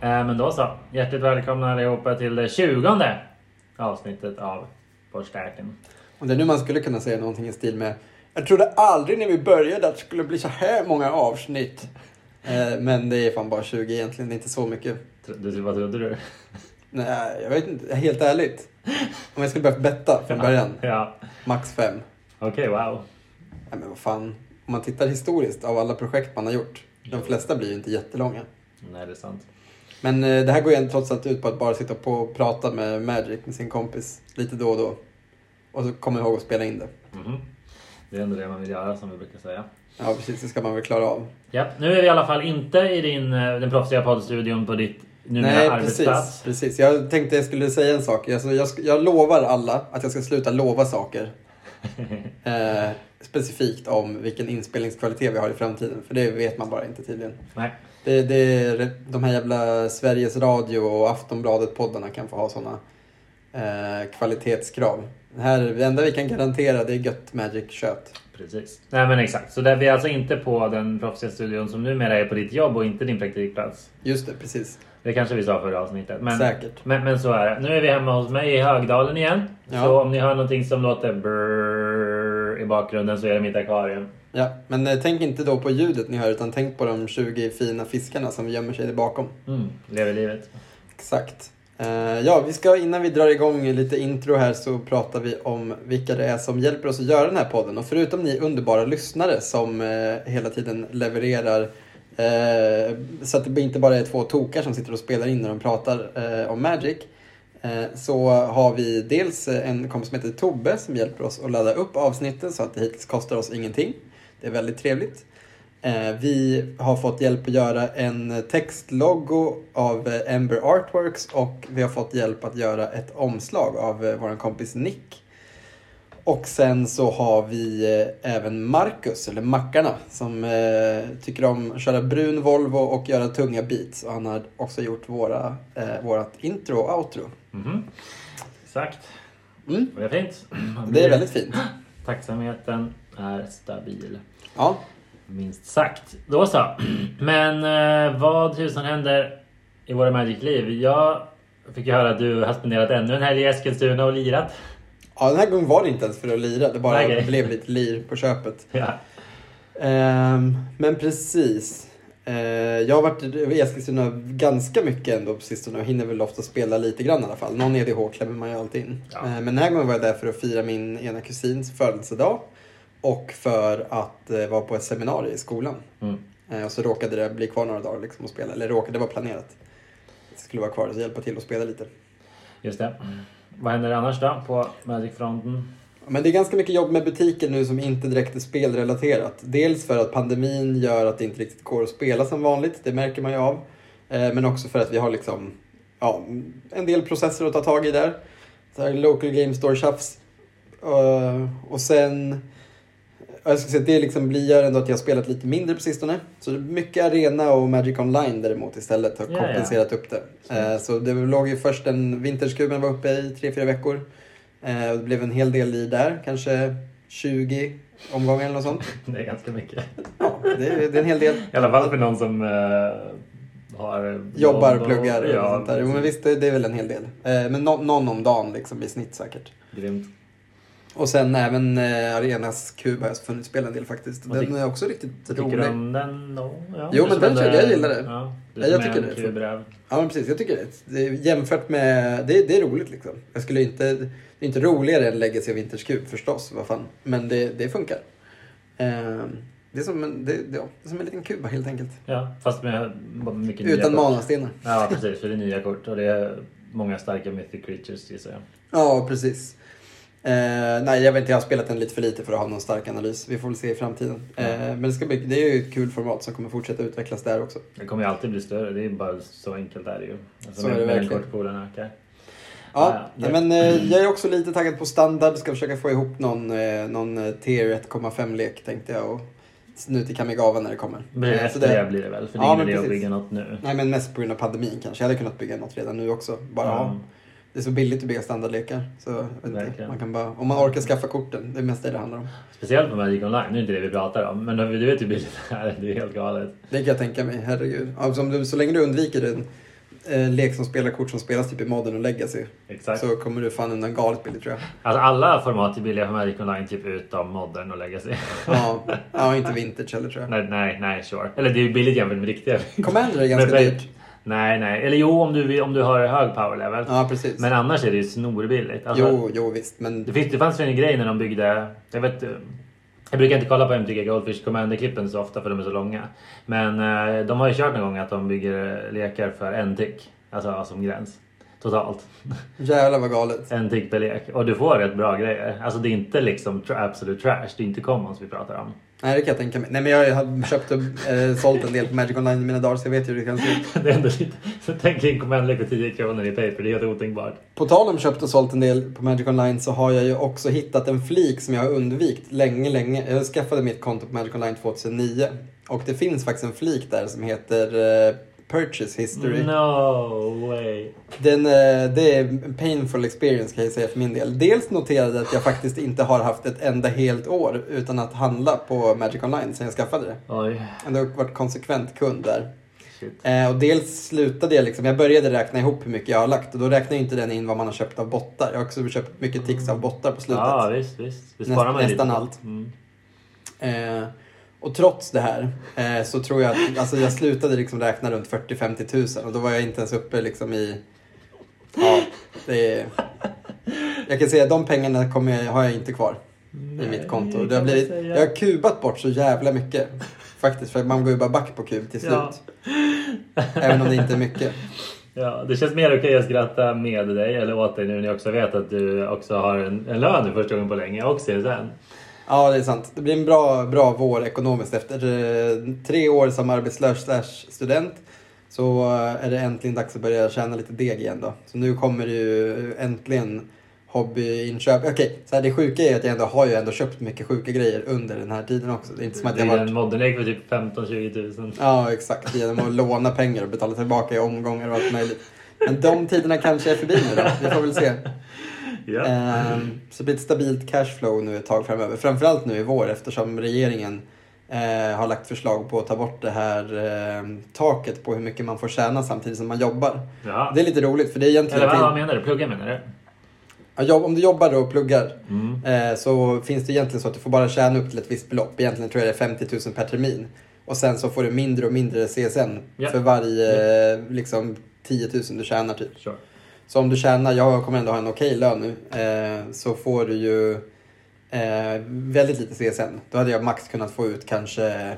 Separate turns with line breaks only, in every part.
Eh, Men då så. Hjärtligt välkomna allihopa till det tjugonde avsnittet av Porrstärken.
Och det är nu man skulle kunna säga någonting i stil med Jag trodde aldrig när vi började att det skulle bli så här många avsnitt. Eh, Men det är fan bara 20 egentligen, det är inte så mycket.
Tr- Du, vad trodde du?
Nej, jag vet inte, helt ärligt. Om jag skulle börja betta från början,
Ja.
max fem.
Okej, wow.
Nej men vad fan, om man tittar historiskt av alla projekt man har gjort, de flesta blir ju inte jättelånga.
Nej, det är sant.
Men eh, det här går ju ändå trots allt ut på att bara sitta på och prata med Magic, med sin kompis, lite då och då. Och så komma ihåg att spela in det.
Mhm. Det är ändå det man vill göra som vi brukar säga.
Ja precis, det ska man väl klara av.
Ja, nu är vi i alla fall inte i din, eh, den proffsiga poddstudion på ditt numera
Nej, precis,
arbetsplats.
precis. Jag tänkte jag skulle säga en sak. Alltså, jag, sk- jag lovar alla att jag ska sluta lova saker. eh, specifikt om vilken inspelningskvalitet vi har i framtiden. För det vet man bara inte tydligen.
Nej.
Det, det är de här jävla Sveriges Radio och Aftonbladet-poddarna kan få ha sådana eh, kvalitetskrav. Det, här, det enda vi kan garantera det är gött Magic-kött.
Precis. Nej men exakt. Så där, vi är alltså inte på den proffsiga studion som numera är på ditt jobb och inte din praktikplats.
Just det, precis.
Det kanske vi sa förra avsnittet. Men,
Säkert.
Men, men så är det. Nu är vi hemma hos mig i Högdalen igen.
Ja.
Så om ni hör någonting som låter brrrr i bakgrunden så är det mitt akvarium.
Ja, men eh, tänk inte då på ljudet ni hör utan tänk på de 20 fina fiskarna som gömmer sig där bakom.
Mm, lever livet.
Exakt. Eh, ja, vi ska, innan vi drar igång lite intro här så pratar vi om vilka det är som hjälper oss att göra den här podden. Och förutom ni underbara lyssnare som eh, hela tiden levererar eh, så att det inte bara är två tokar som sitter och spelar in när de pratar eh, om Magic. eh, Så har vi dels en kompis som heter Tobbe som hjälper oss att ladda upp avsnitten så att det hittills kostar oss ingenting. Det är väldigt trevligt. Eh, Vi har fått hjälp att göra en textlogo av eh, Ember Artworks och vi har fått hjälp att göra ett omslag av eh, vår kompis Nick. Och sen så har vi eh, även Marcus, eller Mackarna, som eh, tycker om att köra brun Volvo och göra tunga beats. Och han har också gjort våra, eh, vårat intro och outro.
Mhm. Exakt.
Mm.
Det är fint.
Det är väldigt fint.
Tacksamheten är stabil.
Ja,
Minst sagt. Då så. Men eh, vad tusan händer i våra Magic-liv? Jag fick ju höra att du har spenderat ännu en helg i Eskilstuna och lirat.
ja den här gången var det inte ens för att lira, det bara
Okej.
blev lite lir på köpet.
Ja.
Ehm, men precis. Eh, jag har varit i Eskilstuna ganska mycket ändå på sistone och hinner väl ofta spela lite grann i alla fall. Någon EDH klämmer man ju alltid in.
Ja.
Eh, men den här gången var jag där för att fira min ena kusins födelsedag och för att eh, vara på ett seminarium i skolan.
Mm.
Eh, och så råkade det bli kvar några dagar liksom att spela, eller råkade, det var planerat. Det skulle vara kvar, så hjälpa till att spela lite.
Just det. Vad händer annars då på Magic-fronten?
Men det är ganska mycket jobb med butiken nu som inte direkt är spelrelaterat. Dels för att pandemin gör att det inte riktigt går att spela som vanligt, det märker man ju av. Eh, Men också för att vi har liksom, ja, en del processer att ta tag i där. Så här local game store-tjafs. Eh, Och sen, jag skulle säga att det liksom blir gör ändå att jag har spelat lite mindre på sistone. Så det är mycket arena och Magic Online däremot istället har
Ja, ja.
kompenserat upp det. Eh, Så det låg ju först en, vinterskuben var uppe i tre, fyra veckor. Eh, och Det blev en hel del i där, kanske 20 omgångar eller något sånt.
Det är ganska mycket.
Ja, det är, det är en hel del.
I alla fall för någon som eh, har...
Jobbar,
jobb och-
pluggar och
ja,
sånt där. Jo, men visst, det det är väl en hel del. Eh, Men no, någon om dagen liksom, i snitt säkert.
Grymt.
Och sen även eh, Arenas kub har jag funnit spela en del faktiskt.
Vad
Den
tyck-
är också riktigt
Vad tycker du
rolig.
om den då? Ja,
Jo,
du
men
som
den
ändå-
tycker jag gillar det.
Ja, du
Ja, jag
som är
tycker
en
det.
kulbräv.
Ja, men precis. Jag tycker det. det är, jämfört med... Det är, det är roligt liksom. Jag skulle inte... Det är inte roligare än Legacy och Vinters kub förstås, vad fan. Men det, det funkar. Eh, Det är, som en, det, det, ja, det är som en liten kuba helt enkelt.
Ja, fast med mycket nya
Utan
kort.
manastenar.
Ja, precis. För det är nya kort och det är många starka mythic creatures gissar jag.
Ja, precis. Eh, nej, jag vet inte. Jag har spelat den lite för lite för att ha någon stark analys. Vi får väl se i framtiden. Eh, men det, ska bli, det är ju ett kul format som kommer fortsätta utvecklas där också.
Det kommer ju alltid bli större. Det är bara så enkelt är det ju. Alltså,
Så
med,
är det
med den
verkligen.
kortpoolen ökar.
Ja,
Ja,
nej, men eh, jag är också lite taggad på standard. Ska försöka få ihop någon, eh, någon eh, tier 1,5-lek tänkte jag. Och nu till Kamigawa när det kommer.
Men
Eh, så
efter det blir det väl. För det är
Ja,
ingen
men
idé att
precis.
bygga något nu.
Nej, men mest på grund av pandemin kanske. Jag hade kunnat bygga något redan nu också. Bara,
Ja.
Det är så billigt att bygga standardlekar. Så, jag vet inte,
Verkligen.
man kan bara, om man orkar skaffa korten, det är mest det det handlar om.
Speciellt på Magic Online. Nu är det inte det vi pratar om. Men du vet ju billigt det här. Det är helt galet.
Det kan jag tänka mig, herregud. Ja, som du, så länge du undviker den eh, lek som spelar kort som spelas typ i Modern och Legacy.
Exakt.
Så kommer du fan undan galet billigt tror jag.
Alltså alla format är billiga för Magic Online typ utom modern och legacy.
Ja, ja inte vintage heller tror jag.
nej, nej, nej, sure. Eller det är ju billigt jämfört med riktiga.
Commander är ganska
Men-
dyrt.
Nej, nej. Eller jo, om du, vill- om du har hög power level.
Ja, precis.
Men annars är det ju snorbilligt. Alltså,
Jo, jo visst. Men
Det, finns, det fanns ju en grej när de byggde... Jag, vet, eh, jag brukar inte kolla på MTG Goldfish Commander-klippen så ofta för de är så långa. Men eh, de har ju kört någon gång att de bygger eh, lekar för en tick. Alltså som gräns. Totalt.
jävlar vad galet.
En tick per lek. Och du får rätt bra grejer. Alltså det är inte liksom tra- absolute trash. Det är inte commons vi pratar om.
Nej, det kan jag tänka mig. Nej, men jag har köpt och eh, sålt en del på Magic Online i mina dagar så jag vet ju hur det kan se ut.
det är ändå lite... Så tänk en commander för 10 kronor i paper. Det är helt otänkbart.
På tal om köpt och sålt en del på Magic Online så har jag ju också hittat en flik som jag har undvikit länge, länge. Jag skaffade mitt konto på Magic Online 2009 och det finns faktiskt en flik där som heter eh, Purchase History.
Mm. No way.
Den, eh, det är en painful experience kan jag säga för min del. Dels noterade jag att jag faktiskt inte har haft ett enda helt år utan att handla på Magic Online sedan jag skaffade det.
Oj.
Jag har dock varit konsekvent kund där.
Shit.
Eh, och dels slutade jag liksom, jag började räkna ihop hur mycket jag har lagt och då räknar ju inte den in vad man har köpt av bottar. Jag har också köpt mycket tics av bottar på slutet.
Ja, visst, visst. Vi
Näst-
sparar man lite.
nästan allt.
Mm.
Eh, och trots det här eh, så tror jag att alltså jag slutade liksom räkna runt 40-50 tusen och då var jag inte ens uppe liksom i... Ja, det är... Jag kan säga att de pengarna kommer jag, har jag inte kvar i mitt konto. Det har blivit, jag har kubat bort så jävla mycket. Faktiskt, för man går ju bara back på kub till slut.
Ja.
Även om det inte är mycket.
Ja, det känns mer okej att skratta med dig eller åt dig nu när jag också vet att du också har en, en lön för första gången på länge och CSN.
Ja, det är sant. Det blir en bra, bra vår ekonomiskt. Efter eh, tre år som arbetslös slash student så eh, är det äntligen dags att börja tjäna lite deg igen då. Så nu kommer det ju äntligen hobbyinköp. Okej, så här, det sjuka är att jag ändå har ju ändå köpt mycket sjuka grejer under den här tiden också. Det är inte som att
Det
jag har
är
varit...
en modellek för typ 15-20 000.
Ja, exakt. Genom att låna pengar och betala tillbaka i omgångar och allt möjligt. Men de tiderna kanske är förbi nu då. Vi får väl se.
Ja.
Ehm, Så det blir ett stabilt cashflow nu ett tag framöver. Framförallt nu i vår eftersom regeringen eh, har lagt förslag på att ta bort det här eh, taket på hur mycket man får tjäna samtidigt som man jobbar.
Jaha.
Det är lite roligt för det är egentligen...
Eller vad, vad
inte-
menar du? Plugga menar du?
Ja, jobb, om du jobbar då och pluggar
Mm.
eh, så finns det egentligen så att du får bara tjäna upp till ett visst belopp. Egentligen tror jag det är 50 000 per termin. Och sen så får du mindre och mindre CSN
Ja.
för varje eh, liksom 10 000 du tjänar typ.
Sure.
Så om du tjänar, jag kommer ändå ha en okej lön nu, eh, så får du ju eh, väldigt lite CSN. Då hade jag max kunnat få ut kanske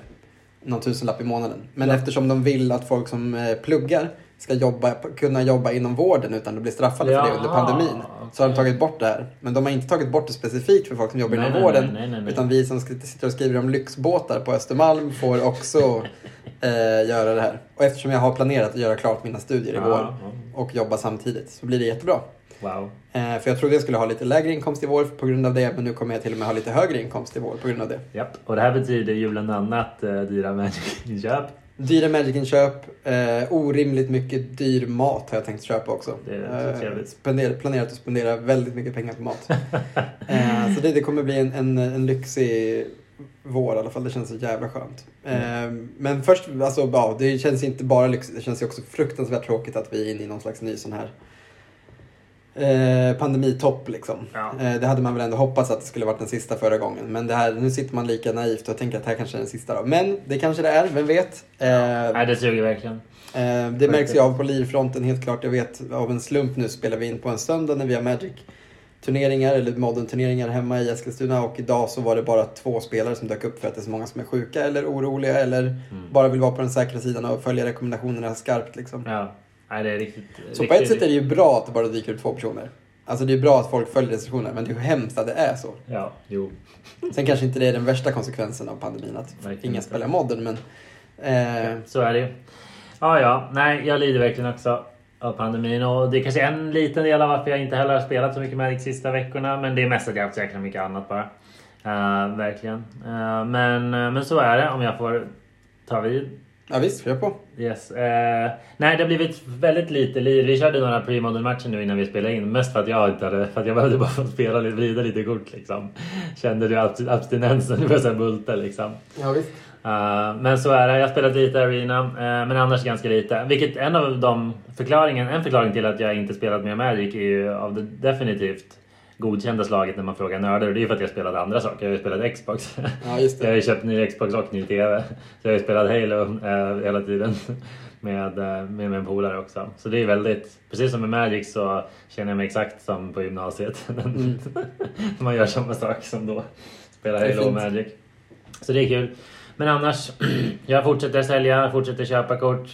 någon tusenlapp i månaden. Men
Ja.
eftersom de vill att folk som eh, pluggar ska jobba, kunna jobba inom vården utan att bli straffade för det under
Jaha,
pandemin så har de
okej.
tagit bort det här. Men de har inte tagit bort det specifikt för folk som jobbar
Nej,
inom
nej,
vården.
nej, nej, nej, nej.
Utan vi som skri- sitter och skriver om lyxbåtar på Östermalm får också eh, göra det här. Och eftersom jag har planerat att göra klart mina studier i
Ja,
vår
ja.
och jobba samtidigt så blir det jättebra.
Wow.
Eh, för jag trodde jag skulle ha lite lägre inkomst i vår på grund av det men nu kommer jag till och med ha lite högre inkomst i vår på grund av det.
Japp. Och det här betyder ju bland annat eh, dyra Magic-inköp.
Dyra Magic-inköp, eh, orimligt mycket dyr mat har jag tänkt köpa också.
Det är så trevligt.
spender, planerat att spendera väldigt mycket pengar på mat. eh, så det, det kommer bli en, en, en lyxig vår i alla fall, det känns så jävla skönt. Eh,
Mm.
men först, alltså, ja, det känns inte bara lyxigt, det känns ju också fruktansvärt tråkigt att vi är inne i någon slags ny sån här Eh, pandemitopp liksom.
Ja.
Eh, det hade man väl ändå hoppats att det skulle varit den sista förra gången. Men det här, nu sitter man lika naivt och tänker att det här kanske är den sista då. Men det kanske det är, vem vet? Eh,
Nej, det suger verkligen.
Eh, det märks ju av på lirfronten helt klart. Jag vet av en slump nu spelar vi in på en söndag när vi har Magic turneringar eller modern turneringar hemma i Eskilstuna och idag så var det bara två spelare som dök upp för att det är så många som är sjuka eller oroliga eller bara vill vara på den säkra sidan och följa rekommendationerna skarpt liksom.
Mm. Ja. Nej, det är riktigt...
Så
riktigt,
på ett sätt är det ju bra att det bara dyker upp två personer. Alltså det är ju bra att folk följer restriktionerna men det är ju hemskt att det är så.
Ja, jo.
Sen kanske inte det är den värsta konsekvensen av pandemin att
Verkligen
ingen
inte.
spelar modern men... Eh,
Så är det ju. Ja, ja. Nej, jag lider verkligen också av pandemin. Och det är kanske en liten del av varför jag inte heller har spelat så mycket Magic sista veckorna. Men det är mest att jag har haft så jäkla mycket annat bara. Eh, verkligen. Eh, men, men så är det om jag får ta vid.
ja visst, kör på.
Yes. Eh, nej, det har blivit väldigt lite lir. Vi körde några pre-modern matcher nu innan vi spelade in. Mest för att jag inte hade, för att jag behövde bara få spela lite, vrida lite kort liksom. Kände du abst- abstinensen började så här bulta liksom.
Ja visst.
Eh, men så är det. Jag spelat lite Arena, eh, men annars ganska lite. Vilket en av de förklaringen, en förklaring till att jag inte spelat mer Magic är ju av det definitivt godkända slaget när man frågar nördar. Och det är ju för att jag spelat andra saker. Jag har ju spelat Xbox.
Ja, just det.
Jag har ju köpt ny Xbox och ny TV. Så jag har ju spelat Halo eh, hela tiden. Med, eh, med min polare också. Så det är väldigt, precis som med Magic så känner jag mig exakt som på gymnasiet.
Mm.
Man gör samma sak som då. Spelar
Det är
Halo och
fint.
Magic. Så det är kul. Men annars, jag fortsätter sälja, fortsätter köpa kort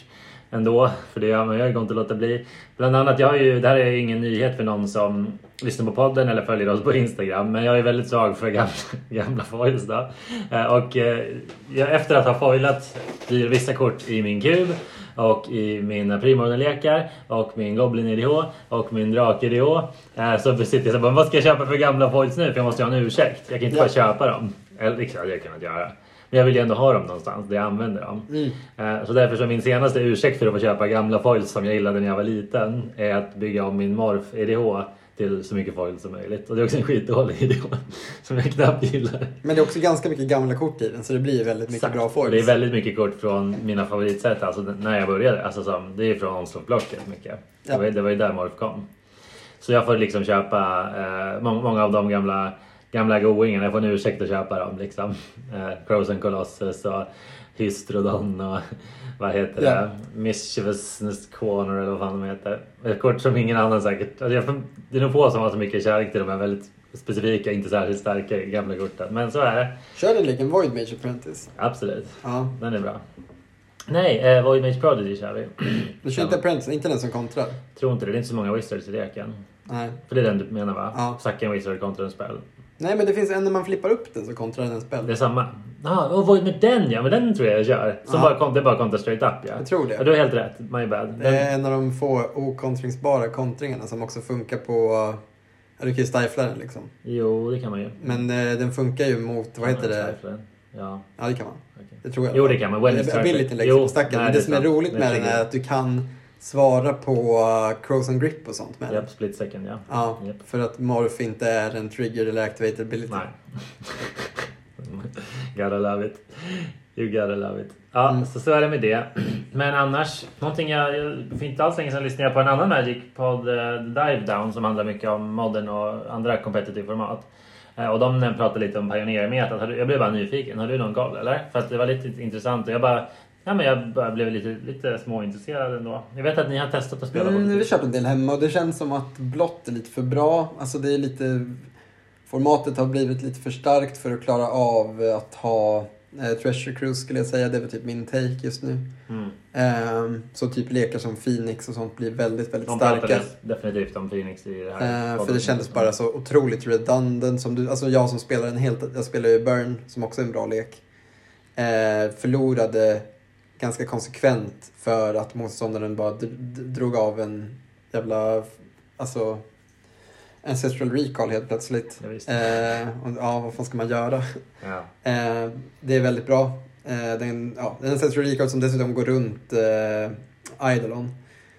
ändå. För det gör man ju, det går inte att låta bli. Bland annat, jag har ju, det här är ju ingen nyhet för någon som lyssnar på podden eller följer oss på Instagram. Men jag är väldigt svag för gamla, gamla foils då. Eh, Och eh, jag, efter att ha foilat blir vissa kort i min kub och i mina primordialekar och min goblin-idh och min drake-idh. eh, Så sitter jag så bara, vad ska jag köpa för gamla foils nu? För jag måste ju ha en ursäkt. Jag kan inte
Ja.
bara köpa dem. Eller vilket hade jag kunnat göra. Men jag vill ju ändå ha dem någonstans där jag använder dem. Eh, Så därför så min senaste ursäkt för att få köpa gamla foils som jag gillade när jag var liten är att bygga om min morf EDH till så mycket foil som möjligt. Och det är också en skitdålig EDH som jag knappt gillar.
Men det är också ganska mycket gamla kort i den så det blir ju väldigt mycket
Exakt.
bra foils.
Det är väldigt mycket kort från mina favoritset alltså när jag började. Alltså som, det är från omslagsblocket mycket.
Ja.
Det, var, ju- det var ju där Morph kom. Så jag får liksom köpa eh, må- många av de gamla, gamla goingarna. Jag får en ursäkt att köpa dem liksom. Eh, Crows and Colossus och Hystrodon och vad heter
Ja.
det? Mischievousness Corner eller vad fan de heter. Ett kort som ingen annan säkert. Alltså jag, får- det är nog få som har så mycket kärlek till de här väldigt specifika, inte särskilt starka gamla korten. Men så är det.
Kör du leken Void Mage Apprentice?
Absolut.
Ja.
Den är bra. Nej, eh, Void Mage Prodigy kör vi.
Du kör
Ja.
inte Apprentice, inte den som kontrar?
Tror inte det. Det är inte så många wizards i leken.
Nej.
För det är den du menar va?
Ja.
Sacka en wizard kontra en spel.
Nej men det finns en när man flippar upp den så kontrar den en
Det är
spel.
samma. Ja, och Void med den ja, men den tror jag jag kör. Som
Ja. Eh.
bara kom, det är bara kontra straight up ja.
Jag tror det.
Ja, du har helt rätt. My bad.
Det
Den,
är en av de få okontringsbara kontringarna som också funkar på... Ja, du kan ju stifla den liksom.
Jo, det kan man ju.
Men eh, den funkar ju mot, vad heter det?
Stifle. Ja.
Ja det kan man.
okej.
Det tror jag.
Jo, det kan man. When it's
Ability
perfect.
läggs
Jo,
på stacken.
nej,
Men
det
det
är
som är
sant.
roligt
Det
med den
triggar.
är att du kan svara på eh, crows and grip och sånt med den.
Japp, split second ja.
Ja,
Japp.
för att morph inte är en trigger eller activated ability.
Nej. gotta love it. You gotta love it. Ja,
Mm.
så så är det med det. Men annars, någonting jag, jag för inte alls länge sedan lyssnade jag på en annan Magic-podd, eh, Dive Down, som handlar mycket om modden och andra competitive format. Eh, Och de pratade lite om pionermetat. Har du- Jag blev bara nyfiken. Har du någon koll eller? För att det var lite intressant och jag bara Ja, men jag bara blev lite, lite småintresserad ändå. Jag vet att ni har testat att spela på
Mm, vi
lite.
köper en del hemma och det känns som att blått är lite för bra. Alltså det är lite... Formatet har blivit lite för starkt för att klara av att ha eh, Treasure Cruise skulle jag säga. Det är väl typ min take just nu.
Mm.
Ehm, så typ lekar som Phoenix och sånt blir väldigt, väldigt
De
starka.
pratade definitivt om Phoenix i det här.
Eh, för det
podden.
kändes bara så otroligt redundant. Som du, alltså jag som spelar en helt, jag spelar ju Burn som också är en bra lek. Eh, förlorade ganska konsekvent för att motståndaren bara d- d- drog av en jävla, alltså ancestral recall helt plötsligt.
Ja, visst.
Eh, och, ja, vad fan ska man göra?
Ja.
Eh, det är väldigt bra. Eh, den, ja, den ancestral recall som dessutom går runt eh, Eidolon.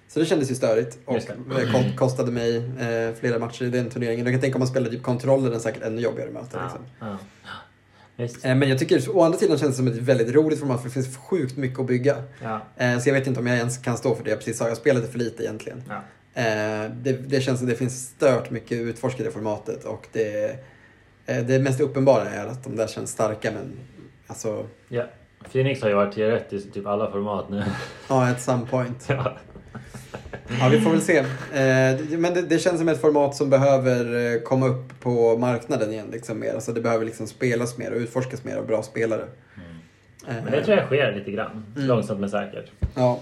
Så det kändes ju störigt och
Just det.
eh, kost- kostade mig eh, flera matcher i den turneringen. Jag kan tänka om man spelar typ kontroller, den säkert ännu jobbigare möte.
Ja,
Liksom.
ja. Visst.
Eh, men jag tycker å andra sidan känns det som ett väldigt roligt format för det finns sjukt mycket att bygga.
Ja,
Eh, så jag vet inte om jag ens kan stå för det jag precis sa. Jag spelade för lite egentligen.
ja.
Eh, det, det känns som det finns stört mycket utforskat i formatet och det, eh, det mest uppenbara är att de där känns starka men alltså
ja. Phoenix har ju varit till rätt i typ alla format nu.
Ja, at some point.
ja.
Ja, vi får väl se. Eh, det- Men det, det känns som ett format som behöver eh, komma upp på marknaden igen. Liksom, mer. Alltså, det behöver liksom spelas mer och utforskas mer av bra spelare. Eh,
Mm. Men det tror jag sker lite grann.
Mm.
Långsamt men säkert.
Ja.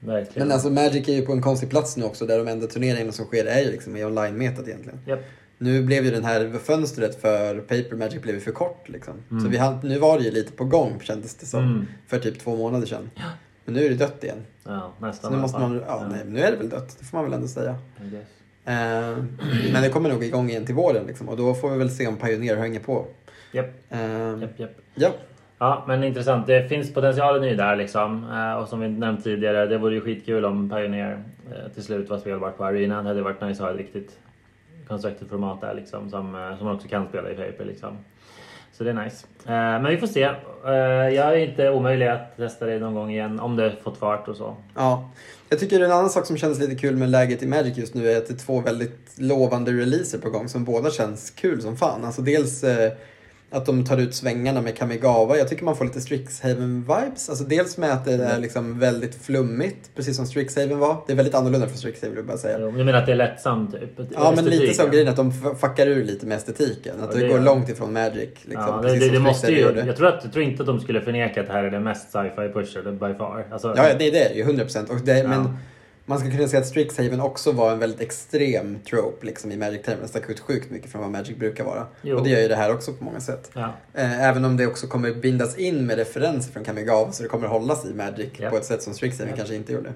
Verkligen.
Men alltså Magic är ju på en konstig plats nu också där de enda turneringarna som sker är ju liksom i online-metat egentligen.
Japp.
Nu blev ju den här fönstret för Paper Magic blev ju för kort liksom. Så vi hann- nu var det ju lite på gång kändes det som.
Mm.
För typ två månader sedan. Men nu är det dött igen.
Ja,
Så
nästan. i
nu
alla
måste
fall.
man, ja, nej, nu är det väl dött, det får man väl ändå säga.
I guess.
Eh, men det kommer nog igång igen till våren liksom, och då får vi väl se om Pioneer hänger på.
Japp,
Eh,
japp, japp.
ja.
Ja, men intressant. Det finns potentialen i det här liksom. Eh, Och som vi nämnt tidigare, det vore ju skitkul om Pioneer eh, till slut var spelbart på arenan. Det hade varit nice att ha ett riktigt constructed format där liksom. Som, eh, som man också kan spela i paper liksom. Så det är nice. Eh, men vi får se. Eh, jag är inte omöjlig att testa det någon gång igen om det fått fart och så.
Ja. Jag tycker en annan sak som känns lite kul med läget i Magic just nu är att det är två väldigt lovande releaser på gång som båda känns kul som fan. Alltså dels eh, att de tar ut svängarna med Kamigawa. Jag tycker man får lite Strixhaven-vibes. Alltså dels med att det är liksom väldigt flummigt, precis som Strixhaven var. Det är väldigt annorlunda från Strixhaven vill jag bara säga.
Jo, Du menar att det är lättsamt? Typ,
Ja, men lite
Estetiken.
som grejen att de f- fuckar ur lite med estetiken.
Ja,
Att det,
det
går
gör-
långt ifrån Magic. Liksom,
Ja, det,
precis
det,
som
det måste ju,
Strixhaven gjorde.
jag, tror att, jag tror inte att de skulle förneka att det här är det mest sci-fi pushade by far. Alltså,
Ja, ja, det är det ju, 100 procent.
Ja.
Men man ska kunna säga att Strixhaven också var en väldigt extrem trope liksom, i Magic-termer. Den stack ut sjukt mycket från vad Magic brukar vara.
Jo.
Och det gör ju det här också på många sätt.
ja.
Eh, Även om det också kommer bindas in med referenser från Kamigawa så det kommer hållas i Magic
Ja.
på ett sätt som Strixhaven
Ja.
kanske inte gjorde.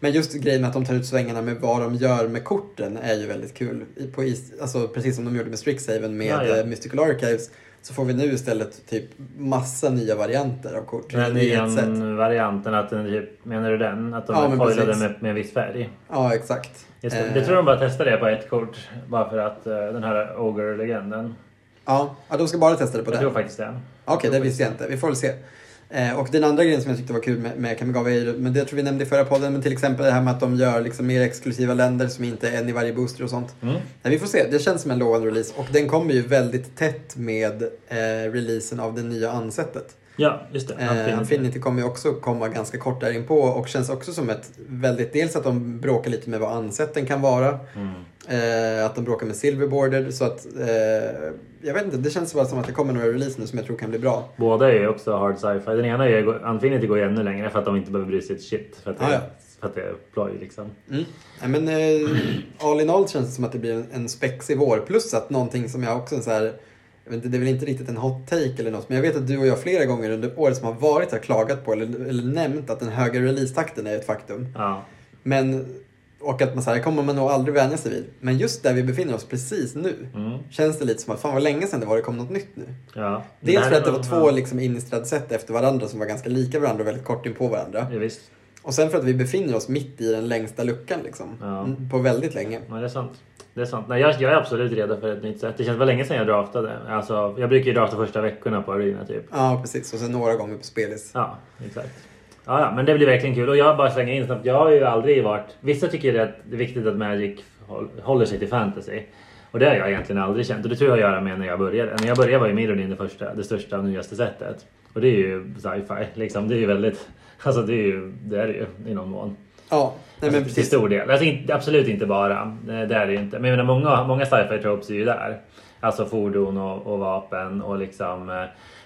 Men just grejen med att de tar ut svängarna med vad de gör med korten är ju väldigt kul. I- På is, alltså precis som de gjorde med Strixhaven med
Ja, ja.
eh, Mystical Archives så får vi nu istället typ massa nya varianter av kort.
Den
Det är ett sätt.
varianten att den typ, menar du den? Att de
Ja,
ja,
men
foilade
precis.
med, med en viss färg?
Ja, exakt.
Jag tror,
Eh,
jag tror de bara testade det på ett kort. Bara för att eh, den här Ogre-legenden.
Eh, Ja, ja, de ska bara testa det på
Jag
den.
tror
Okej,
faktiskt det.
det visste jag inte. Vi får väl se. Eh, och den andra grejen som jag tyckte var kul med, med Kamigawa, är ju- men det tror vi nämnde i förra podden, men till exempel det här med att de gör liksom mer exklusiva länder som inte är en i varje booster och sånt.
Mm.
Nej, vi får se, det känns som en lovande release och den kommer ju väldigt tätt med eh, releasen av det nya ansättet.
Ja, just det.
Eh,
Infinity.
Infinity kommer ju också komma ganska kort där inpå och känns också som ett väldigt, dels att de bråkar lite med vad ansätten kan vara,
Mm.
Eh, att de bråkar med Silverboarder. Så att, eh, jag vet inte, det känns bara som att det kommer några releaser nu som jag tror kan bli bra.
Båda är ju också hard sci-fi. Den ena är ju, Infinity går ju ännu längre för att de inte behöver bry sig ett shit. För att det,
Ah, ja.
för att det är ploj liksom.
Mm. Nej, men, eh, all in all känns det som att det blir en, en spexig vår. Plus att någonting som jag också är så här, jag vet inte, det är väl inte riktigt en hot take eller något, men jag vet att du och jag flera gånger under året som har varit har klagat på eller, eller nämnt att den höga releasetakten är ett faktum.
Ja.
Men, och att man så här, kommer man nog aldrig vänja sig vid. Men just där vi befinner oss precis nu
Mm.
känns det lite som att fan vad länge sedan det var det kom något nytt nu.
ja.
Dels
här
för att det
är-
var två liksom innistrad sätt efter varandra som var ganska lika varandra och väldigt kort in på varandra.
Ja, visst.
Och sen för att vi befinner oss mitt i den längsta luckan liksom.
Ja.
Mm, På väldigt länge.
Ja, det är sant. Det är sant. Nej, jag, jag är absolut redo för ett nytt sätt. Det känns väl länge sedan jag draftade. Alltså, jag brukar ju drafta första veckorna på arena typ.
Ja, precis. Och sen några gånger på spelis.
Ja, exakt. Ja, ja, men det blir verkligen kul. Och jag bara slänger in snabbt. Jag har ju aldrig varit... Vissa tycker ju att det är viktigt att Magic håll- håller sig till fantasy. Och det har jag egentligen aldrig känt. Och det tror jag har att göra med när jag började. När jag började var ju Mirrodin det första, det största och nyaste sättet. Och det är ju sci-fi liksom. Det är ju väldigt... Alltså det är ju... Det är det ju i någon mån.
Ja, nej men
Alltså, Till
precis.
stor del. Alltså, inte, absolut inte bara. Eh, Det är det ju inte. Men jag menar, många, många sci-fi tropes är ju där. Alltså fordon och, och vapen och liksom eh,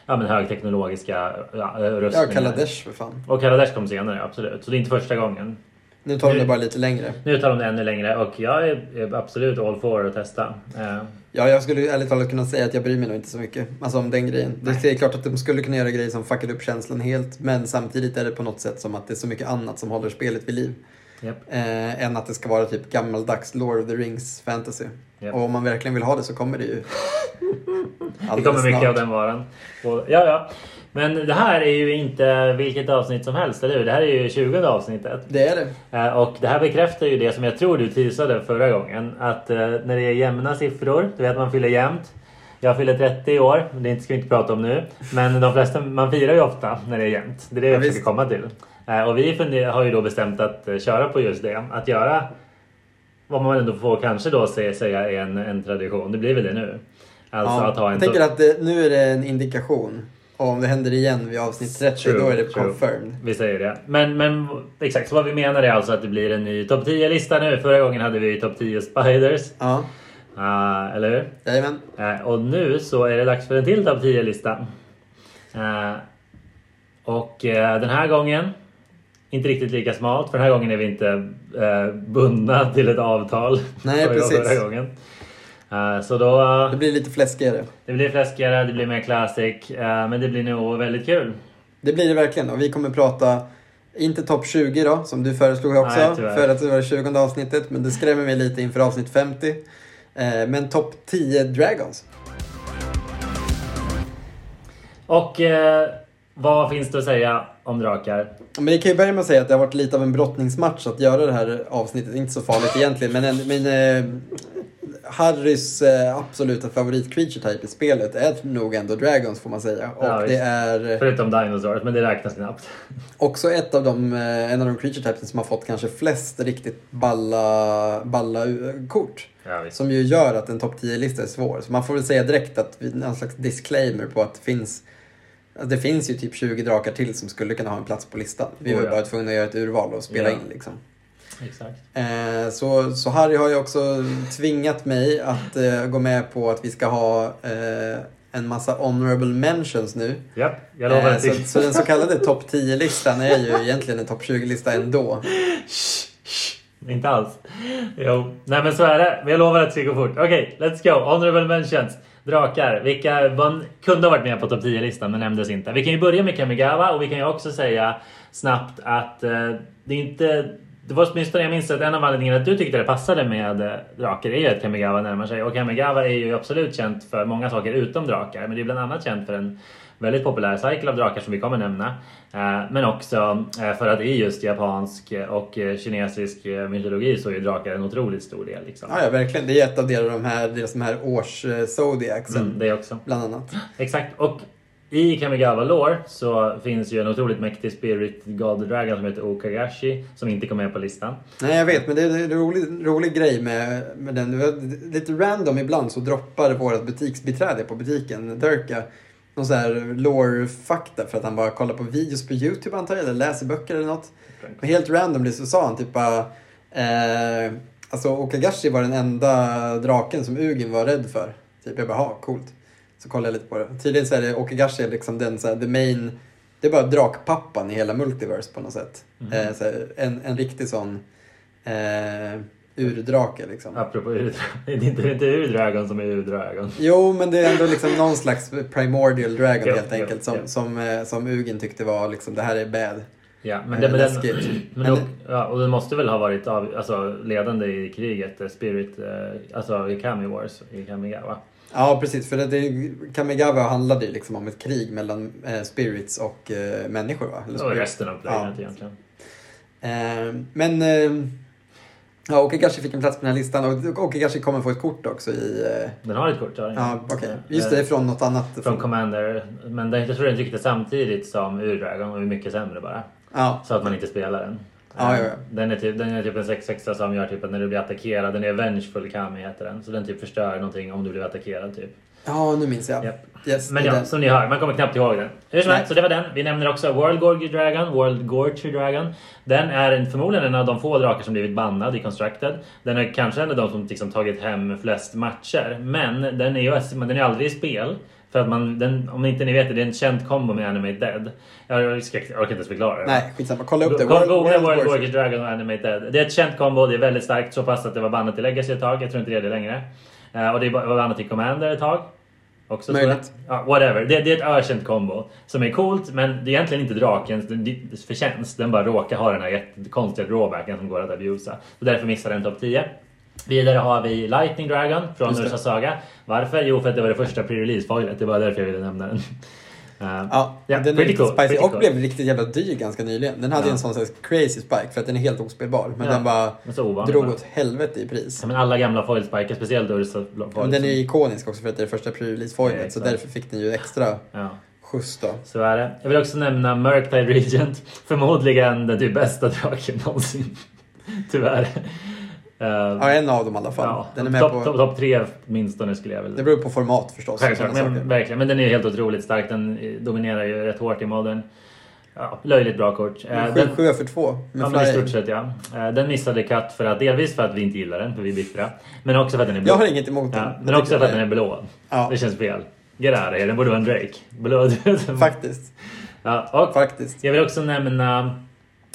ja, men högteknologiska ja, eh,
Ja,
rustningar.
Kaladesh för fan.
Och Kaladesh kom senare, absolut. Så det är inte första gången.
Nu tar de
Nu-
det bara lite längre.
Nu tar de det ännu längre och jag är är absolut all for att testa. Eh,
Ja, jag skulle ärligt talat kunna säga att jag bryr mig nog inte så mycket. Alltså om den grejen. Det är klart att de skulle kunna göra grejer som fuckade upp känslan helt. Men samtidigt är det på något sätt som att det är så mycket annat som håller spelet vid liv.
Japp.
Eh, än att det ska vara typ gammaldags Lord of the Rings fantasy.
Japp.
Och om man verkligen vill ha det så kommer det ju.
Det
alldeles
kommer mycket
snart.
av den varan. Och, ja, ja. Men det här är ju inte vilket avsnitt som helst, eller hur? Det här är ju 20 avsnittet.
Det är det.
Eh, Och det här bekräftar ju det som jag tror du teasade förra gången. Att eh, när det är jämna siffror, du vet man fyller jämnt. Jag fyller 30 i år, men det ska vi inte prata om nu. Men de flesta, man firar ju ofta när det är jämnt. Det är det jag
Ja,
försöker
visst.
komma till. Eh, Och vi funder- har ju då bestämt att eh, köra på just det. Att göra vad man ändå får kanske då se- säga är en, en tradition. Det blir väl det nu. Alltså
ja.
att ha en...
jag tänker att det, nu är det en indikation. Och om det händer igen vid avsnitt 30
True,
då är det
true.
confirmed.
Vi säger det. Men, men exakt, så vad vi menar är alltså att det blir en ny topp 10-lista nu. Förra gången hade vi topp 10 spiders.
Ja,
Ah, eller hur?
jajamän.
Eh, och nu så är det dags för en till topp 10-lista. Eh, och eh, den här gången, inte riktigt lika smalt, för den här gången är vi inte eh, bundna till ett avtal.
Nej,
som vi var
precis.
Förra gången. Eh, så då, eh,
Det blir lite fläskigare.
det blir fläskigare, det blir mer classic, eh, men det blir nog väldigt kul.
Det blir det verkligen. Och vi kommer prata, inte topp 20 då, som du föreslog också.
Nej, tyvärr.
för att det var det 20 avsnittet. Men det skrämmer mig lite inför avsnitt 50. Eh, men topp 10 Dragons.
Och eh, vad finns det att säga om drakar?
Men det kan ju börja med att säga att det har varit lite av en brottningsmatch att göra det här avsnittet. Inte så farligt egentligen, men, men eh, Harrys eh, absoluta favorit creature type i spelet är nog ändå Dragons får man säga. Och
Ja,
det
visst.
är eh,
Förutom Dinosaurus, men det räknas knappt.
också ett av de, eh, en av de creature types som har fått kanske flest riktigt balla, balla eh, kort.
Ja, visst.
Som ju gör att en topp 10-lista är svår. Så man får väl säga direkt att vi- någon slags disclaimer på att det finns att det finns ju typ 20 drakar till som skulle kunna ha en plats på listan. Vi var ju
Oh ja.
bara tvungna att göra ett urval och spela
Ja.
in liksom.
Exakt.
Eh, så, så Harry har ju också tvingat mig att eh, gå med på att vi ska ha eh, en massa honorable mentions nu.
Japp, jag lovar
Eh,
att
så,
det-
så den så kallade topp 10-listan är ju egentligen en topp 20-lista ändå.
Inte alls. Jo. Nej men så är det. Men jag lovar att det ska gå fort. Okej, let's go. Honorable mentions. Drakar. Vilka man kunde ha varit med på topp 10-listan men nämndes inte. Vi kan ju börja med Kamigawa och vi kan ju också säga snabbt att eh, det är inte... Det var åtminstone, jag minns att en av anledningarna att du tyckte det passade med eh, drakar är ju att Kamigawa närmar sig. Och Kamigawa är ju absolut känt för många saker utom drakar. Men det är bland annat känt för en väldigt populär cykel av drakar som vi kommer nämna. Eh, Men också eh, för att i just japansk och eh, kinesisk eh, mytologi så är ju drakar en otroligt stor del. Liksom.
Ja, ja, verkligen. Det är ett av deras, de här, deras de här års eh, zodiacsen,
Mm, det också.
bland annat.
Exakt. Och i Kamigawa lore så finns ju en otroligt mäktig spirit god dragon som heter Okagashi som inte kom med på listan.
Nej, jag vet, men det är en rolig, rolig grej med, med den. Det var Lite random ibland så droppar vårt butiksbiträde på butiken, Durka, någon sån här lore-fakta för att han bara kollar på videos på YouTube antar jag, eller läser böcker eller något. Men helt randomly så sa han typ bara, eh, alltså Okagashi var den enda draken som Ugin var rädd för. Typ, jag bara, ha, coolt. Så kollade jag lite på det. Tydligen så är det Okagashi är liksom den så här, the main, det är bara drakpappan i hela multiverse på något sätt.
Mhm.
Eh, så här, en, en riktig sån eh, urdrake liksom.
Apropå Udra. Det är inte, det är inte Udragon som är Udragon.
Jo, men det är ändå liksom någon slags primordial dragon
Ja,
helt
ja,
enkelt som,
ja.
som, eh, som Ugin tyckte var liksom, det här är bad.
Ja, men,
Eh,
det, men, den,
läskigt.
men
Men
och, ja, och den måste väl ha varit av, alltså, ledande i kriget, eh, Spirit, eh, alltså i Kami Wars i Kamigawa.
Ja, precis. För det, det, Kamigawa handlade ju liksom om ett krig mellan eh, spirits och eh, människor. Va? Eller
Och
spirits.
resten av planet
Ja.
egentligen.
Eh, men eh, ja, Okagashi fick en plats på den här listan och Okagashi kommer få ett kort också i... Eh,
Den har ett kort, har den ju.
ja, okej. Just det, det är från något annat.
Eh, Mm. Från Commander. Men den, jag tror den tryckte samtidigt som Udragon och är mycket sämre bara.
ja,
Så att man inte spelar den.
Ja,
Eh,
ja, ja.
Den, är typ, den är typ en 6-6 som gör typ att när du blir attackerad, den är Vengeful Kami heter den. Så den typ förstör någonting om du blir attackerad typ.
ja, nu minns jag.
Japp.
Yes,
Men
det är
ja,
den.
som ni hör, man kommer knappt ihåg den. Hur som
Nej.
helst, så det var den. Vi nämner också World Gorgy Dragon, World Gorgy Dragon. Den är en, förmodligen en av de få drakar som blivit bannad i Constructed. Den är kanske en av de som liksom tagit hem flest matcher. Men den är ju men den är aldrig i spel. För att man, den, om inte ni vet det, det är en känd kombo med Animate Dead. Jag, ska, jag orkar inte ens förklara det.
Nej, skitsamma. Kolla upp det.
Googla World, World
Wars.
Gorgy Dragon och Animate Dead. Det är ett känt kombo, det är väldigt starkt. Så pass att det var bannat i Legacy ett tag, jag tror inte det är det längre. Eh, och det var bannat i Commander ett tag. Också, tror jag.
Möjligt.
Ja, whatever. Det, det är ett ökänt kombo som är coolt men det är egentligen inte drakens förtjänst. Den bara råkar ha den här jättekonstiga drawbacken som går att abusa. Så därför missar den topp 10. Vidare har vi Lightning Dragon från
Just det.
Ursa Saga. Varför? Jo, för att det var det första pre-release-foilet. Det var därför jag ville nämna den. Eh,
Ja,
ja,
den är
pretty
riktigt
cool,
spicy
pretty
och
cool.
blev riktigt jävla dyr ganska nyligen. Den hade
Ja.
en sån slags crazy spike för att den är helt ospelbar. Men
Ja,
den bara
men så ovanlig,
drog
va?
åt helvete i pris.
Ja, men alla gamla foilspikar, speciellt Ursa
Men
foil.
den är ju ikonisk också för att det är det första pre-release
liksom- Ja,
foilet så
exakt.
därför fick den ju extra
Ja,
skjuts då.
så är det. Jag vill också nämna Merktide Regent. Förmodligen den typ bästa draken någonsin. Tyvärr. Eh,
Ja, en av dem i alla fall.
Ja,
den är med
topp
på...
top, top tre åtminstone skulle jag
Det
vilja
beror på format förstås. och
Självklart,
sådana
men,
saker.
verkligen. Men den är ju helt otroligt stark. Den eh, dominerar ju rätt hårt i modern. Ja, löjligt bra kort. Eh,
Men
den,
sju- Sjua för två med
ja, men i
flying.
stort sett ja. Eh, Den missade katt för att, delvis för att vi inte gillar den, för vi är bittra. Men också för att den är blå.
Jag har inget emot den.
ja,
Jag
men också
tycker
för att
det-
den är blå.
Ja.
Det känns fel. Get out of here, den borde vara en Drake. Blå.
Faktiskt.
ja, och
Faktiskt.
jag vill också nämna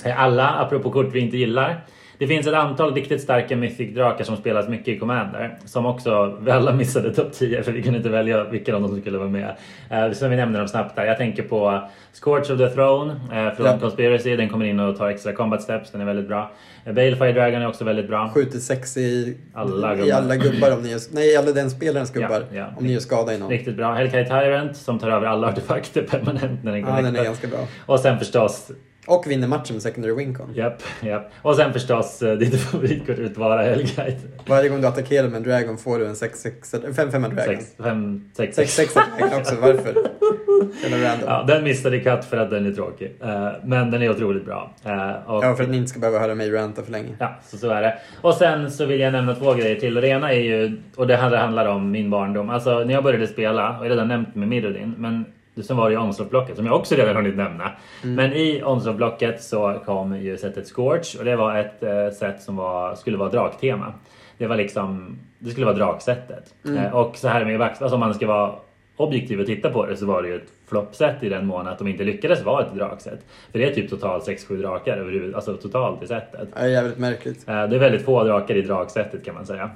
eh, alla, apropå kort vi inte gillar. Det finns ett antal riktigt starka Mythic-drakar som spelas mycket i Commander. Som också vi alla missade topp 10 för vi kunde inte välja vilken av dem som skulle vara med. Eh, som vi nämnde dem snabbt där. Jag tänker på Scorch of the Throne eh, från
Ja.
Conspiracy. Den kommer in och tar extra combat steps. Den är väldigt bra. Eh, Balefire Dragon är också väldigt bra.
Skjuter sex i
Alla
i
gubbar.
alla gubbar om ni gör... Nej, i alla den spelarens gubbar.
ja.
Om ni gör skada i någon.
Riktigt bra. Hellkite Tyrant som tar över alla artefakter permanent när den
Ja, den är
connectar.
ganska bra.
Och sen förstås
Och vinner matchen med secondary wincon.
Japp, japp. Och sen förstås eh, ditt favoritkort Utvara Hellguide.
Varje gång du attackerar med en dragon får du en 6-6 eller 5-5 dragon.
Sex- fem- sex-
6-6 dragon också, varför? Eller random.
Ja,
Ja.
den missade katt för att den är tråkig. Eh, Men den är otroligt bra. Eh, Och
för att ni inte ska behöva höra mig ranta för länge.
Ja, så, så är det. Och sen så vill jag nämna två grejer till. Och det ena är ju, och det här handlar om min barndom. Alltså när jag började spela, och jag har redan nämnt med Mirrodin, men sen var det ju Omslov-blocket som jag också redan hunnit nämna. Men i Omslov-blocket så kom ju sättet Scorch och det var ett eh, sätt som var, skulle vara draktema. Det var liksom, det skulle vara draksättet. Eh, och så här med Vax, alltså om man ska vara objektiv och titta på det så var det ju ett floppsätt i den mån att de inte lyckades vara ett draksätt. För det är typ totalt 6-7 drakar överhuvud- alltså totalt i sättet.
Ja, Det är jävligt märkligt.
Eh, Det är väldigt få drakar i dragsättet kan man säga.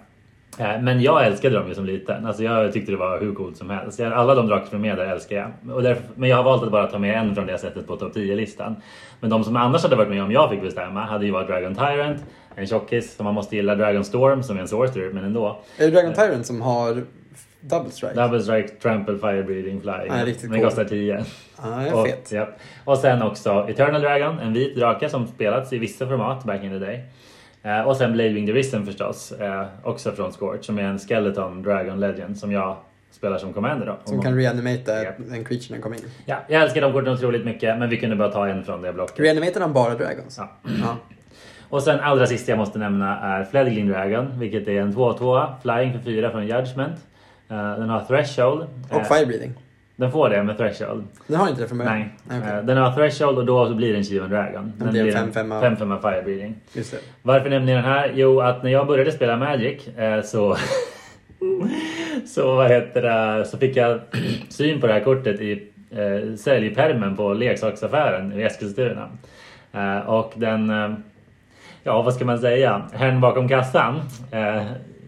Eh, Men jag älskade dem ju som liten. Alltså jag tyckte det var hur coolt som helst. Jag- Alla de drakar som är med där älskar jag. Och därför, men jag har valt att bara ta med en från det sättet på topp 10-listan. Men de som annars hade varit med om jag fick bestämma hade ju varit Dragon Tyrant, en tjockis som man måste gilla, Dragon Storm som är en sorcerer men ändå.
Är det Dragon Tyrant som har double strike?
Double Strike, Trample, Fire Breathing, Fly.
Ja, riktigt
den
cool.
kostar 10.
Ja, jag
Och,
är fet.
ja. och sen också Eternal Dragon, en vit drake som spelats i vissa format back in the day. Eh, och sen Blade Wing Derision förstås, eh, också från Scorch, som är en Skeleton Dragon Legend som jag spelar som commander då.
Som kan reanimata
Japp.
en creature när den kommer in.
ja, jag älskar de korten otroligt mycket, men vi kunde bara ta en från det blocket.
Reanimatar han bara dragons?
Ja.
Ja.
Och sen allra sista jag måste nämna är Fledgling Dragon, vilket är en 2-2, flying för 4 från Judgment. Eh, den har Threshold. Eh,
Och fire breathing.
den får det med Threshold.
Den har inte det från början?
Nej.
okej.
Eh, Den har threshold och då så blir den Shivan Dragon.
Den blir en 5-5.
5-5 fire breeding.
Just det.
Varför nämner jag den här? Jo, att när jag började spela Magic eh, så... så, vad heter det, så fick jag syn på det här kortet i eh, säljpermen på leksaksaffären i Eskilstuna. Eh, och den... Eh, ja, vad ska man säga? Herrn bakom kassan. Eh,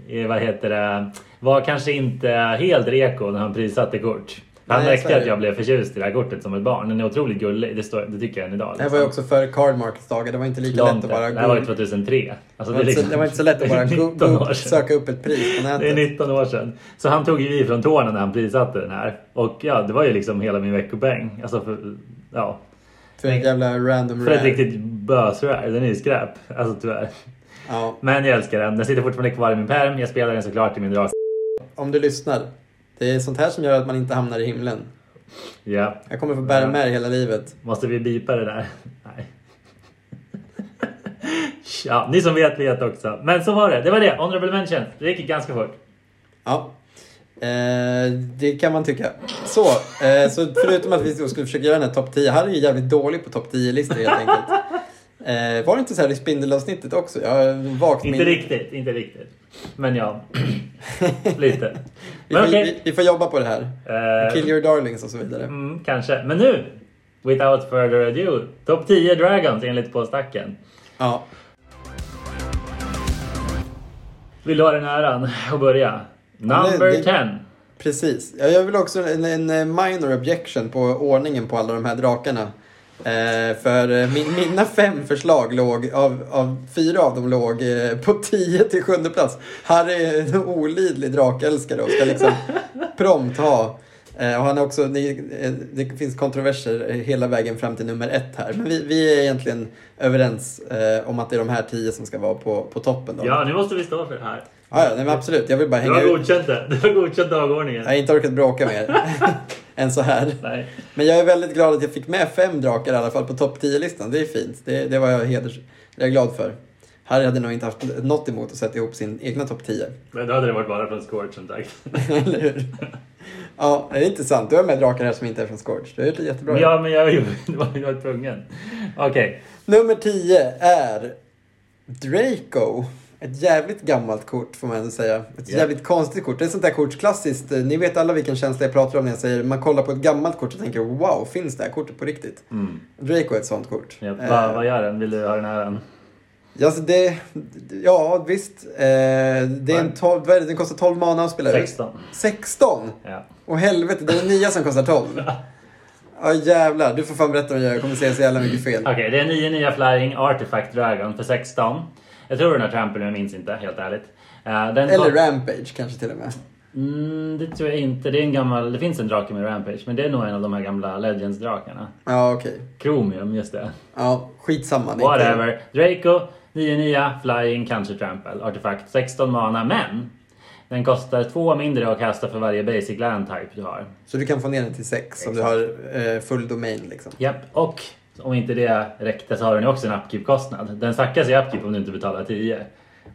är, vad heter det? Var kanske inte helt reko när han prissatte kort. Han
Nej, så
märkte
är det.
att jag blev förtjust i det här kortet som ett barn. Den är otroligt gullig, det, står, det tycker jag än idag.
Det här var ju
liksom.
också före card markets dagar. Det var inte lika lätt
Långt
att bara
efter. Det här var ju
go-
2003. Alltså,
det var
är
inte så-
liksom-
det var inte så lätt att bara
det är
go-
19 år
go-
sedan.
söka upp ett pris på
Det är
nätet.
19 år sedan. Så han tog ju i från tårna när han prissatte den här. Och ja, det var ju liksom hela min veckopeng. Alltså för, ja,
För ett jävla random
för ett
rant.
riktigt bösrär. Den är ju skräp. Alltså tyvärr.
Ja.
Men jag älskar den. Den sitter fortfarande kvar i min pärm. Jag spelar den såklart i min drag.
Om du lyssnar. Det är sånt här som gör att man inte hamnar i himlen.
Ja,
Jag kommer få bära med det hela livet.
måste vi bipa det där? Nej. Ja, ni som vet vet också. Men så var det. Det var det. Honorable mention. Det gick ganska fort.
Ja. Eh, det kan man tycka. Så, eh, så förutom att vi då skulle försöka göra den här topp 10. Harry är ju jävligt dålig på topp 10-listor helt enkelt. Eh, var det inte så här i spindelavsnittet också? Jag har vagt
Inte
minne.
riktigt, inte riktigt. Men ja, lite.
Vi får,
Men okej.
vi, vi får jobba på det här.
Eh,
Kill your darlings och så vidare.
Mm, kanske. Men nu, without further ado, topp 10 Dragons enligt På stacken.
Ja.
Vill du ha den äran att börja? Number
det-
10.
Precis. Ja, Jag vill också en, en minor objection på ordningen på alla de här drakarna. Eh, för eh, min, mina fem förslag låg, av, av fyra av dem låg eh, på 10 till sjunde plats. Harry är en olidlig drakälskare och ska liksom prompt ha. Eh, och han är också, ni, eh, det finns kontroverser eh, hela vägen fram till nummer ett här. Men vi, vi är egentligen överens eh, om att det är de här tio som ska vara på, på toppen. Då.
Ja, nu måste vi stå för det här.
Ja, ja, nej, men absolut. Jag vill bara
Du
hänga
har
ut.
godkänt det. Du har godkänt dagordningen.
Jag har inte orkat bråka mer än så här.
Nej.
Men jag är väldigt glad att jag fick med fem drakar i alla fall på topp 10-listan. Det är fint. Det, det var jag heders... Det är jag glad för. Harry hade nog inte haft något emot att sätta ihop sin egna topp 10.
Men då hade det varit bara från Scorch som sagt.
Eller hur? Ja, det är inte sant. Du har med drakar här som inte är från Scorch. Du har gjort det jättebra.
Ja, men jag, jag var tvungen. Okej.
Nummer 10 är Draco. Ett jävligt gammalt kort får man ändå säga. Ett
Ja.
jävligt konstigt kort. Det är ett sånt där kort klassiskt. eh, Ni vet alla vilken känsla jag pratar om när jag säger man kollar på ett gammalt kort och tänker wow, finns det här kortet på riktigt?
Mm.
Draco är ett sånt kort.
Ja,
Eh,
vad, vad gör den? Vill du ha den äran?
ja, så det, ja, visst. Eh, det är en 12, vad är det? Den kostar 12 mana att spela ut.
16.
16?
Ja.
Åh helvete, det är den nya som kostar 12. Ja jävlar, du får fan berätta vad jag gör. Jag kommer säga så jävla mycket fel.
Okej, det är 9 nya Flying Artifact Dragon för 16. Jag tror den har Trample, men jag minns inte helt ärligt. Eh, den
Eller
kom-
Rampage kanske till och med.
Mm, det tror jag inte. Det, är en gammal, det finns en drake med Rampage men det är nog en av de här gamla Legends-drakarna.
Ja, okej.
Chromium, just det.
Ja, skitsamma. det är inte-
Whatever. Draco, 9-9, Flying, kanske Trample. Artefakt, 16 mana, men den kostar två mindre att kasta för varje basic land type du har.
Så du kan få ner den till sex om du har eh, full domain liksom.
Japp, och om inte det räckte så har den ju också en upkeep-kostnad. Den stackas i upkeep om du inte betalar 10.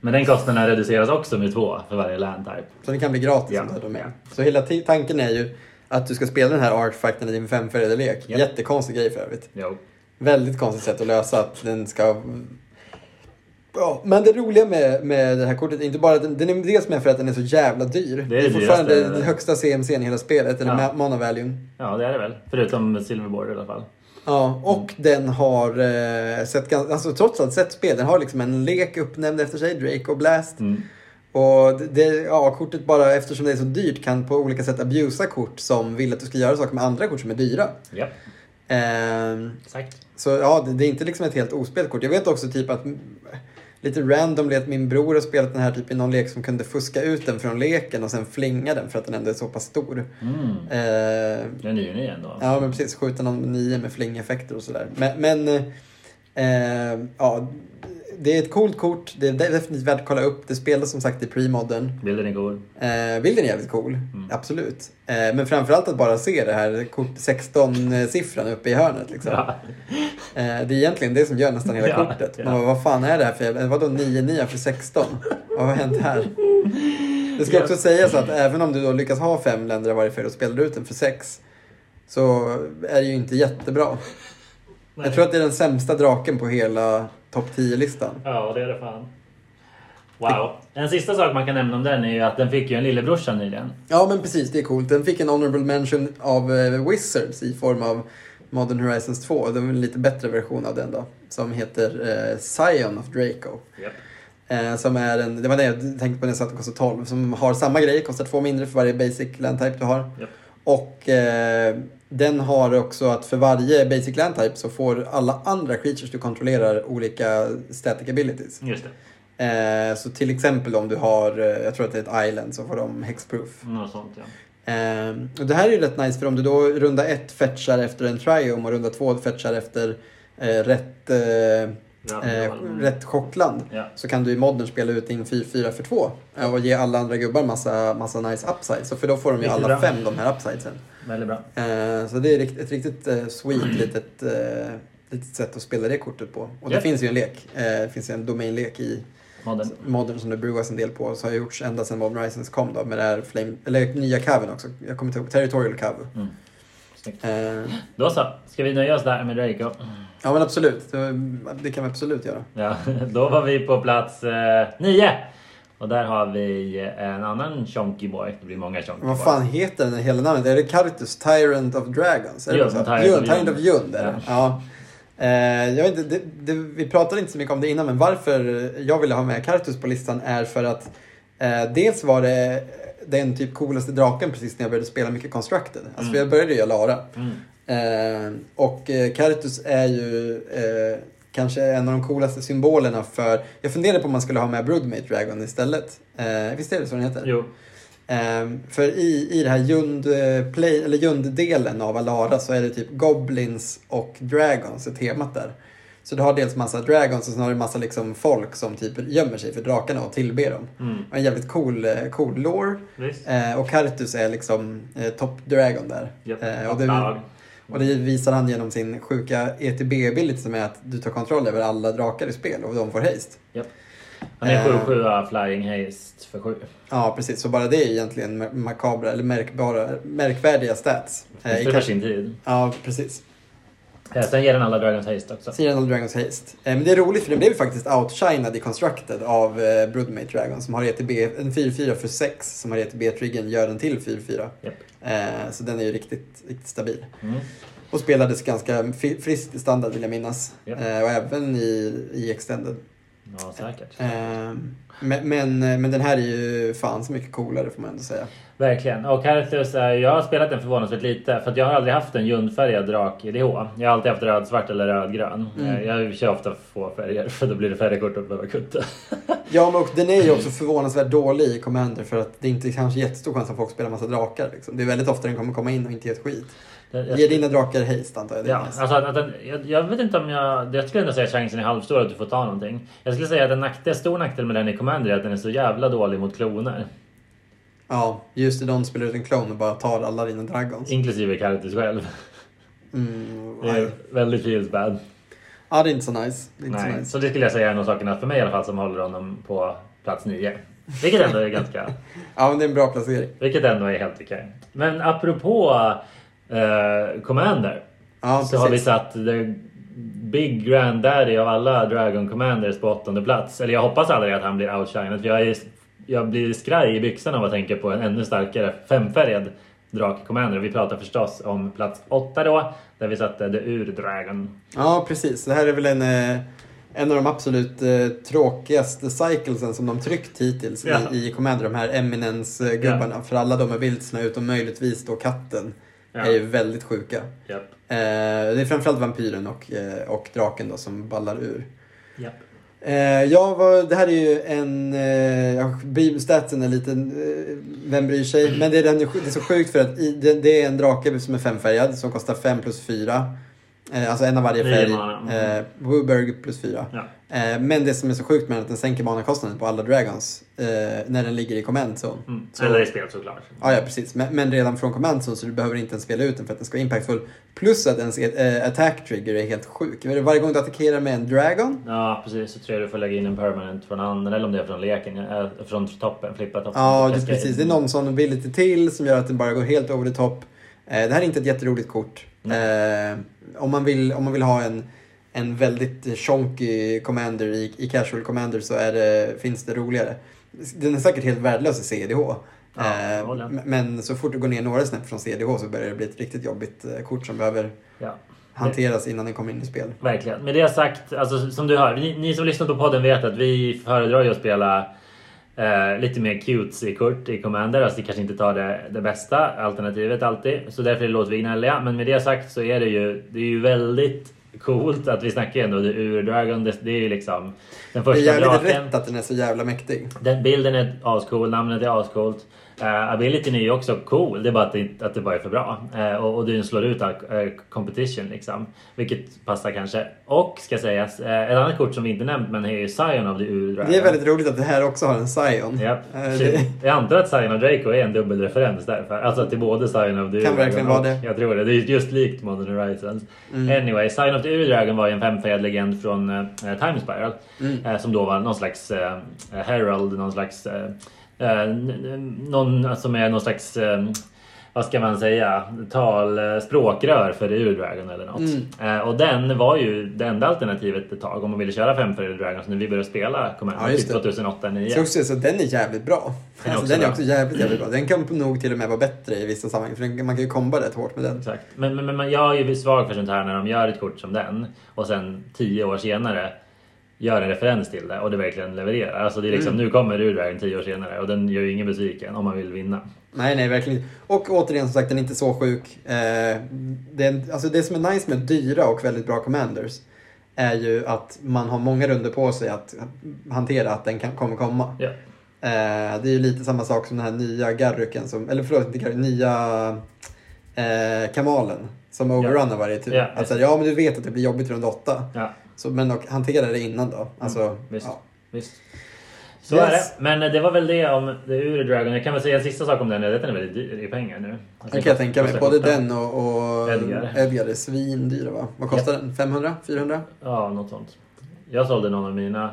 Men den kostnaden reduceras också med två för varje land type.
Så den kan bli gratis
Ja,
om du har domain. Så hela ti- tanken är ju att du ska spela den här artefakten i din femfärgade lek.
Ja.
Jättekonstig grej för övrigt.
Jo.
Väldigt konstigt sätt att lösa att den ska... Ja, men det roliga med, med det här kortet är inte bara att den, den är dels med för att den är så jävla dyr.
det
fortfarande
dyraste.
den högsta CMC i hela spelet, eller
Ja.
ma- mana valuen.
Ja, det är det väl. Förutom Silverboard i alla fall.
Ja, och den har eh, sett, gans- alltså, trots allt sett spel. Den har liksom en lek uppnämnd efter sig, Drake och Blast.
Mm.
Och det- det, ja, kortet bara, eftersom det är så dyrt, kan på olika sätt abusa kort som vill att du ska göra saker med andra kort som är dyra.
Japp,
Ehm,
exakt.
så ja, det, det är inte liksom ett helt ospelat kort. Jag vet också typ att mm, lite random att min bror har spelat den här typ i någon lek som kunde fuska ut den från leken och sen flinga den för att den ändå är så pass stor.
Mm.
Ehm,
Den är ju ny ändå.
Ja, men precis. Skjuta någon med nio med flingeffekter och sådär. Men, men eh, eh, ja, det är ett coolt kort. Det är definitivt värt att kolla upp. Det spelas som sagt i premodern.
Bilden är god.
Eh, bilden är jävligt cool,
Mm.
absolut. Eh, men framförallt att bara se det här kort 16-siffran uppe i hörnet. Liksom.
Ja.
Eh, det är egentligen det som gör nästan hela
Ja,
kortet.
ja.
Man bara, vad fan är det här för jävla... Vadå 9-9 för 16? vad har hänt här? Det ska
Ja.
också sägas att även om du då lyckas ha fem länder av varje färg och spelar ut den för sex så är det ju inte jättebra. Jag tror att det är den sämsta draken på hela topp 10-listan.
Ja, det är det fan. Wow. En sista sak man kan nämna om den är ju att den fick ju en lillebrorsa nyligen.
Ja, men precis. Det är coolt. Den fick en honorable mention av eh, Wizards i form av Modern Horizons 2. Det var en lite bättre version av den då. Som heter eh, Scion of Draco.
Japp.
Eh, som är en, det var det jag tänkte på när jag sa att den kostar 12. Som har samma grej, kostar två mindre för varje basic land type du har.
Japp.
Och eh, den har också att för varje basic land type så får alla andra creatures du kontrollerar olika static abilities.
Just det.
Eh, så till exempel om du har, eh, jag tror att det är ett island, så får de hexproof.
Något sånt ja.
Ehm, och det här är ju rätt nice för om du då runda ett fetchar efter en triome och runda två fetchar efter eh, rätt, eh, eh,
Mm.
rätt chockland
Ja.
så kan du i modden spela ut din 4-4 för 2 eh, och ge alla andra gubbar massa, massa nice upsides. Så för då får de ju
Riktigt
alla
bra.
fem de här upsidesen.
Väldigt bra.
Eh, så det är rikt- ett riktigt eh, sweet litet, eh, litet sätt att spela det kortet på. Och
Ja.
det finns ju en lek, eh, det finns ju en domainlek i
Modern.
Modern som det brewas en del på så har gjorts ända sedan Modern Horizons kom då med det här flame, eller nya caven också. Jag kommer inte ihåg, Territorial Cav.
Mm. Snyggt.
Eh,
Då så. Ska vi nöja oss där med Draco?
ja men absolut, det, det kan vi absolut göra.
Ja, då var vi på plats eh, nio. Och där har vi eh, en annan Chonky Boy. Det blir många Chonky
Men vad
boy.
fan heter den hela namnet? Är det Caritus Tyrant of Dragons? Är det
Jund,
så?
Tyrant
Jund,
of
Tyrant
Jund.
of Jund är det. Ja. Eh, jag vet inte, det, det, vi pratade inte så mycket om det innan men varför jag ville ha med Caritus på listan är för att eh, dels var det den typ coolaste draken precis när jag började spela mycket Constructed. Alltså för jag började ju i Alara.
Mm.
Eh, och eh, Caritus är ju eh, kanske en av de coolaste symbolerna för... Jag funderade på om man skulle ha med Broodmate Dragon istället. Eh, visst är det så den heter?
Jo.
Ehm, för i, i det här Jund, eh, play, eller Jund-delen av Alara så är det typ Goblins och Dragons är temat där. Så du har dels massa Dragons och sen har du massa liksom folk som typ gömmer sig för drakarna och tillber dem.
Mm.
Och En jävligt cool, eh, cool lore.
Visst.
Eh, och Kartus är liksom eh, top Dragon där.
Japp.
Eh, och,
Top
det,
dog.
och det visar han genom sin sjuka ETB-bild som är att du tar kontroll över alla drakar i spel och de får haste.
Japp. Han är
Eh.
7-7 Flying Haste för 7.
Ja, precis. Så bara det är egentligen ma- makabra eller märkbara, märkvärdiga stats. Eh, i
För
Kartus-
sin tid.
Ja, precis.
Eh, Sen ger den alla Dragons Haste också.
Sirenal Dragons Haste. Eh, men det är roligt för den blev ju faktiskt outshinad i Constructed av eh, Broodmate Dragon som har ETB, en 4-4 för 6 som har E ETB-triggern gör den till 4-4.
Japp.
Eh, så den är ju riktigt, riktigt stabil.
Mm.
Och spelades ganska fi- friskt i standard vill jag minnas.
Ja.
Eh, och även i, i Extended.
Ja, säkert.
Eh, men, men, men den här är ju fan så mycket coolare får man ändå säga.
Verkligen. Och Carthus, eh, jag har spelat den förvånansvärt lite för att jag har aldrig haft en ljundfärgad drak i DH. Jag har alltid haft röd-svart eller röd-grön. Eh, Jag kör ofta få färger för då blir det färre kort att behöva kutta.
Ja, men och den är ju också förvånansvärt dålig i Commander för att det är inte kanske jättestor chans att folk spelar massa drakar. Liksom. Det är väldigt ofta den kommer komma in och inte ge ett skit.
Jag-
Ge dina drakar haste antar jag. Det är
Ja,
nice.
alltså, att, att den, jag, jag vet inte om jag... Jag skulle ändå säga chansen är halvstor att du får ta någonting. Jag skulle säga att en nackdel, stor nackdel med den i Commander är att den är så jävla dålig mot kloner.
Ja, just det, de spelar ut en klon och bara tar alla dina dragons.
Inklusive Carthus själv.
Mm,
Det är
nej.
väldigt feels bad.
ja, det är inte så nice. Det är inte så
Nej,
nice.
så det skulle jag säga är en av sakerna för mig i alla fall som håller honom på plats nio. Vilket ändå är ganska...
Ja, men det är en bra placering.
Vilket ändå är helt okej. Men apropå eh, Commander.
Ja,
så har vi
precis.
satt the Big Granddaddy av alla Dragon Commanders på åttonde plats. Eller jag hoppas aldrig att han blir outshined. för Jag, är, jag blir skraj i byxorna av att tänka på en ännu starkare femfärgad Drak Commander. Vi pratar förstås om plats åtta då. Där vi satte The Ur Dragon.
Ja, precis. Det här är väl en, eh, en av de absolut eh, tråkigaste cyclesen som de tryckt hittills
Ja.
i, i Commander. De här Eminence-gubbarna. För alla de är vildsna utom möjligtvis då katten.
Ja.
Är ju väldigt sjuka.
Japp.
Eh, det är framförallt vampyren och, eh, och draken då som ballar ur.
Japp.
Eh, ja, vad, det här är ju en... Eh, ja, Beamstatsen är lite... Eh, vem bryr sig? Men det är, den, det är så sjukt för att i, det, det är en drake som är femfärgad som kostar 5 plus 4. Eh, alltså en av varje
Nio
färg.
mana, mm.
Eh, Wooburg plus 4.
Ja.
Eh, men det som är så sjukt med den är att den sänker manakostnaden på alla dragons eh, när den ligger i command zone.
Mm.
Så-
Eller i spel såklart.
Ja, ja precis. Men, men redan från command zone, så du behöver inte ens spela ut den för att den ska vara impactfull. Plus att ens eh, attack trigger är helt sjuk. Jag vet inte, Varje gång du attackerar med en dragon.
Ja precis, så tror jag du får lägga in en permanent från handen eller om det är från leken. eh, Från toppen, flippa toppen.
Ja,
Jag
det,
ska-
precis. Det är någon sån ability till som gör att den bara går helt over the top. Eh, det här är inte ett jätteroligt kort. Eh, om, man vill, om man vill ha en, en väldigt chonky commander i, i casual commander så är det, finns det roligare. Den är säkert helt värdelös i CDH.
Ja, jag
Eh,
håller.
m- men så fort du går ner några snäpp från CDH så börjar det bli ett riktigt jobbigt eh, kort som behöver
Ja.
hanteras innan den kommer in i spel.
Verkligen. Med det sagt, alltså, som du hör, ni, ni som lyssnar på podden vet att vi föredrar ju att spela eh, lite mer cutesy-kort i Commander. Alltså vi kanske inte tar det, det bästa alternativet alltid. Så därför låter vi gnälliga. Men med det sagt så är det ju, det är ju väldigt coolt att vi snackar ju ändå det ur Dragon. Det, det är ju liksom den
Det är
första
jävligt
draken.
rätt att den är så jävla mäktig.
Den bilden är ascool, namnet är ascoolt. Uh, abilityn är ju också cool, det är bara att det, inte- att det bara är för bra. Eh, och, och den slår ut all eh, competition liksom. Vilket passar kanske. Och ska sägas, eh, ett annat kort som vi inte nämnt men är ju Zion av the ur
Det är väldigt roligt att det här också har en Zion.
Japp.
Eh, det-
Jag antar att Zion of Draco är en dubbelreferens därför. Alltså att det är både Zion of the
Kan
Ur
verkligen vara
och-
det. Mm.
Jag tror det. Det är just likt Modern Horizons. Anyway, Zion of the Ur Dragon var ju en femfärgad legend från eh, Time Spiral.
Mm.
Eh, som då var någon slags eh, Herald, någon slags... Eh, eh, n- n- någon som är någon slags... Eh, vad ska man säga? Tal, eh, språkrör för Ur Dragon eller något.
Mm.
Eh, och den var ju det enda alternativet ett tag om man ville köra femfärgade Dragons när vi började spela
Ja,
Commander
just
typ
det.
2008 9
Så, också, så den är jävligt bra.
Den är också
alltså, den är
bra.
också jävligt, jävligt bra. Den kan nog till och med vara bättre i vissa sammanhang. För den, man kan ju komba rätt hårt med den.
Exakt. Men, men, men men jag är ju svag för sånt här när de gör ett kort som den och sen tio år senare gör en referens till det och det verkligen levererar. Alltså det är
Mm.
liksom, nu kommer ur vägen tio år senare och den gör ju ingen besviken om man vill vinna.
Nej, nej, verkligen inte. Och återigen som sagt, den är inte så sjuk. Eh, den, alltså, det som är nice med dyra och väldigt bra commanders är ju att man har många runder på sig att hantera att den kan, kommer komma.
Ja.
Eh, det är ju lite samma sak som den här nya Garruken, som, eller förlåt, inte Garruken, nya eh, Kamalen som overrunnar varje tur.
Ja,
alltså, ja, men du vet att det blir jobbigt runt åtta.
ja.
Så, men och, hantera det innan då. Alltså,
Mm, Visst.
ja.
Visst. Så
Yes.
är det. Men eh, det var väl det om The Ur Dragon. Jag kan väl säga en sista sak om den. är att Den är väldigt dyr i pengar nu. Alltså,
Det kan jag tänka mig.
kostar-
Både den och, och
Edgar.
Edgar är svindyra va? Vad kostar den? 500? 400?
Ja, något sånt. Jag sålde någon av mina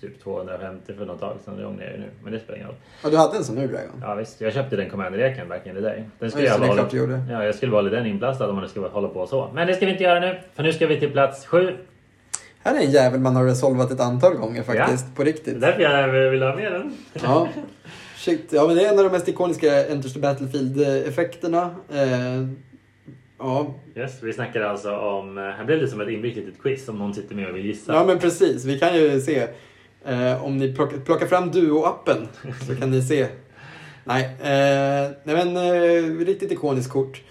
typ 250 för något tag sedan. Det ångrar jag ju nu. Men det spelar ingen roll.
Ja, du hade en sån nu Dragon?
Ja visst, jag köpte den Commander-leken verkligen till dig. Den skulle
Ja,
jag,
just det, det är
bara
klart du gjorde.
hålla, ja, jag skulle bara hålla den inplastad om man skulle hålla på så. Men det ska vi inte göra nu, för nu ska vi till plats sju.
Här är en jävel man har resolvat ett antal gånger faktiskt. På
Det är
riktigt.
därför jag vill ha med den.
Ja. Shit. Ja, men det är en av de mest ikoniska Enters the Battlefield-effekterna. Eh, ja.
Yes, vi snackade alltså om... eh, Här blev det som ett inbyggt litet quiz om någon sitter med och vill gissa.
ja, men precis. Vi kan ju se. Eh, om ni plockar, plockar fram Duo-appen så kan ni se Nej, eh, nej men eh, riktigt ikoniskt kort.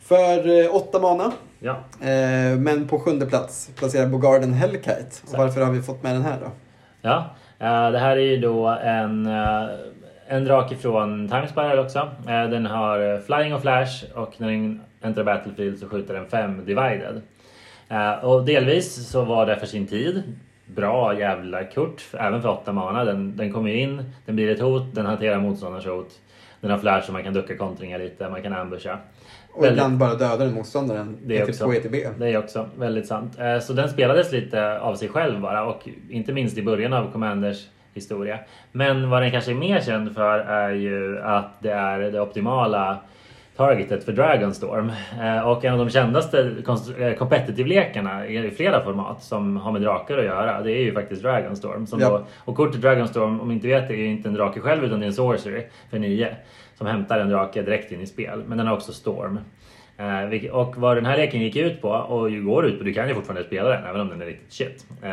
För eh, åtta mana,
Ja.
eh, men på sjunde plats placerar Bogarden Hellkite. Och varför har vi fått med den här då?
Ja, eh, det här är ju då en, eh, en drake från Timespire också. Eh, Den har eh, flying och flash och när den entrar Battlefield så skjuter den 5 divided. Eh, Och delvis så var det för sin tid. Bra jävla kort, även för 8 mana. Den, den kommer ju in, den blir ett hot, den hanterar motståndarens hot. Den har flash så man kan ducka kontringar lite, man kan ambusha.
Och ibland bara dödar den motståndaren.
Det är
typ E
också.
till 2 ETB.
Det är också väldigt sant. Eh, Så den spelades lite av sig själv bara och inte minst i början av Commanders historia. Men vad den kanske är mer känd för är ju att det är det optimala targetet för Dragonstorm. Eh, Och en av de kändaste konst- eh, competitive-lekarna i flera format som har med drakar att göra, det är ju faktiskt Dragonstorm. Som
Ja.
då, och kortet Dragonstorm, om ni inte vet, det är ju inte en drake själv utan det är en sorcery för nio. Som hämtar en drake direkt in i spel. Men den har också Storm. Eh, vilk- Och vad den här leken gick ut på, och ju går ut på, du kan ju fortfarande spela den även om den är riktigt shit. Eh,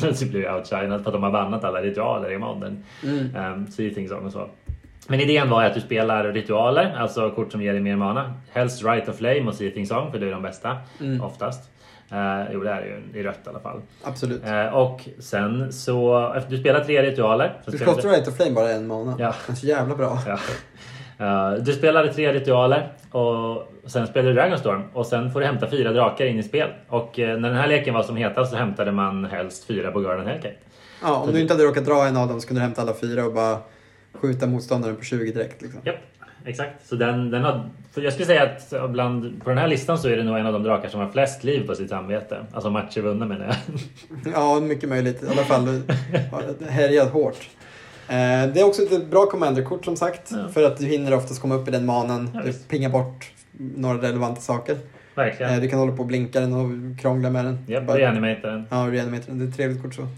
Den blir ju outshinad för att de har bannat alla ritualer i modden. Mm. Sea Things och så. Men idén var ju att du spelar ritualer, alltså kort som ger dig mer mana. Helst Right of Flame och Sea Things Song, för det är de bästa oftast. Eh, jo, det här är ju i rött i alla fall.
Absolut.
Eh, och sen så, efter du spelar tre ritualer. så
Du
spelar
slottar Right of Flame bara en mana.
Ja.
Det är så jävla bra.
Ja. Eh, Du spelade tre ritualer och sen spelade du Dragonstorm och sen får du hämta fyra drakar in i spel. Och eh, när den här leken var som hetast så hämtade man helst fyra på Garden Hellcat.
Ja, om du inte hade råkat dra en av dem så kunde du hämta alla fyra och bara skjuta motståndaren på 20 direkt. Liksom.
Japp, exakt. Så den, den har, för jag skulle säga att bland, på den här listan så är det nog en av de drakar som har flest liv på sitt samvete. Alltså matcher vunna menar jag.
Ja, mycket möjligt. I alla fall har härjat hårt. Eh, Det är också ett bra commanderkort som sagt.
Ja.
För att du hinner oftast komma upp i den manen.
Ja,
du
visst.
pingar bort några relevanta saker.
Verkligen.
Eh, Du kan hålla på och blinka den och krångla med den.
Japp,
Bara-
reanimator den.
Ja, reanimator den. Det är ett trevligt kort så.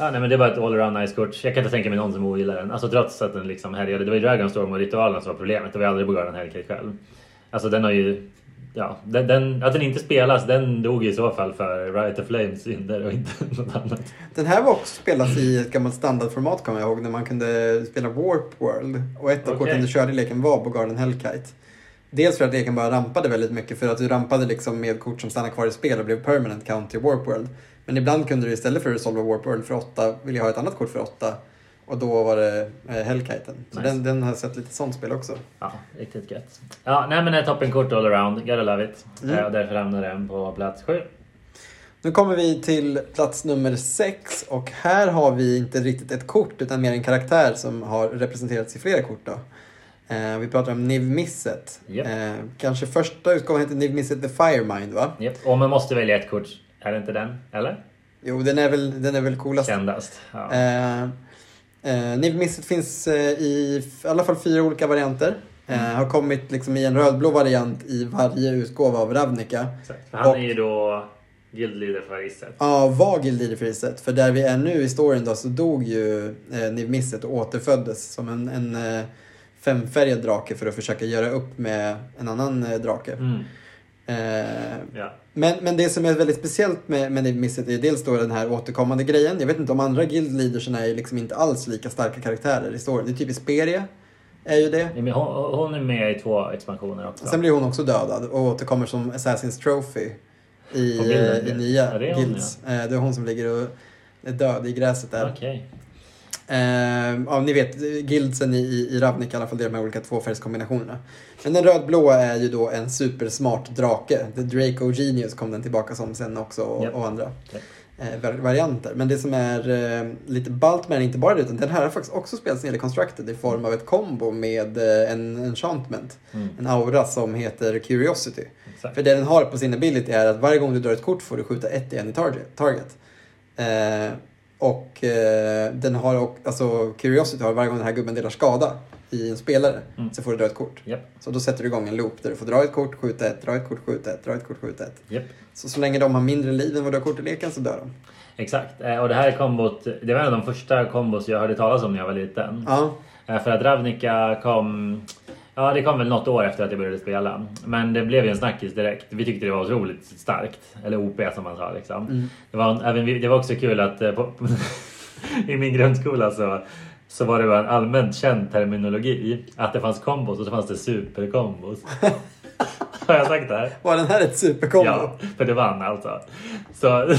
Ja, nej, men det var ett allround nice kort. Jag kan inte tänka mig någon som ogillar den. Alltså trots att den liksom härjade. Det var ju Dragonstorm och ritualen som var problemet. Det var ju aldrig Bogarden Hellcat själv. Alltså den har ju... Ja, den, den, att den inte spelas, den dog ju i så fall för Riot of Flames synder och inte något annat.
Den här var också spelas i ett gammalt standardformat kommer jag ihåg när man kunde spela Warp World. Och ett av
Okej.
korten du körde i leken var Bogarden Hellkite. Dels för att leken bara rampade väldigt mycket för att du rampade liksom med kort som stannade kvar i spel och blev permanent count till Warp World. Men ibland kunde du istället för att resolva Warp World för 8 vilja ha ett annat kort för 8. Och då var det eh, Hellkiten. Så
Nice.
den, den har sett lite sånt spel också.
Ja, riktigt gött. Ja, nej men ett toppenkort allround. Gotta love it.
Mm.
Eh, och därför hamnar den på plats sju.
Nu kommer vi till plats nummer sex och här har vi inte riktigt ett kort utan mer en karaktär som har representerats i flera kort. Då. Eh, vi pratar om Niv Misset.
Japp.
Eh, kanske första utgåvan heter Niv Misset The Firemind va?
Japp. Och man måste välja ett kort. Är det inte den? Eller?
Jo, den är väl, den är väl coolast.
Kändast. Ja.
Eh, eh, Niv Misset finns eh, i f- i alla fall fyra olika varianter. Eh, har kommit liksom i en rödblå variant i varje utgåva av Ravnica.
Exakt. För han
och-
är ju då Guild Leader för Isset.
Ja, Vagil Leaderpriset. För där vi är nu i storyn då så dog ju eh, Niv Misset och återföddes som en, en eh, femfärgad drake för att försöka göra upp med en annan eh, drake.
Mm.
Eh,
Ja.
men, men det som är väldigt speciellt med, med Niv Misset är dels då den här återkommande grejen. Jag vet inte om andra Guild Leaderserna är liksom inte alls lika starka karaktärer i storyn. Det är typ Isperia är ju det.
Ja, men Hon, hon är med i två expansioner också.
Sen blir hon också dödad och återkommer som Assassin's Trophy i,
På bilden,
eh, i
ja.
nya
Ja, det är hon,
Guilds. Eh, Det är hon som ligger och är död i gräset där.
Okej.
Eh, ja, ni vet, guildsen i, i, i Ravnica i alla fall, det är de här olika tvåfärgskombinationerna. Men den rödblåa är ju då en supersmart drake. The Draco Genius kom den tillbaka som sen också och,
Japp.
och andra
Japp.
eh, var- varianter. Men det som är eh, lite ballt med den, inte bara det, utan den här har faktiskt också spelats ner i Constructed i form av ett kombo med eh, en enchantment.
Mm.
En aura som heter Curiosity.
Exakt.
För det den har på sin ability är att varje gång du drar ett kort får du skjuta ett igen i target. target. Eh, och eh, den har och, alltså Curiosity har varje gång den här gubben delar skada i en spelare
Mm.
så får du dra ett kort.
Japp,
Så då sätter du igång en loop där du får dra ett kort, skjuta ett, dra ett kort, skjuta ett, dra ett kort, skjuta ett.
japp.
Så så länge de har mindre liv än vad du har kort i leken så dör
Mm.
de.
Exakt. Eh, Och det här kombot, det var en av de första kombos jag hörde talas om när jag var liten.
Ja,
Eh, För att Ravnica kom... Ja, det kom väl något år efter att jag började spela. Men det blev ju en snackis direkt. Vi tyckte det var otroligt starkt. Eller OP som man sa
Mm.
liksom. Det, var, även, vi- det var också kul att eh, på, i min grundskola så så var det bara en allmänt känd terminologi att det fanns kombos och så fanns det superkombos. Har jag sagt det här?
Var den här ett superkombo?
Ja, för det vann alltså. Så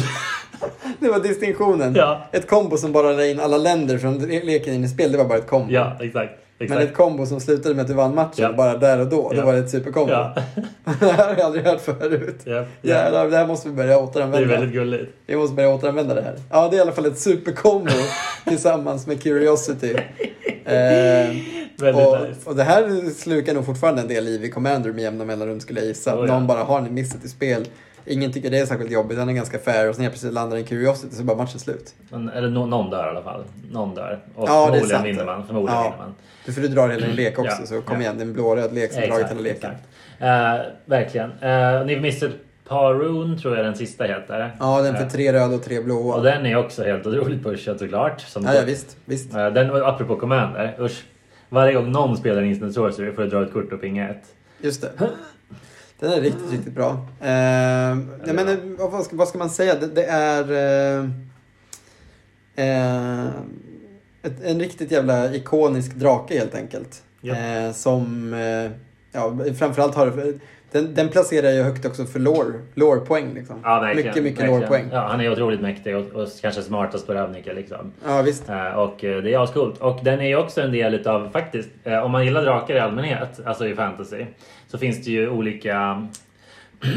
Det var distinktionen.
Ja.
Ett kombo som bara la in alla länder från le- leken in i spel, det var bara ett kombo.
ja, exakt.
Men
exakt.
ett kombo som slutade med att du vann matchen
Ja.
bara där och då,
Ja.
då var det ett superkombo.
ja.
det här har jag aldrig hört förut.
ja, ja.
Jävlar, det här måste vi börja
Det är
återanvända.
väldigt gulligt.
Vi måste börja återanvända det här. Ja, det är i alla fall ett superkombo tillsammans med Curiosity. Eh,
Väldigt nice.
och, och det här slukar nog fortfarande en del liv i Commander med jämna mellanrum skulle jag gissa.
Oh, ja.
Någon bara har ni missat i spel. Ingen tycker det är särskilt jobbigt, den är ganska fair och sen helt plötsligt landar en Curiosity så är bara matchen slut.
Men, eller nå- någon dör i alla fall. Någon dör. Och
Ja, det är
förmodligen
sant.
vinner man. Förmodligen
Ja.
vinner man.
Du, för du drar hela din lek också
Ja,
så kom
ja.
igen, det är en blå-röd lek som har dragit hela leken.
exakt. Eh, verkligen. Eh, ni missade ett par rune tror jag den sista heter.
Ja, den
Eh,
för tre röda och tre blåa.
Och den är också helt otroligt pushad såklart. Som
ja, ja, visst, visst.
Eh, den, och apropå commander, usch. Varje gång någon spelar en instant sorcery får du dra ett kort och pinga ett.
Just det. Den är riktigt, riktigt bra. Ehm,
Ja,
jag
det är
menar, vad, vad ska, vad ska man säga? Det, det är eh, eh, ett, en riktigt jävla ikonisk drake helt enkelt.
Ja.
Eh, som, eh, ja, framförallt har det- den, den placerar ju högt också för lore, lore-poäng. Liksom.
Ja, verkligen.
mycket, mycket
verkligen.
lore-poäng.
Ja, han är otroligt mäktig och, och kanske smartast på Ravnica liksom.
Ja, visst.
Eh, Och eh, det är ascoolt. Och den är ju också en del utav, faktiskt, eh, om man gillar drakar i allmänhet, alltså i fantasy, så finns det ju olika...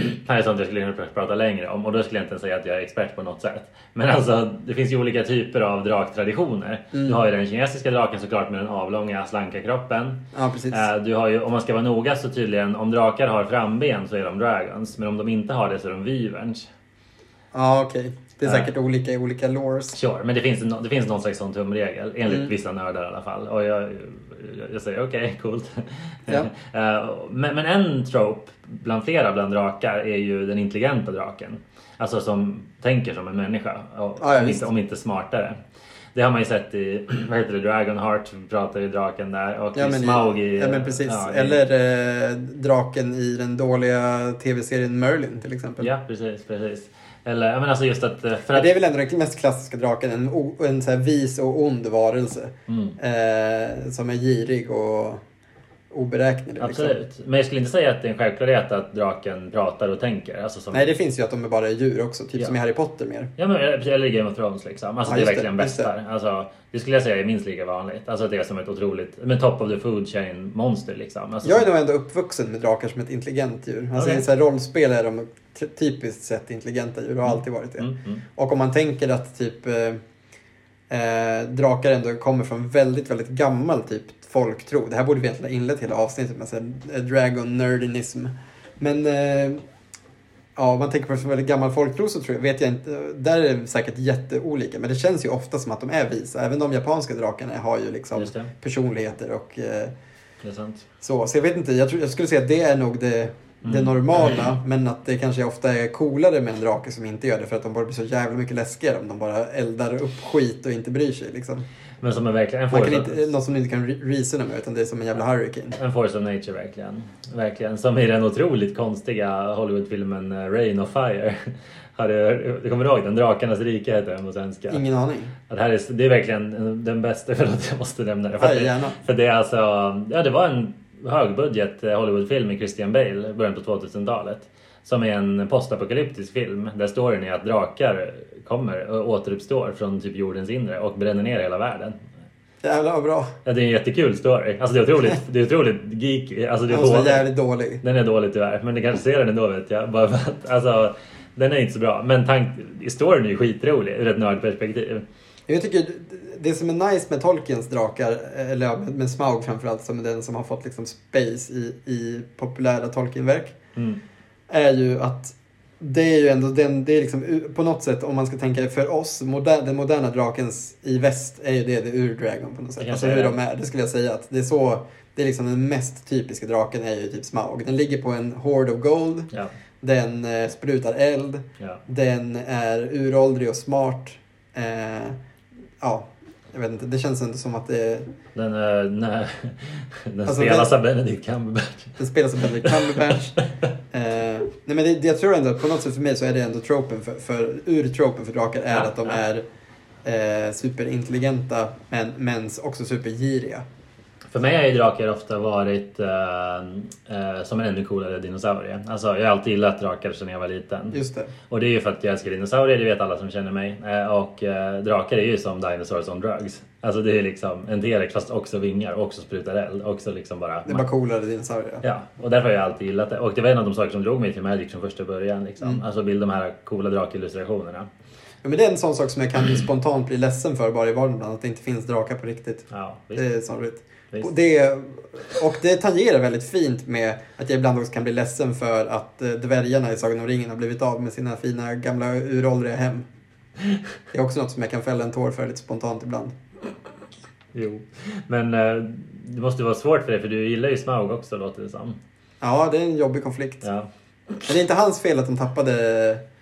Här är sånt jag skulle kunna prata längre om och då skulle jag inte ens säga att jag är expert på något sätt. Men alltså, det finns ju olika typer av draktraditioner. Du har ju den kinesiska draken såklart med den avlånga, slanka kroppen.
Ja, precis.
Eh, Du har ju, om man ska vara noga så tydligen, om drakar har framben så är de dragons, men om de inte har det så är de wyverns.
Ja, okej. Det är
Ja.
säkert olika i olika lores.
Sure, men det finns, en- det finns någon slags sån tumregel enligt
Mm.
vissa nördar i alla fall. Och jag, jag, jag säger okej, coolt.
Ja.
Eh, men, men en trope bland flera bland drakar är ju den intelligenta draken. Alltså som tänker som en människa, och,
Ja, ja,
om,
visst.
inte, om inte smartare. Det har man ju sett i, vad heter det, Dragonheart pratar ju draken där och
Ja
i
men,
Smaug i...
i, ja, men precis.
ja, i-
Eller eh, draken i den dåliga tv-serien Merlin till exempel.
Ja, precis, precis. Eller, ja, men alltså just att... eh, För
Men
att
Det är väl ändå den mest klassiska draken, en, o- en så här vis och ond varelse.
Mm.
Eh, som är girig och oberäknelig. Liksom.
Absolut. Men jag skulle inte säga att det är en självklarhet att draken pratar och tänker. Alltså som
Nej, det finns ju att de är bara djur också, typ
Ja.
som i Harry Potter mer.
Ja, men, eh, eller Game of Thrones liksom. Alltså,
Ja,
det är
just det,
verkligen
just
bästar. Alltså, det skulle jag säga är minst lika vanligt. Alltså att det är som ett otroligt, men top of the food chain monster liksom. Alltså,
Jag är nog ändå uppvuxen med drakar som ett intelligent djur. Alltså
Okej.
i så här rollspel är de ty- typiskt sett intelligenta djur och har alltid varit det.
Mm, mm.
Och om man tänker att typ eh, eh, drakar ändå kommer från väldigt, väldigt gammal typ folktro. Det här borde vi egentligen ha inlett hela avsnittet med, så här, eh, dragon nerdinism. Men eh, ja, om man tänker på det som väldigt gammal folktro så tror jag, vet jag inte, där är det säkert jätteolika. Men det känns ju ofta som att de är visa. Även de japanska drakarna har ju liksom
Just det.
personligheter och eh,
Det är sant.
så. Så jag vet inte, jag, tror, jag skulle säga att det är nog det det
Mm.
normala, men att det kanske ofta är coolare med en drake som inte gör det för att de bara blir så jävla mycket läskigare om de bara eldar upp skit och inte bryr sig. Liksom.
Men som är verkligen en
Man
force,
kan inte,
of,
något som du inte kan re- reasona med utan det är som en jävla hurricane.
en force of nature verkligen. Verkligen. Som i den otroligt konstiga Hollywoodfilmen eh, Rain of Fire. Har du, du kommer ihåg den? Drakarnas rike heter den på svenska.
Ingen aning.
Ja, Det här är, det är verkligen eh, den bästa, förlåt jag måste nämna det. För, att
Ja,
det,
gärna.
för det är alltså, ja det var en högbudget eh, Hollywoodfilm med Christian Bale i början på 2000-talet. Som är en postapokalyptisk film där storyn är att drakar kommer och återuppstår från typ jordens inre och bränner ner hela världen.
Jävlar vad bra.
Ja, det är en jättekul story. Alltså det är otroligt, det är otroligt geek. Alltså det är
Den måste vara
dåligt.
jävligt dålig.
Den är dålig tyvärr, men ni kanske ser den ändå vet jag. Bara för att, alltså, den är inte så bra. Men tank, storyn är ju skitrolig ur ett nördperspektiv.
Jag tycker det som är nice med Tolkiens drakar, eller ja, med, med Smaug framförallt, som är den som har fått liksom space i, i populära Tolkienverk,
Mm.
är ju att det är ju ändå den, det är liksom u- på något sätt om man ska tänka för oss, moder, den moderna drakens i väst är ju det, det ur Dragon på något
Jag
sätt.
kan
Alltså
säga
hur
det.
de är, det skulle jag säga att det är så, det är liksom den mest typiska draken är ju typ Smaug. Den ligger på en hoard of gold,
Ja,
den eh, sprutar eld,
ja.
den är uråldrig och smart. Eh, ja, jag vet inte. Det känns inte som att det
Den, eh, nej, den
Alltså,
spelas av Benedict Cumberbatch.
den spelas av Benedict Cumberbatch. Eh, nej men det, jag tror ändå att på något sätt för mig så är det ändå tropen för, för ur tropen för drakar är
Ja,
att de
ja.
är eh, superintelligenta men, men också supergiriga.
För mig har ju drakar ofta varit eh, eh, som en ännu coolare dinosaurie. Alltså, jag har alltid gillat drakar sedan jag var liten.
Just det.
Och det är ju för att jag älskar dinosaurier, det vet alla som känner mig. Eh, och eh, drakar är ju som dinosaurs on drugs. Alltså det är liksom en T-rex fast också vingar, också sprutar eld, också liksom bara...
Det är bara coolare dinosaurier.
Ja, och därför har jag alltid gillat det. Och det var en av de saker som drog mig till Magic från första början. Liksom.
Mm.
Alltså vill de här coola drakillustrationerna.
Ja, men det är en sån sak som jag kan spontant bli ledsen för bara i vardagen ibland, att det inte finns drakar på riktigt.
Ja, visst.
Det är Eh, sorgligt.
Visst.
Och det, och det tangerar väldigt fint med att jag ibland också kan bli ledsen för att eh, dvärgarna i Sagan om ringen har blivit av med sina fina gamla uråldriga hem. Det är också något som jag kan fälla en tår för lite spontant ibland.
Jo. Men eh, det måste vara svårt för dig för du gillar ju Smaug också låter det som.
Ja, det är en jobbig konflikt.
Ja,
Men det är inte hans fel att de tappade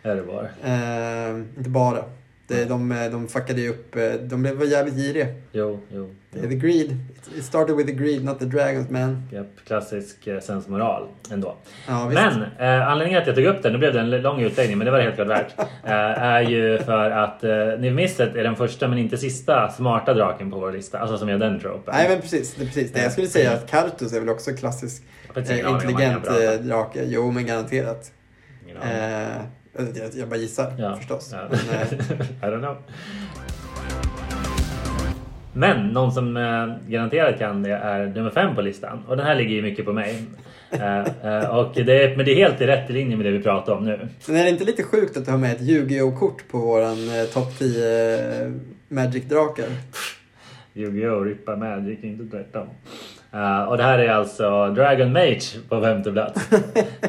är det bara.
Eh, inte bara. Det, de, de fuckade ju upp, eh, de blev var jävligt giriga.
Jo, jo.
Det är the greed. It- It started with the greed, not the dragons man.
Japp, klassisk eh, sensmoral ändå.
Ja, visst.
Men eh, anledningen till att jag tog upp det, nu blev det en l- lång utläggning men det var det helt klart värt. Eh, är ju för att eh, Niv-Misset är den första men inte sista smarta draken på vår lista. Alltså som gör den tropen.
Nej men precis, det, är precis det. Jag skulle säga att Kartus är väl också klassisk
Jag har faktiskt ingen
eh,
aning om vad
intelligent
jag pratar.
eh, drake. Jo men garanterat.
Ingen aning.
Eh, jag, jag bara gissar förstås.
Ja.
Men, eh,
I don't know. Men någon som eh, garanterat kan det är nummer fem på listan. Och den här ligger ju mycket på mig. Eh, eh, och det, är- men det är helt i rätt linje med det vi pratar om nu.
sen är det inte lite sjukt att du har med ett Yu-Gi-Oh kort på våran eh, topp 10 eh, Magic-drakar?
Yu-Gi-Oh! Rippa Magic, inte tvärtom. Eh, och det här är alltså Dragon Mage på femte plats.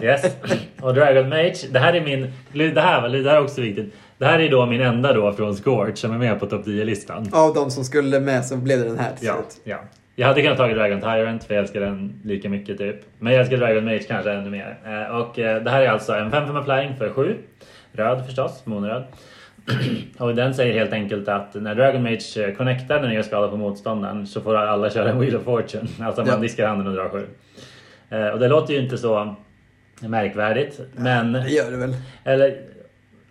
Yes. Och Dragon Mage, det här är min... Det här, var- det här är också viktigt. Det här är då min enda då från Scorch som är med på topp 10-listan.
Av de som skulle med så blev det den här till
Ja,
slut.
ja. Jag hade kunnat ta Dragon Tyrant för jag älskar den lika mycket typ. Men jag älskar Dragon Mage kanske ännu mer. Eh, och eh, det här är alltså en 5-5 flying för 7. Röd förstås, monröd. och den säger helt enkelt att när Dragon Mage eh, connectar när den gör skada på motståndaren så får alla köra en Wheel of Fortune. Alltså man
Ja.
diskar handen och drar 7. Eh, och det låter ju inte så märkvärdigt. Men...
Det gör det väl.
Eller...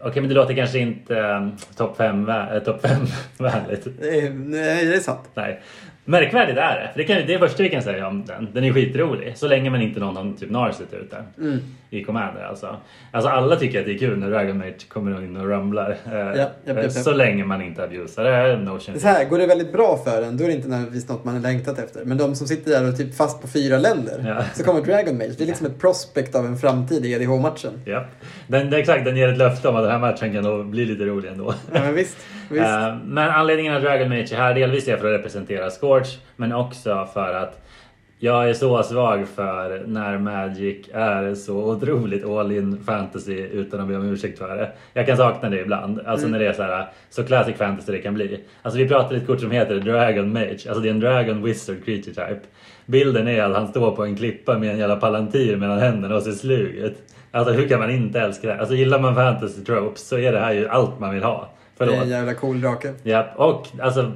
Okej men det låter kanske inte eh, topp 5 eh, top vänligt.
Det är, nej, det är sant.
Nej. Märkvärdigt är det. För det, kan, ju- det är det första vi kan säga om den. Den är skitrolig. Så länge man inte någon har typ narset ute. I Commander alltså. Alltså alla tycker att det är kul när Dragon Mage kommer in och rumlar. Eh,
japp, japp, japp.
Så länge man inte abusar det. Notion.
Det är Så här, går det väldigt bra för en, då är det inte nödvändigtvis något man har längtat efter. Men de som sitter där och typ fast på fyra länder,
Ja.
så kommer Dragon Mage. Det är liksom ett prospect av en framtid i E EDH-matchen.
Japp. Den, den, exakt, den ger ett löfte om att den här matchen kan nog bli lite rolig ändå.
Ja, men visst, visst.
Eh, Men anledningen att Dragon Mage är här delvis är för att representera Scorch men också för att jag är så svag för när Magic är så otroligt all in fantasy utan att be om ursäkt för det. Jag kan sakna det ibland, alltså när det är så, här, så classic fantasy det kan bli. Alltså vi pratar ett kort som heter Dragon Mage, alltså det är en Dragon Wizard Creature Type. Bilden är att han står på en klippa med en jävla palantir mellan händerna och ser slug ut. Alltså hur kan man inte älska det? här? Alltså gillar man fantasy tropes så är det här ju allt man vill ha.
det
Förlåt.
är en jävla cool drake.
Ja, och alltså...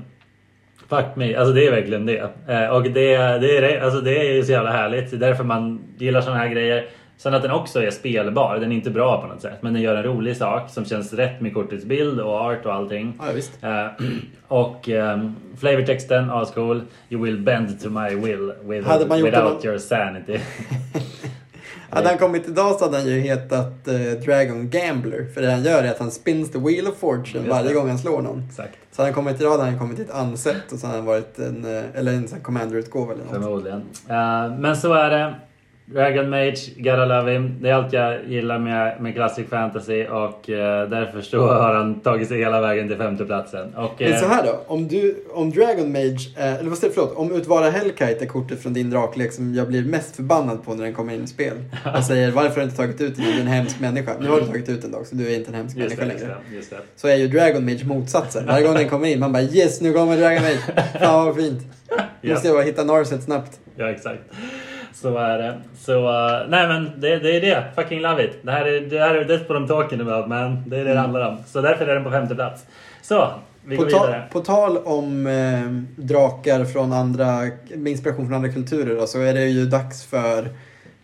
Fuck me, alltså det är verkligen det. Eh, och det, det, är, det- alltså det är ju så jävla härligt. Det är därför man gillar såna här grejer. Sen att den också är spelbar, den är inte bra på något sätt. Men den gör en rolig sak som känns rätt med kortets bild och art och allting.
Ja, visst.
Eh, och um, flavortexten, ascool. You will bend to my will with,
Hade man gjort
without
det-
your sanity.
Hade han kommit idag så hade han ju hetat eh, Dragon Gambler. För det han gör är att han spins the wheel of fortune
Just
varje
det.
gång han slår någon.
Exakt,
Så hade han kommit idag hade han kommit till ett ansett och så hade han varit en, eh, eller en sån här commander-utgåva eller något.
förmodligen. Eh, men så är det. Dragon Mage, gotta love him. Det är allt jag gillar med, med classic fantasy och eh, därför så har han tagit sig hela vägen till femteplatsen. Och,
Men
eh,
så här då, om, du, om Dragon Mage, eh, eller vad säger jag, förlåt, om Utvara Hellkite är kortet från din draklek som jag blir mest förbannad på när den kommer in i spel. Och säger varför har du inte tagit ut den, du är en hemsk människa. Nu har du tagit ut den dock, så du är inte en hemsk
just
människa
det,
längre.
just det, just det.
Så är ju Dragon Mage motsatsen. Varje gång den kommer in, man bara yes, nu kommer Dragon Mage. Fan vad fint. Nu måste jag bara hitta Narset snabbt.
Ja, exakt. Så är det. Så, eh, nej men det, det är det. Fucking love it. Det här är, det här är that's what I'm talking about man. Det är det det handlar om. Så därför är den på femte plats. Så, vi
Mm. På,
går
ta-
vidare.
på tal om eh, drakar från andra, med inspiration från andra kulturer då, så är det ju dags för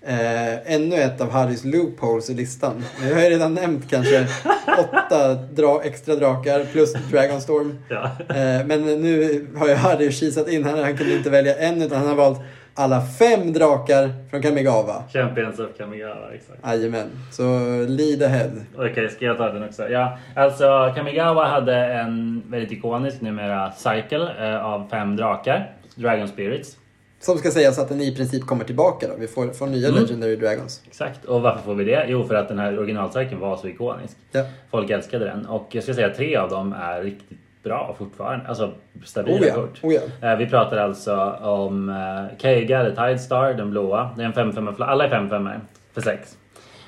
Eh, ännu ett av Harrys loopholes i listan. Jag har ju redan nämnt kanske åtta dra, extra drakar plus Dragonstorm.
Ja.
Eh, men nu har ju Harry kisat in här. Han kunde inte välja en utan han har valt alla fem drakar från Kamigawa.
Champions of Kamigawa, exakt.
Jajamän, så lead ahead.
Okej, ska jag ta den också? Ja, alltså Kamigawa hade en väldigt ikonisk numera cycle eh, av fem drakar. Dragon Spirits.
Som ska sägas att den i princip kommer tillbaka då. Vi får, får nya
Mm.
Legendary Dragons.
Exakt. Och varför får vi det? Jo, för att den här originalcykeln var så ikonisk.
Ja.
Folk älskade den. Och jag ska säga att tre av dem är riktigt bra fortfarande. Alltså stabila
Oh ja,
kort.
oh ja.
Eh, Vi pratar alltså om eh, Keiga, The Tidestar, den blåa. Det är en 5-5, alla är 5-5 för 6.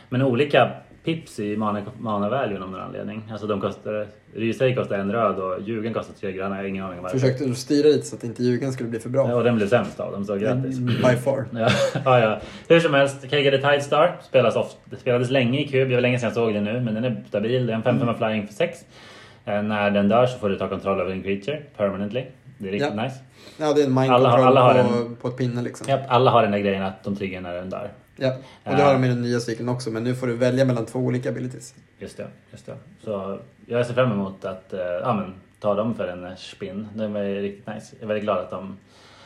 Men olika pips i mana, mana value av någon anledning. Alltså de kostar, Ryseri kostar en röd och Ljugen kostar tre gröna. Jag har ingen aning om varför.
Försökte du styra dit så att inte ljugen skulle bli för
Ja,
bra.
Och den blev sämst av dem, så
Mm.
grattis.
By far.
Ja, ja, ja. Hur som helst, Keiga the Tidestar spelas oft, det spelades länge i kub. Jag var länge sedan jag såg den nu, men den är stabil. Det är en 5 5 flying för 6. När den dör så får du ta kontroll över din creature permanently. Det är riktigt
Ja.
nice.
Ja, det är en mind
Alla har-
control
alla har
på, på ett pinne liksom.
Japp, alla har den där grejen att de triggar när den dör.
Ja. Och det
Ja.
har de i den nya cykeln också, men nu får du välja mellan två olika abilities.
Just det, just det. Så jag ser fram emot att eh, ja, men, ta dem för en eh, spin. Den var ju riktigt nice. Jag är väldigt glad att de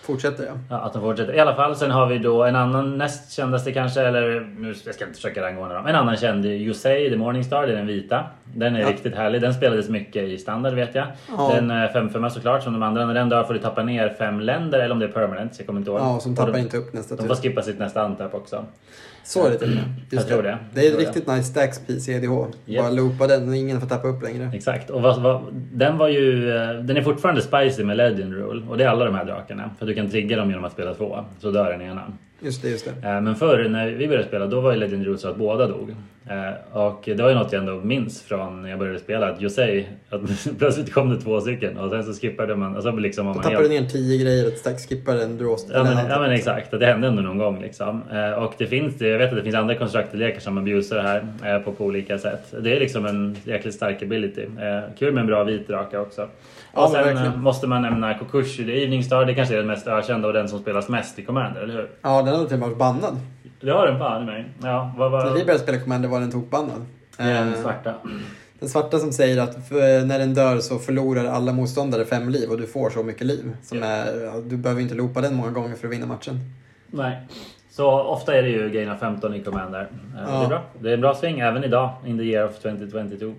Fortsätter jag.
Ja, att de fortsätter. I alla fall, sen har vi då en annan näst kändaste kanske, eller nu jag ska inte försöka rangordna dem. En annan känd, Yosei The Morningstar, det är den vita. Den är
Ja.
riktigt härlig. Den spelades mycket i standard vet jag.
Ja.
Den är 5 såklart som de andra. När den dör får du tappa ner fem länder, eller om det är permanent, så jag kommer inte ihåg.
Ja, och som
Och
tappar
de,
inte upp typ. nästa
de får
tur.
skippa sitt nästa antapp också.
Så är det till och med. Just
tror det.
Det är ett
Jag tror
riktigt nice stacks-piece i EDH.
Yes.
Bara loopa den och ingen får tappa upp längre.
Exakt. Och vad, vad, den var ju... eh, Den är fortfarande spicy med Legend Rule. Och det är alla de här drakarna. För du kan trigga dem genom att spela två. Så dör den ena.
Just det, just det.
Eh, Men förr när vi började spela då var ju Legend Rules så att båda dog. Eh, Och det var ju något jag ändå minns från när jag började spela att Josei, att plötsligt kom det två stycken och sen så skippade man. Alltså liksom om
Då
man
tappar du ner tio grejer, ett stack skippar en draw.
Ja
eller
men,
annat.
ja men exakt, att det hände ändå någon gång liksom. Eh, Och det finns, jag vet att det finns andra konstruktorlekar som abusar det här eh, på, på olika sätt. Det är liksom en jäkligt stark ability. Eh, Kul med en bra vit draka också.
Ja,
och
men
sen
verkligen.
eh, måste man nämna Kokushi, The Evening Star, det kanske är den mest ökända och den som spelas mest i Commander, eller hur?
ja, den hade till och med varit bannad.
Det har den fan i mig. Ja, vad var...
När vi började spela Commander var den tokbannad.
Den
Eh,
svarta.
Den svarta som säger att för, när den dör så förlorar alla motståndare fem liv och du får så mycket liv. Som
Ja.
är, ja, du behöver inte loopa den många gånger för att vinna matchen.
Nej. Så ofta är det ju gaina 15 i Commander. Eh, Det
Ja.
är bra. Det är en bra sving även idag, in the year of 2022.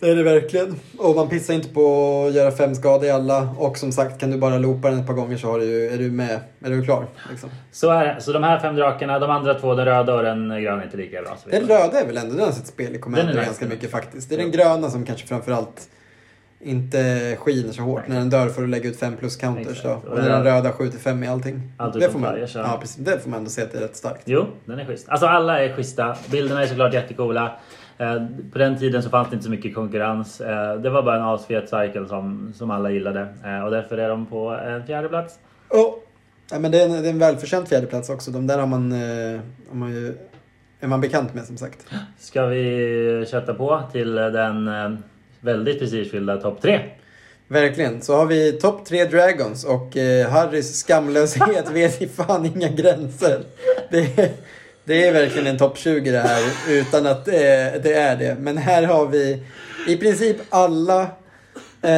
Det är det verkligen. Och man pissar inte på att göra fem skador i alla. Och som sagt, kan du bara loopa den ett par gånger så har du, ju- är du med. Är du klar? Liksom.
Så, är, det. så de här fem drakarna, de andra två, den röda och den gröna, är inte lika bra. Så
Den
vidare.
röda är väl ändå, den har sett spel i Commander
Den är
ganska
nice.
mycket faktiskt. Det är den gröna som kanske framförallt inte skiner så hårt. När den dör får du lägga ut fem plus counters
Exakt.
då.
Och
Och när
den
den
röda-
röda skjuter fem i allting.
Allt
det,
utom
får man,
färger, så-
ja, precis, det får man ändå se att det är rätt starkt.
Jo, den är schysst. Alltså alla är schyssta. Bilderna är såklart jättecoola. Eh, På den tiden så fanns det inte så mycket konkurrens. Eh, Det var bara en asfet cycle som, som alla gillade. Eh, Och därför är de på en fjärde plats.
Ja. Ja, men det, är en, det är en välförtjänt fjärdeplats också. De där har man, eh, har man ju, är man bekant med som sagt.
Ska vi kötta på till den eh, väldigt prestigefyllda topp tre?
Verkligen. Så har vi topp tre Dragons och eh, Harrys skamlöshet vet i fan inga gränser. Det, är- det är verkligen en topp 20 det här utan att eh, det är det. Men här har vi i princip alla eh,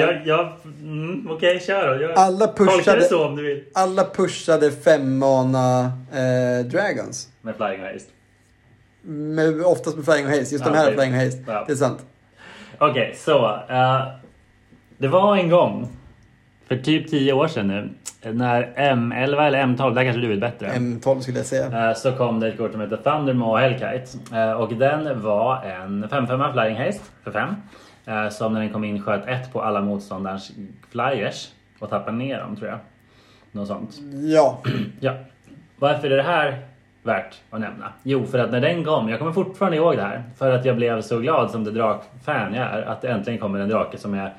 Jag, jag, mm, Okej, kör då. Jag,
Alla
Tolka
pushade-
det så om du vill.
alla pushade femmana eh, Dragons.
Med Flying Heist.
Med, oftast med Flying Haze. Just
Ja,
de här har
det-
Flying Haze.
ja.
Det är sant.
Okej, så. eh, det var en gång, för typ 10 år sedan nu, när M11 eller M12, där kanske du vet bättre.
M12 skulle jag säga.
Eh, så kom det ett kort som heter Thundermaw Hellkite. Eh, Och den var en 5-5 Flying Haste för 5. Som när den kom in sköt ett på alla motståndarens flyers och tappade ner dem tror jag. Något sånt.
Ja,
Ja. Varför är det här värt att nämna? Jo, för att när den kom, jag kommer fortfarande ihåg det här, för att jag blev så glad som det drakfan jag är, att det äntligen kommer en drake som är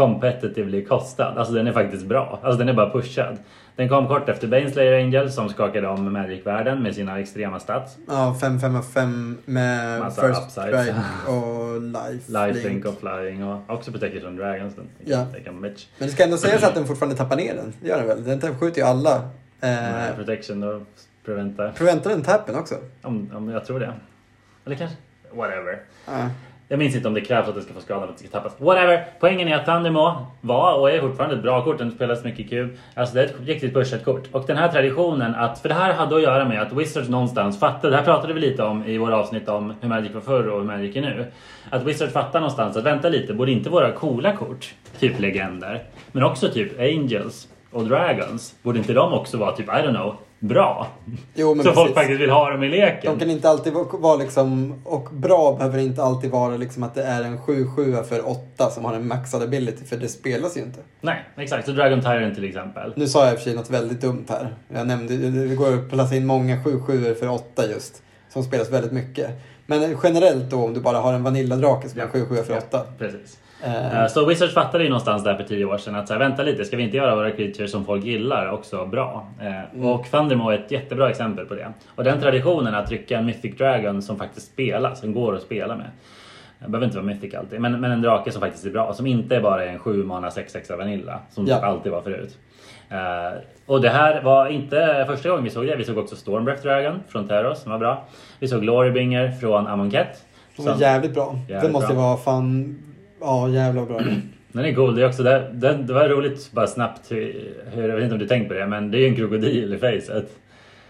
competitively kostad. Alltså den är faktiskt bra. Alltså den är bara pushad. Den kom kort efter Baneslayer Angel som skakade om Magic-världen med sina extrema stats.
ja 5 5 av 5 med
Massa
First
upsides.
Strike och Life.
Life
Link.
Link och Flying och också Protection Dragons. Den
Ja.
Take a bitch.
Men det ska ändå sägas att den fortfarande tappar ner den. Det gör den väl? Den tappar- skjuter ju alla. Eh,
Protection och Preventa.
Proventar den tappen också?
Om, om jag tror det. Eller kanske... Whatever.
Ja.
Jag minns inte om det krävs att den ska få skada för att det ska tappas. Whatever! Poängen är att Tandemo var och är fortfarande ett bra kort. Den spelas mycket kul. Alltså det är ett riktigt pushat kort. Och den här traditionen att... För det här hade att göra med att Wizards någonstans fattade... Det här pratade vi lite om i våra avsnitt om hur Magic var förr och hur Magic är nu. Att Wizards fattar någonstans att vänta lite, borde inte våra coola kort, typ legender, men också typ Angels och Dragons, borde inte de också vara typ, I don't know, bra?
Jo, men
Så folk
precis.
faktiskt vill ha dem i leken.
De kan inte alltid va- vara liksom, och bra behöver inte alltid vara liksom att det är en 7-7 för 8 som har en maxad ability, för det spelas ju inte.
Nej, exakt. Så Dragon Tyrant till exempel.
Nu sa jag i och för sig något väldigt dumt här. Jag nämnde, det går att plassa in många 7-7 för 8 just, som spelas väldigt mycket. Men generellt då, om du bara har en vanilladrake som är
Ja.
7-7 för
Ja,
8.
Precis.
Eh,
Eh, Så Wizards fattade ju någonstans där för tio år sedan att så här, vänta lite, ska vi inte göra våra creatures som folk gillar också bra? Eh,
Mm.
Och Thundermo är ett jättebra exempel på det. Och den traditionen att trycka en Mythic Dragon som faktiskt spelas, som går att spela med. Det behöver inte vara Mythic alltid, men, men en drake som faktiskt är bra. Som inte bara är en 7 mana 6-6 Vanilla, som
Ja.
typ alltid var förut. Eh, och det här var inte första gången vi såg det. Vi såg också Stormbreath Dragon från Terros som var bra. Vi såg Glorybringer från Amonkhet.
som är
som-
jävligt bra. det
Jävligt
måste
bra. Mm.
vara fan, ja jävla bra.
Den är cool. Det, är också, det, det, det var roligt bara snabbt hur, hur, jag vet inte om du tänkt på det, men det är ju en krokodil i facet.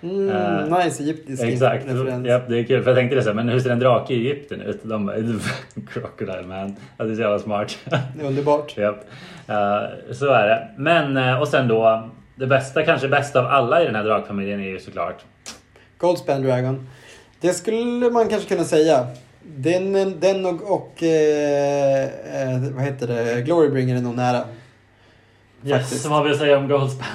Mm,
Eh,
nice egyptisk
Exakt.
referens.
Japp, det är kul. För jag tänkte det så här, men hur ser en drake i Egypten ut? De bara, crocodile man. Ja, det är så jävla smart.
Det är underbart.
Japp. Eh, så är det. Men, eh, och sen då, det bästa, kanske bästa av alla i den här drakfamiljen är ju såklart
Goldspan Dragon. Det skulle man kanske kunna säga. Den, den och, och eh, eh, vad heter det? Glorybringer är nog nära. Faktiskt.
Yes, vad vill jag säga om Goldspan?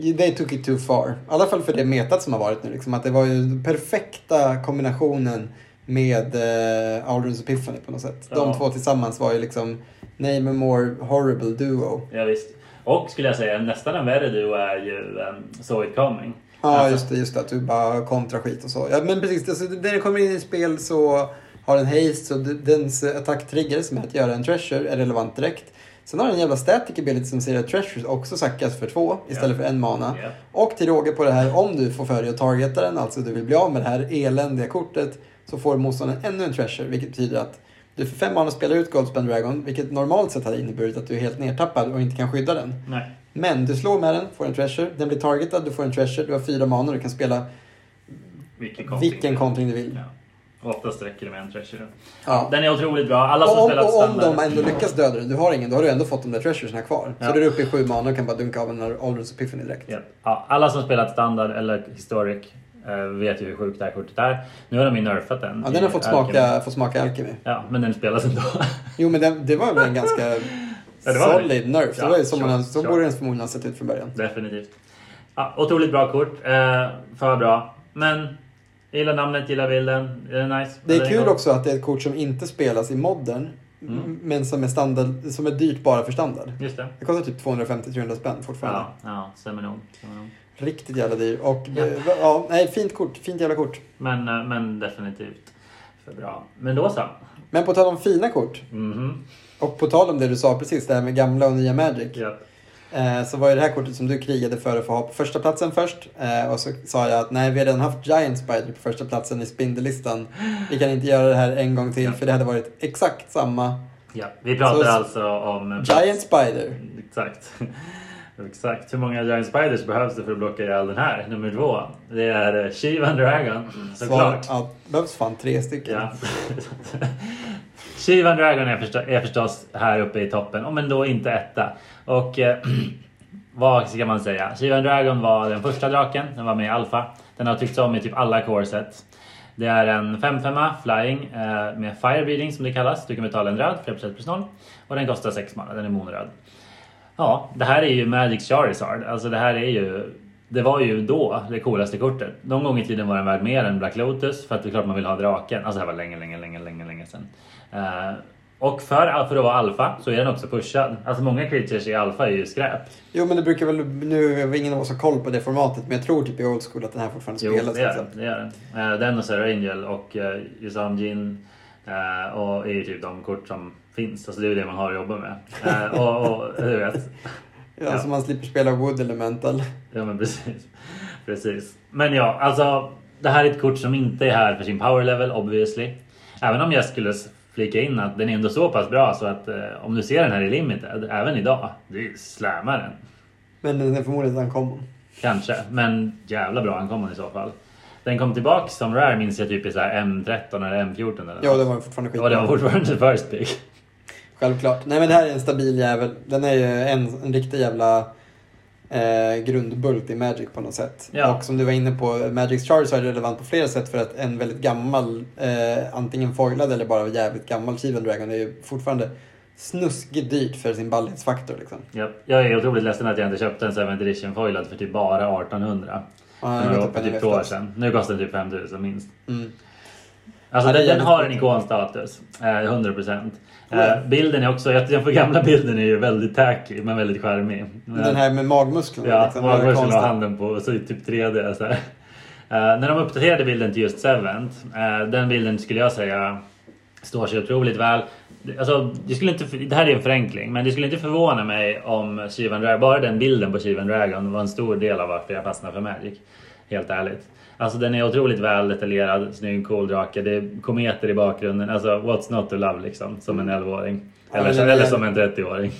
They took it too far. I alla fall för det metat som har varit nu. Liksom, att det var ju den perfekta kombinationen med eh, Aldrin's Epiphany på något sätt.
Ja.
De två tillsammans var ju liksom name a more horrible duo.
Ja, visst. Och skulle jag säga, nästan en värre duo är ju um, So It Coming.
Ja,
Alltså-
just det. Just det, att du bara kontrar skit och så. Ja, men precis. Alltså, när det kommer in i spel så har den haste, så d- dens attacktrigger som är att göra en treasure är relevant direkt. Sen har den en jävla static ability som säger att treasures också sackas för två istället
Ja.
för en mana.
Ja.
Och till råga på det här, om du får för dig att targeta den, alltså du vill bli av med det här eländiga kortet, så får motståndaren ännu en treasure, vilket betyder att du för fem mana spelar ut Goldspan Dragon, vilket normalt sett hade inneburit att du är helt nertappad och inte kan skydda den.
Nej.
Men du slår med den, får en treasure, den blir targetad, du får en treasure, du har fyra manor, du kan spela
Vilken kontring.
vilken kontring du vill.
Ja. Och Oftast räcker det med en treasure.
Ja.
Den är otroligt bra. Alla som
Och om,
spelat
och om
standard.
de ändå lyckas döda dig, du har ingen, då har du ändå fått de där treasuresen kvar.
Ja.
Så du är uppe i sju manor och kan bara dunka av en Aldrus Epiphany direkt.
Ja. Ja, alla som spelat standard eller historic eh, vet ju hur sjukt det här kortet är. Nu har de ju nerfat den.
Ja, den har
i
fått
Alchemy.
smaka, fått smaka Alchemy.
Ja, men den spelas ändå.
Jo, men den, det var väl en ganska
Ja, det var det.
solid nerf. Det
Ja,
var ju som
sure,
man, så
sure.
borde den förmodligen ha sett ut från början.
Definitivt. Ja, otroligt bra kort. Eh, för bra. Men jag gillar namnet, gillar bilden. Är det nice?
Det
Den
är kul
god.
också att det är ett kort som inte spelas i modden,
Mm.
m- men som är, standard, som är dyrt bara för standard.
Just det.
Det kostar typ 250-300 spänn fortfarande.
Ja, ja stämmer nog. Stämmer nog.
Riktigt jävla dyr. Och eh, va- ja, nej, fint kort. Fint jävla kort.
Men, eh, men definitivt för bra. Men då så.
Men på tal om fina kort.
Mhm.
Och på tal om det du sa precis, det här med gamla och nya Magic.
Ja.
Eh, så var ju det här kortet som du krigade för att få ha på första platsen först. Eh, och så sa jag att nej, vi har redan haft Giant Spider på första platsen i spindellistan. Vi kan inte göra det här en gång till för det hade varit exakt samma.
Ja, vi pratar
Så-
alltså om...
Giant Spider.
Exakt. Exakt. Hur många Giant Spiders behövs det för att blocka ihjäl den här? Nummer två. Det är eh, Shivan Dragon.
Mm.
Såklart.
Så, ja, det behövs fan tre stycken.
Ja. Shivan Dragon är förstås, är förstås här uppe i toppen, oh, men då inte etta. Och eh, vad ska man säga? Shivan Dragon var den första draken, den var med i Alpha. Den har tyckts om i typ alla core-set. Det är en 5-5 flying eh, med Firebreeding som det kallas. Du kan betala en röd för 1% plus 0. Och den kostar 6 mana, den är monoröd. Ja, det här är ju Magic Charizard. Alltså det här är ju... Det var ju då det coolaste kortet. Någon gång i tiden var den värd mer än Black Lotus för att det är klart man vill ha draken. Alltså det här var länge, länge, länge, länge, länge sedan. Eh, och för, för att vara alfa så är den också pushad. Alltså många creatures i alfa är ju skräp.
Jo men det brukar väl, nu har ingen av oss har koll på det formatet men jag tror typ i old school att den här fortfarande
Jo,
spelas.
det gör
liksom.
den. Det gör den. Eh, den och Sarah Angel och eh, Yusam Jin eh, och är ju typ de kort som finns. Alltså det är ju det man har att jobba med. Eh, och, och du vet.
Ja, Så man slipper spela Wood Elemental.
Ja men precis. Precis. Men ja, alltså det här är ett kort som inte är här för sin power level obviously. Även om jag skulle s- flika in att den är ändå så pass bra så att eh, om du ser den här i limited, även idag, du slammar den.
Men den är förmodligen ankommon.
Kanske, men jävla bra ankommande i så fall. Den kom tillbaka som rare minns jag typ i så här M13 eller M14 eller
Ja,
något.
den var ju fortfarande
Ja, det var
skitbra.
fortfarande first pick.
Självklart. Nej men det här är en stabil jävel. Den är ju en, en riktig jävla eh, grundbult i Magic på något sätt.
Ja.
Och som du var inne på, Magics Charge är relevant på flera sätt för att en väldigt gammal, eh, antingen foilad eller bara jävligt gammal Chivan Dragon är ju fortfarande snuskigt dyrt för sin ballighetsfaktor liksom.
Japp. Jag är otroligt ledsen att jag inte köpte en 7 edition foilad för typ bara 1800.
Ja,
Den
jag vet
var på
inte vad den
typ
är
två år
för.
sedan. Nu kostar den typ 5000 minst.
Mm.
Alltså
Ja, det är
den, den
jävligt
har
coolt.
en ikonstatus. Eh, 100%.
Oh, ja.
Eh, bilden är också, jag- den för gamla bilden är ju väldigt tacky men väldigt charmig. Men-
Den här med magmusklerna.
Ja,
liksom,
man
det är
skulle ha
konstigt.
handen på så i typ 3D. Så här. Eh, när de uppdaterade bilden till just Sevent, eh, den bilden skulle jag säga står sig otroligt väl. Alltså, det, skulle inte, det här är en förenkling, men det skulle inte förvåna mig om Shivan Dragon, bara den bilden på Shivan Dragon var en stor del av varför jag fastnade för Magic. Helt ärligt. Alltså den är otroligt väl detaljerad, snygg, cool drake, det är kometer i bakgrunden. Alltså what's not to love liksom, som en 11-åring.
Ja,
Eller,
men den är-
eller som en 30-åring.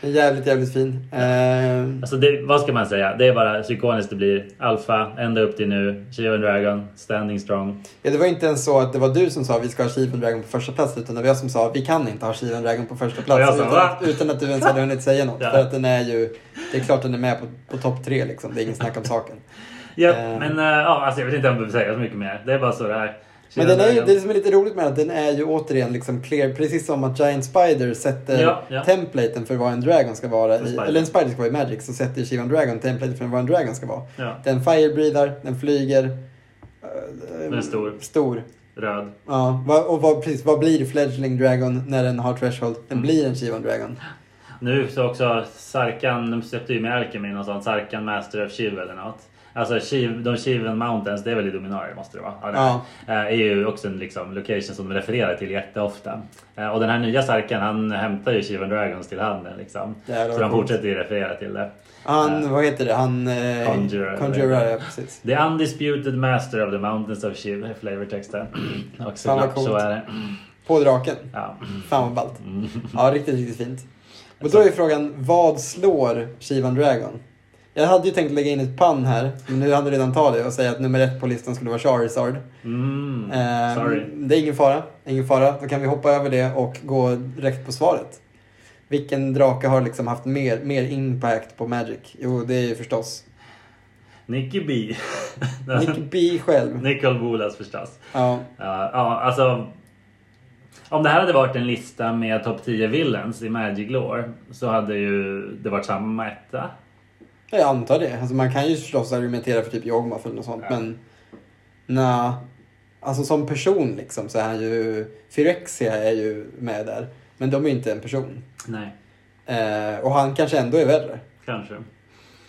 Den är Jävligt, jävligt fin. Eh,
Alltså det, vad ska man säga? Det är bara så ikoniskt det blir. Alfa, ända upp till nu. Shio and Dragon, standing strong.
Ja, det var inte ens så att det var du som sa vi ska ha Shivan Dragon på första plats utan det var jag som sa vi kan inte ha Shivan Dragon på första
Och
plats
jag sa,
utan,
"Va?"
att, utan att du ens hade hunnit säga något.
Ja.
För att den är ju, det är klart den är med på, på topp tre liksom, det är ingen snack om saken.
Ja,
Eh.
men eh, ja, alltså jag vet inte om jag behöver säga så mycket mer. Det är bara så det är. Shio
Men
and
den är ju,
Dragon.
det som är lite roligt med den, den är ju återigen liksom clear, precis som att Giant Spider sätter
Ja, ja.
templaten för vad en dragon ska vara,
För
i,
spider.
eller en spider ska vara i Magic, så sätter Shivan Dragon templaten för vad en dragon ska vara.
Ja,
Den firebreathar, den flyger. eh,
Den är stor.
Stor.
röd.
Ja, vad- och vad, precis, vad blir Fledgling Dragon när den har Threshold? Den blir en Shivan Dragon.
Nu så också Sarkan, de släppte ju med Alchemy och sånt. Sarkan Master of Shiv eller något. Alltså Shiv, de Shiven Mountains, det är väl i Dominaria måste det vara? det är det.
Ja.
Eh, är ju också en liksom, location som de refererar till jätteofta. Eh, Och den här nya Sarkan han hämtar ju Shivan Dragons till handen liksom.
Jävlar,
Så
vad
de
coolt.
fortsätter ju referera till det.
Han, vad heter det? Han... Eh,
Conjurer.
Conjurer, ja precis.
The undisputed master of the mountains of Shiv är flavortexten. Och
Fan, vad
såklart så
coolt.
är det.
På draken.
Ja.
Fan vad ballt. Ja, riktigt, riktigt fint. Och då är ju frågan, vad slår Shivan Dragon? Jag hade ju tänkt lägga in ett pann här, men nu hade du redan tagit det och säga att nummer ett på listan skulle vara Charizard.
Mm.
Eh,
Sorry.
Det är ingen fara, ingen fara. Då kan vi hoppa över det och gå direkt på svaret. Vilken drake har liksom haft mer, mer impact på Magic? Jo, det är ju förstås
Nicky B.
Nick B själv.
Nicol Bolas förstås.
Ja,
Ja, ja, alltså. Om det här hade varit en lista med topp 10 villains i Magic Lore så hade ju det varit samma etta.
jag antar det. Alltså man kan ju förstås argumentera för typ Yogmoth eller något sånt,
Ja.
men nja. Alltså som person liksom så är han ju... Phyrexia är ju med där, men de är ju inte en person.
Nej,
Eh, och han kanske ändå är värre.
kanske.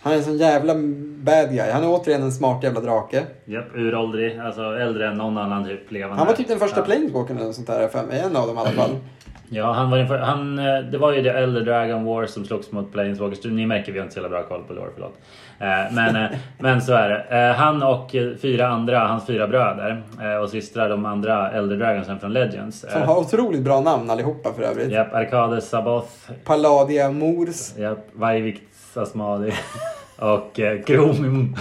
Han är en sån jävla bad guy. Han är återigen en smart jävla drake.
Japp, uråldrig. Alltså äldre än någon annan typ levande.
Han var typ den första
Ja. Mm.
planeswalkern eller något sånt där, för mig. en av dem i alla fall.
Ja, han var den för, han, eh, det var ju det Elder Dragon War som slogs mot Planeswalkers. Ni märker, vi har inte så jävla bra koll på lore, förlåt. Eh, Men, eh, men så är det. Eh, Han och eh, fyra andra, hans fyra bröder eh, och systrar, de andra Elder Dragonsen från Legends. Eh,
Som har otroligt bra namn allihopa för övrigt.
Japp, Arkades Saboth,
Palladia Mors.
japp, Vajvikt Sasmadi och eh, Kromim.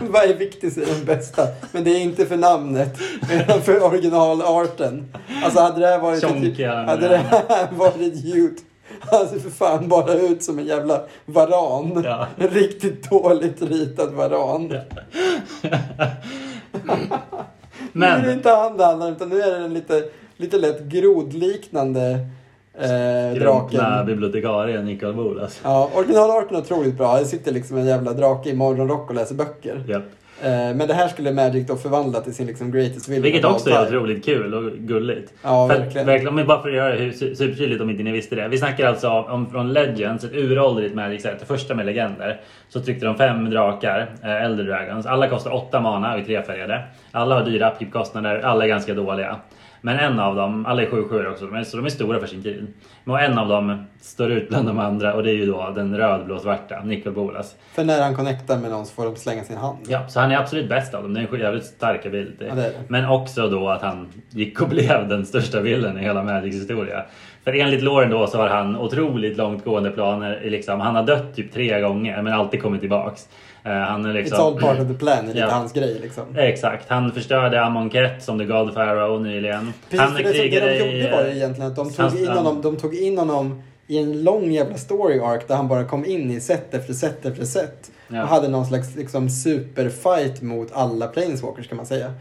Vad är viktigt är den bästa? Men det är inte för namnet, utan för originalarten. Alltså hade det här varit
Tjonkiga,
ett,
men-
hade det här varit ljud. Han ser för fan bara ut som en jävla varan.
Ja.
En riktigt dåligt ritad varan. Men... Nu är det
Men
inte han det handlar om, utan nu är det en lite, lite lätt grodliknande eh, draken.
Grumpna bibliotekarien alltså. Nicol Bolas.
Ja, originalarten är otroligt bra. Det sitter liksom en jävla drake i morgonrock och läser böcker.
Japp.
Eh, men det här skulle Magic då förvandla till sin liksom greatest villain.
Vilket
of all
också
time.
är otroligt kul och gulligt.
Ja,
För att-
verkligen.
verkligen. Om vi bara för att göra det hu- su- supertydligt om inte ni visste det. Vi snackar alltså om, om från Legends, ett uråldrigt Magic set, det första med legender. Så tryckte de fem drakar, eh, Elder Dragons. Alla kostar åtta mana och är trefärgade. Alla har dyra upkeep-kostnader, alla är ganska dåliga. Men en av dem, alla är 7 också, de är, så de är stora för sin tid. Men en av dem står ut bland de andra och det är ju då den rödblåsvarta, Nicol Bolas.
För när han connectar med någon så får de slänga sin hand.
Ja, så han är absolut bäst av dem. Det är en jävligt starka bild.
Ja, det är det.
Men också då att han gick och blev den största villen i hela Magics historia. För enligt Lauren då så har han otroligt långtgående planer. Liksom, han har dött typ tre gånger men alltid kommit tillbaks. Eh, Han är liksom...
It's all part of the plan, är lite
Ja.
hans grej liksom.
Exakt, han förstörde Amonkhet som The God Pharaoh nyligen.
Precis,
han
för det, som det de gjorde var ju
eh,
egentligen att de
han-
tog, in honom, de tog in honom i en lång jävla story arc där han bara kom in i set efter set efter set.
Ja.
Och hade någon slags liksom, superfight mot alla planeswalkers kan man säga.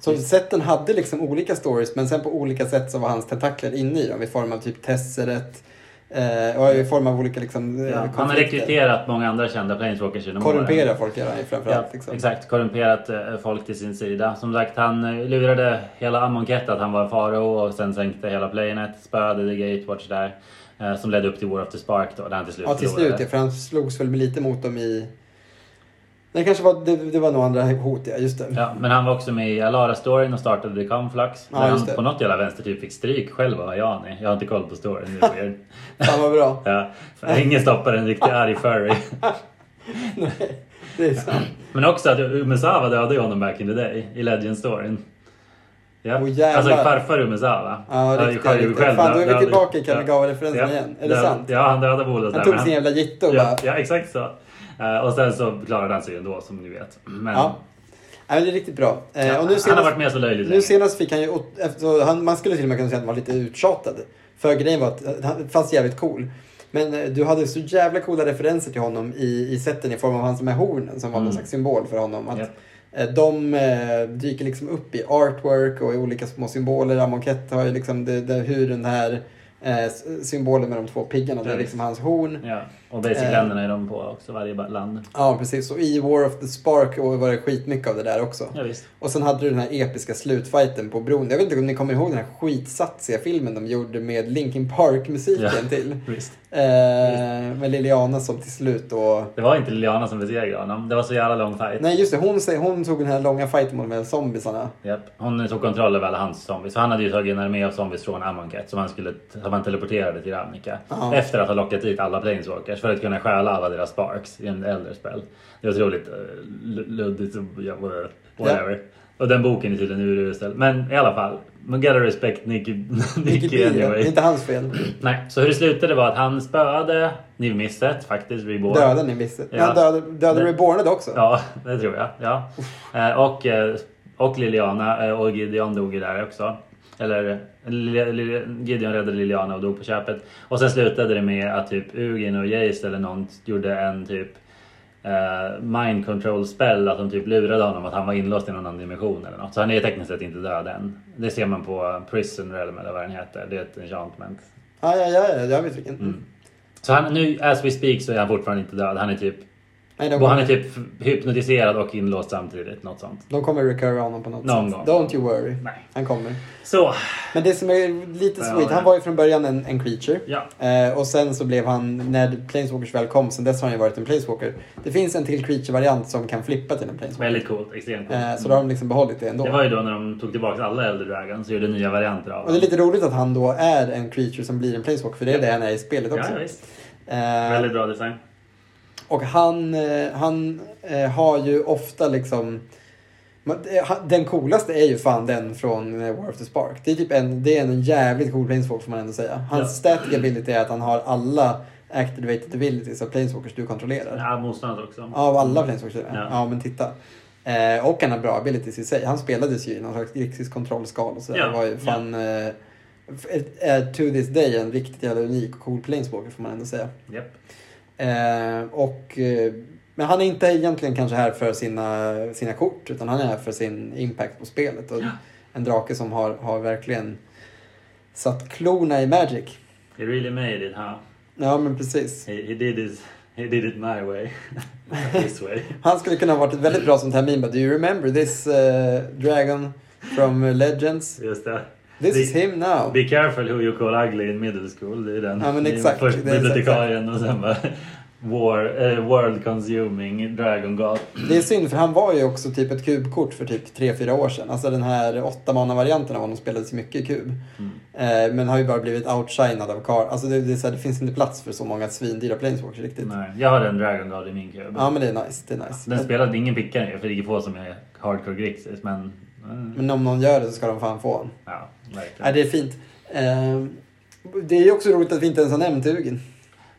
Så seten hade liksom olika stories men sen på olika sätt så var hans tentakler inne i dem i form av typ Tesseret eh, och i form av olika liksom, eh,
ja, han har
konflikter.
rekryterat många andra kända planeswalkers genom åren.
Korrumpera folk gör han ju
Ja,
framförallt. liksom.
Exakt, korrumperat eh, folk till sin sida. Som sagt, han eh, lurade hela Amonkhet att han var en farao och sen sänkte hela planet, spöade The Gatewatch där. eh, Som ledde upp till War of the Spark då, där han till slut
Ja, till slut
förlorade.
ja, för han slogs väl lite mot dem i... Det kanske var, det, det var nog andra hot ja, just det.
Ja, men han var också med i Alara-storyn och startade The Conflux.
Ja,
där
just
han
det.
på något jävla vänster typ fick stryk själv av Ayani. Jag har inte koll på storyn, det är weird.
Fan vad bra.
Ja, för ingen stoppar en riktigt arg furry.
Nej, det är sant.
Men också att Umezawa dödade ju honom back in the day i Legend-storyn. Ja.
Åh, jävlar.
alltså farfar Umezawa.
Ja,
Han
riktigt.
har ju
riktigt.
själv
Fan, då är vi
dödat-
tillbaka i
ja.
Kamigawa-referensen igen. Är det
Död-
sant?
Ja, han dödade Bolas
Han
där,
tog
men
sin jävla jitto och
ja,
bara...
ja, exakt så. Eh, och sen så klarade han sig ändå som ni vet. Men,
Ja. Nej, men det är riktigt bra. Eh,
ja,
och nu
han har
senast,
varit med så löjligt
nu
länge.
senast fick han ju... åt- Efter, han, man skulle till och med kunna säga att han var lite uttjatad. För grejen var att han fanns jävligt cool. Men eh, du hade så jävla coola referenser till honom i, i seten i form av han som är hornen som var någon
Mm.
slags symbol för honom. Att
Japp.
eh, De eh, dyker liksom upp i artwork och i olika små symboler. Amonkhet har ju liksom det, det, hur den här eh, s- symbolen med de två piggarna, det är
Ja,
liksom hans horn.
Ja, och basic
Eh.
länderna är de på också, varje ba- land.
Ja, precis. Och i War of the Spark var det skitmycket av det där också.
Ja, visst.
Och sen hade du den här episka slutfighten på bron. Jag vet inte om ni kommer ihåg den här skitsatsiga filmen de gjorde med Linkin Park-musiken
Ja.
till.
visst.
Eh, med Liliana som till slut då...
Det var inte Liliana som besegrade honom. Det var så jävla lång fight.
Nej just det, hon, säger- hon tog den här långa fighten mot de här zombisarna.
Japp. Hon tog kontroll över alla hans zombies. Så han hade ju tagit en armé av zombies från Amonkhet som han, skulle, som han teleporterade till Ravnica.
Ja.
Efter att ha lockat dit alla planeswalkers för att kunna stjäla alla deras sparks i en äldre spel. Det är otroligt eh, l- luddigt och ja, whatever. whatever. Och den boken är tydligen urusel. Men i alla fall. Man gotta respect Nicky,
Vilket
Nicky
blir-
anyway.
Inte hans fel.
Nej, så hur det slutade var att han spöade Niv-Misset faktiskt, Reborn.
Döda ni visste.
Ja.
Ja. Döda, döda
Det-
Rebornade också.
Ja, det tror jag. Ja. Eh, Och, eh, och Liliana eh, och Gideon dog ju där också. Eller Lili- Lili- Gideon räddade Liliana och dog på köpet. Och sen slutade det med att typ Ugin och Jace eller någon gjorde en typ eh, mind control spell att de typ lurade honom att han var inlåst i någon annan dimension eller något. Så han är tekniskt sett inte död än. Det ser man på Prison Realm eller vad den heter. Det är ett enchantment.
Ja, ja, ja, ja jag vet vilken.
Mm. Så han, nu as we speak så är han fortfarande inte död. Han är typ,
Nej, de,
och han
kommer,
är typ hypnotiserad och inlåst samtidigt. Något sånt.
de kommer recurra honom på något
Någon
sätt.
gång.
Don't you worry.
Nej.
Han kommer.
Så,
Men det som är lite
Ja,
sweet,
ja.
han var ju från början en, en creature.
ja.
Eh, och sen så blev han, när Planeswalkers väl kom, sen dess har han ju varit en Planeswalker. Det finns en till creature-variant som kan flippa till en Planeswalker.
Väldigt coolt. Extremt coolt.
Eh, så då har de liksom behållit det ändå.
Det var ju då när de tog tillbaka alla Elder Dragons och gjorde nya varianter av
Och det är lite roligt att han då är en creature som blir en Planeswalker, för det är det han är i spelet
Ja,
också.
ja, visst.
Eh,
Väldigt bra design.
och han, eh, han eh, har ju ofta liksom... man- eh, han- Den coolaste är ju fan den från eh, War of the Spark. Det är, typ en, det är en jävligt cool Planeswalker får man ändå säga.
Ja.
Hans static ability är att han har alla activated abilities av Planeswalkers du kontrollerar.
Ja, motståndet också.
Ja, Av alla Planeswalkers. Ja.
Ja.
ja, men titta. Eh, och han har bra abilities i sig. Han spelades ju i någon slags grekisk kontrollskal och sådär.
Ja,
Det var ju fan... Eh, f- är to this day en riktigt jävla unik och cool Planeswalker får man ändå säga.
Japp.
Eh, och, eh, men han är inte egentligen kanske här för sina, sina kort utan han är här för sin impact på spelet. Och
Ja.
En drake som har, har verkligen satt klorna i Magic.
He really made it, huh?
Ja, men precis.
He, he, did, it, he did it my way. This way.
Han skulle kunna ha varit ett väldigt bra sånt här meme. bara, Do you remember this eh, dragon from Legends?
Just det.
This
Be-
is him now.
Be careful who you call ugly in middle school. Det är den.
Ja, men
Det är
exakt.
Först
Det är exakt-
bibliotekarien och sen bara War, eh, world consuming Dragon God.
Det är synd för han var ju också typ ett kubkort för typ 3-4 år sedan. Alltså den här åttamannavarianten av honom spelades mycket i kub.
Mm.
Eh, men har ju bara blivit outshinad av Karl. Alltså det, det, är så här, det finns inte plats för så många svindyra planeswalkers riktigt.
Nej, jag har den Dragon God i min kub.
Typ. Ja men det är nice. Det är nice.
Den spelade ingen pickare för det är få som är hardcore grixis men... eh,
Men om någon gör det så ska de fan få honom.
Ja,
Nej,
verkligen.
det är fint. Eh, det är ju också roligt att vi inte ens har nämnt Hugin.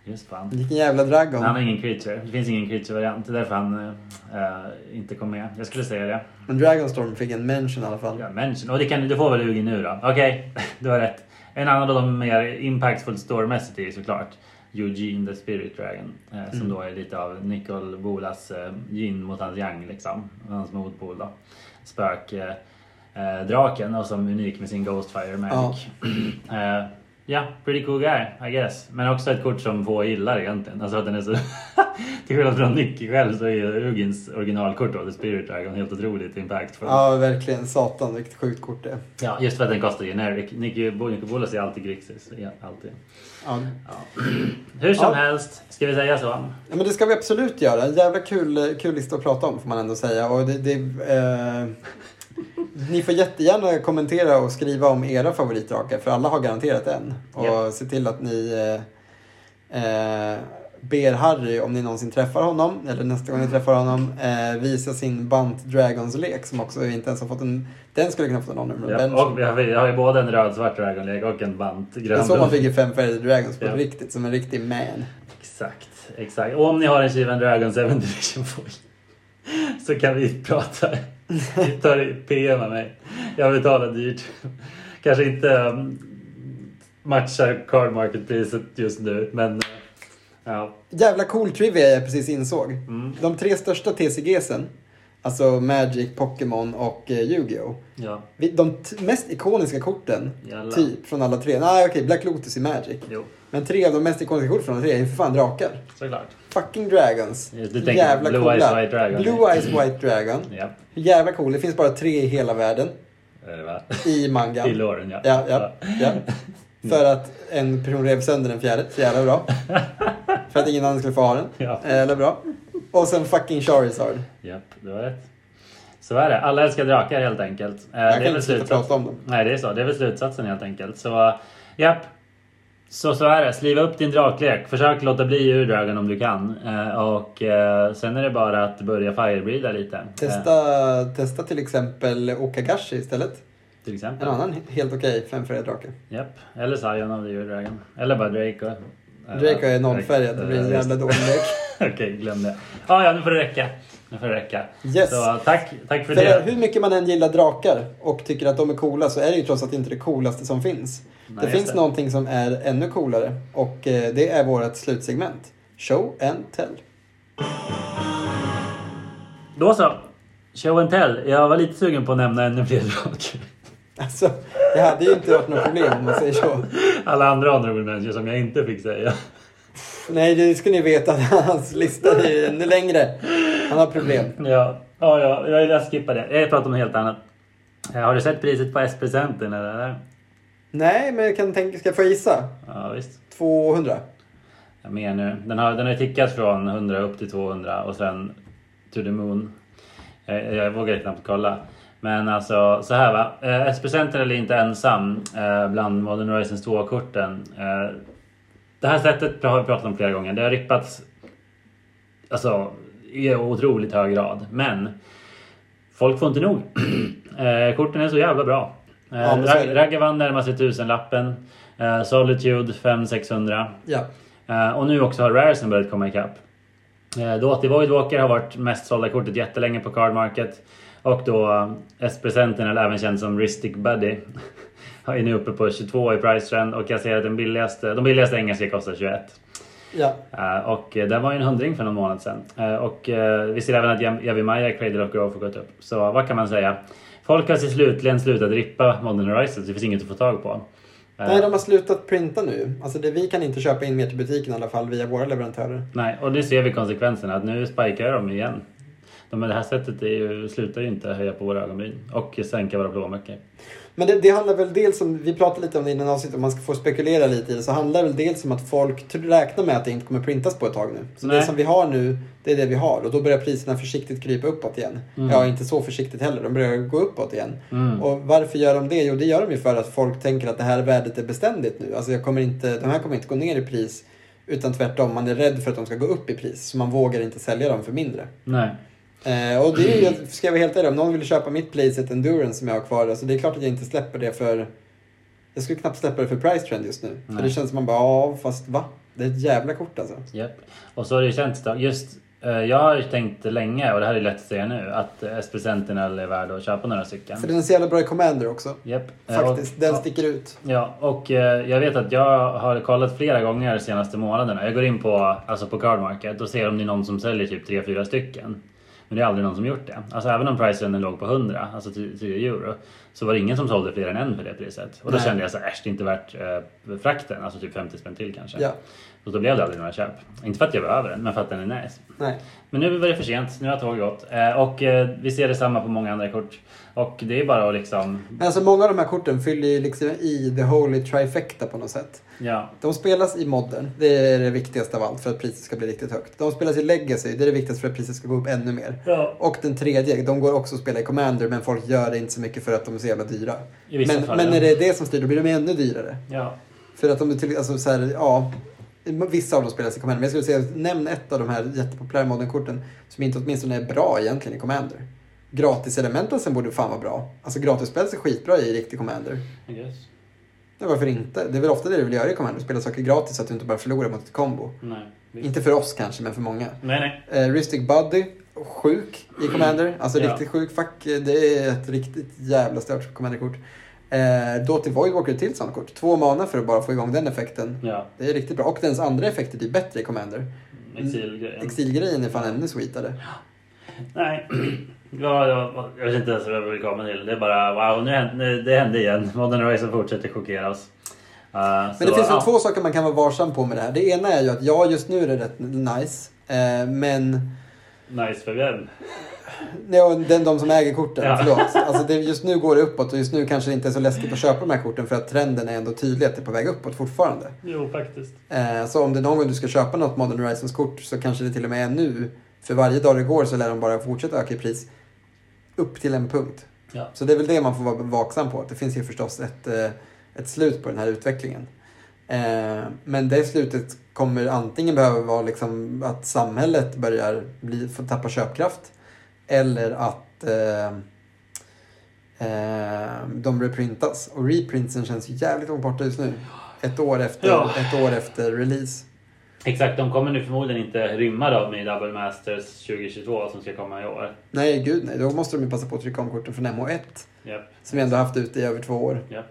Just fan.
Vilken jävla dragon.
Han har ingen creature. Det finns ingen creature-variant. Det är därför han eh, eh, inte kom med. Jag skulle säga det.
Men Dragonstorm fick en mention i alla fall.
Ja, Mention. Och det kan, du får väl Hugin nu då. Okej, du har rätt. En annan av de mer impactful storymässigt är ju såklart Eugene the Spirit Dragon. Eh, som då är lite av Nicol Bolas eh, yin mot hans yang liksom. Hans motpol då. Spök, eh, eh, draken och som unik med sin Ghostfire Magic. Eh, Ja, pretty cool guy I guess. Men också ett kort som få gillar egentligen. Alltså att den är så... Till skillnad från Nicky själv så är ju Hugins originalkort då, The Spirit Dragon, helt otroligt impactful.
Ja, verkligen. Satan, vilket sjukt kort det är.
Ja, just för att den kostar generic. Nicky Nicky Bolas är alltid Grixis. Ja, Alltid.
Ja.
Hur som
Ja.
helst, ska vi säga så?
Ja, men det ska vi absolut göra. En jävla kul, eh, kul lista att prata om får man ändå säga. Och det, det, eh, ni får jättegärna kommentera och skriva om era favoritdrakar för alla har garanterat en. Och
Ja.
se till att ni eh, eh, ber Harry, om ni någonsin träffar honom, eller nästa
Mm.
gång ni träffar honom, eh, visa sin Bunt Dragons-lek som också inte ens har fått en... Den skulle kunna få en honorable
Ja,
mention.
och vi har, vi har ju både en röd-svart dragonlek och en bant
Det är
grön.
så man bygger fem färgade Dragons på
Ja.
riktigt, som en riktig man.
Exakt, exakt. Och om ni har en Shivan Dragon 7 Direction Foil så kan vi prata. Vi tar i PM med mig. Jag betalar dyrt. Kanske inte um, matchar card market-priset just nu, men uh, ja.
Jävla cool trivia jag precis insåg.
Mm,
De tre största TCGsen, alltså Magic, Pokémon och eh, Yu-Gi-Oh!
ja.
Vi- De t- mest ikoniska korten,
Jalla.
typ, från alla tre. Nej, okej, Black Lotus i Magic.
Jo,
Men tre av de mest ikoniska korten från alla tre är ju för fan drakar.
såklart.
Fucking Dragons.
Just, du tänker Blue Eyes White Dragon.
Blue Eyes White Dragon.
Ja.
Jävla cool. Det finns bara tre i hela världen.
Är det va?
I mangan.
I låren, ja.
Ja, ja, ja. För att en person rev sönder den fjärde. Så jävla bra. För att ingen annan skulle få ha den. Eh,
Ja.
Eller bra. Och sen fucking Charizard.
Japp, du har rätt. Så är det. Alla älskar drakar helt enkelt. Eh, det är
Jag kan
väl
inte sluta
slutsats-
prata om dem.
Nej, det är så. Det är väl slutsatsen helt enkelt. Så japp. Så så är det. Sliva upp din draklek. Försök låta bli ur dragon om du kan. Eh, och eh, sen är det bara att börja firebreeda lite. Eh,
Testa, testa till exempel Okagashi istället.
till exempel.
En annan he- helt okej femfärgad drake.
Japp. Eller Zion om du gör dragon. Eller bara Draco. Eh,
Drake är nollfärgad, det
Drake.
blir en
Eh,
jävla dålig lek.
Okej, glöm det. Ah, ja, nu får det räcka. Nu får det räcka.
Yes.
Så tack, tack för,
För
det.
hur mycket man än gillar drakar och tycker att de är coola så är det ju trots allt inte det coolaste som finns.
Nej,
det
just
finns
det.
någonting som är ännu coolare och eh, det är vårt slutsegment. Show and tell.
Då så. Show and tell. Jag var lite sugen på att nämna ännu fler draker.
Alltså, det hade ju inte varit något problem om man säger så.
Alla andra honorable mentions som jag inte fick säga.
Nej, det ska ni veta att hans lista är ju ännu längre. Han har problem.
Ja, ja, ja jag, jag skippar det. Jag pratar om något helt annat. Eh, Har du sett priset på S-presenten eller?
Nej, men jag kan tänka, ska jag få gissa?
Ja, visst.
200?
Jag menar nu. Den har, den har tickat från 100 upp till 200 och sen to the moon. Jag, jag vågar knappt kolla. Men alltså så här va. Eh, S-presenten är inte ensam eh, bland Modern Horizons 2-korten. Eh, det här sättet har vi pratat om flera gånger. Det har rippats alltså, i otroligt hög grad. Men folk får inte nog. eh, korten är så jävla bra. Eh,
Ja, men så är det.
Rag- Raggavan närmar sig tusenlappen. Eh, Solitude 5-600.
Ja.
Eh, och nu också har Raresen börjat komma ikapp. Eh, Doty Void Walker har varit mest sålda kortet jättelänge på Card Market. Och då eh, S-presenten, eller även känd som Ristic Buddy, är nu uppe på 22 i price trend och jag ser att den billigaste, de billigaste engelska kostar 21.
Ja.
Eh, och eh, den var ju en hundring för någon månad sedan. Eh, och eh, vi ser även att Jav- Javimaya i Cradle of Grove har gått upp. Så vad kan man säga? Folk har sig slutligen slutat rippa Modern Horizons, det finns inget att få tag på. Eh,
Nej, de har slutat printa nu. Alltså det, vi kan inte köpa in mer till butiken i alla fall via våra leverantörer.
Nej, och nu ser vi konsekvenserna. Att nu spikar de igen. de, det här sättet är ju, slutar ju inte höja på våra ögonbryn och sänka våra blåmärken.
Men det, det handlar väl dels om, vi pratade lite om det innan avsnittet, om man ska få spekulera lite i det, så handlar det väl dels om att folk tr- räknar med att det inte kommer printas på ett tag nu. Så
Nej.
det som vi har nu, det är det vi har och då börjar priserna försiktigt krypa uppåt igen. Ja, inte så försiktigt heller, de börjar gå uppåt igen.
Mm.
Och varför gör de det? Jo, det gör de ju för att folk tänker att det här värdet är beständigt nu. Alltså jag kommer inte, de här kommer inte gå ner i pris, utan tvärtom, man är rädd för att de ska gå upp i pris, så man vågar inte sälja dem för mindre.
Nej.
Eh, och det är ju, jag ska jag vara helt ärlig, om någon ville köpa mitt Placeit Endurance som jag har kvar, alltså det är klart att jag inte släpper det för... Jag skulle knappt släppa det för price trend just nu.
Nej.
För det känns som man bara, ja fast va? Det är ett jävla kort alltså.
Japp. Och så har det ju känts då. Just, eh, jag har ju tänkt länge, och det här är lätt att säga nu, att eh, SP Sentinel är värd att köpa några stycken.
För den är så jävla bra i Commander också.
Japp. Eh, och-
Faktiskt, den
ja.
sticker ut.
Ja, och eh, jag vet att jag har kollat flera gånger de senaste månaderna. Jag går in på, alltså på Card Market och ser om det är någon som säljer typ 3-4 stycken. Men det är aldrig någon som gjort det. Alltså även om priset låg på 100, alltså 10 10 euro, så var det ingen som sålde fler än en för det priset. Och då
Nej.
kände jag så här, "Äsch, det är inte värt eh, frakten, alltså typ 50 spänn till kanske.
Ja.
Så då blev det aldrig några köp. Inte för att jag behöver den, men för att den är nice.
Nej.
Men nu var det för sent, nu har tåget gått. Eh, och eh, vi ser detsamma på många andra kort. Och det är bara att liksom,
Men alltså många av de här korten fyller ju liksom i the holy trifecta på något sätt.
ja.
De spelas i modden, det är det viktigaste av allt för att priset ska bli riktigt högt. De spelas i legacy, det är det viktigaste för att priset ska gå upp ännu mer.
ja.
Och den tredje, de går också att spela i Commander men folk gör det inte så mycket för att de är så jävla dyra.
I vissa
men,
fall,
men
ja.
när det är det som styr då blir de ännu dyrare.
ja.
För att om du till alltså så här, ja. Vissa av dem spelas i Commander, men jag skulle säga nämn ett av de här jättepopulära modernkorten som inte åtminstone är bra egentligen i Commander. Gratis elementalsen borde fan vara bra. Alltså gratisspels är skitbra i riktig Commander.
I guess.
Ja, varför inte? Det är väl ofta det du vill göra i Commander, spela saker gratis så att du inte bara förlorar mot ett kombo.
Nej.
Inte för oss kanske, men för många.
Nej, nej.
Eh, Rhystic Buddy, sjuk i Commander. Alltså
Mm. Ja.
riktigt sjuk. Fuck, eh, det är ett riktigt jävla stört Commander-kort. Eh, Dotty Voidwalker är ett till sånt kort. Två mana för att bara få igång den effekten.
Ja,
Det är riktigt bra. Och dens andra effekt är typ bättre i Commander. Mm,
exilgrejen.
Exilgrejen är fan ännu sweetare.
Nej. Ja, ja, jag vet inte ens vad jag vill komma till. Det är bara wow, nu hände, nu, det hände igen. Modern Horizon fortsätter chockera oss. Uh,
Men det finns väl två saker man kan vara varsam på med det här. Det ena är ju att ja, just nu är det rätt nice. Eh, men
Nice för vem?
ja, den, de som äger korten,
Ja.
förlåt. Alltså det, just nu går det uppåt och just nu kanske det inte är så läskigt att köpa de här korten för att trenden är ändå tydlig att det är på väg uppåt fortfarande.
Jo, faktiskt.
Eh, Så om det är någon gång du ska köpa något Modern Horizons-kort så kanske det till och med är nu. För varje dag det går så lär de bara fortsätta öka i pris. Upp till en punkt.
Ja.
Så det är väl det man får vara vaksam på. att Det finns ju förstås ett, eh, ett slut på den här utvecklingen. Eh, Men det slutet kommer antingen behöva vara liksom att samhället börjar bli, få tappa köpkraft. Eller att eh, eh, de reprintas. Och reprintsen känns ju jävligt långt borta just nu. Ett år efter,
Ja.
ett år efter release.
Exakt, de kommer nu förmodligen inte rymma dem i Double Masters 2022 som ska komma i år.
Nej, gud nej. Då måste de ju passa på att trycka om korten från MH1.
Japp,
Som vi ändå haft ute i över två år.
japp.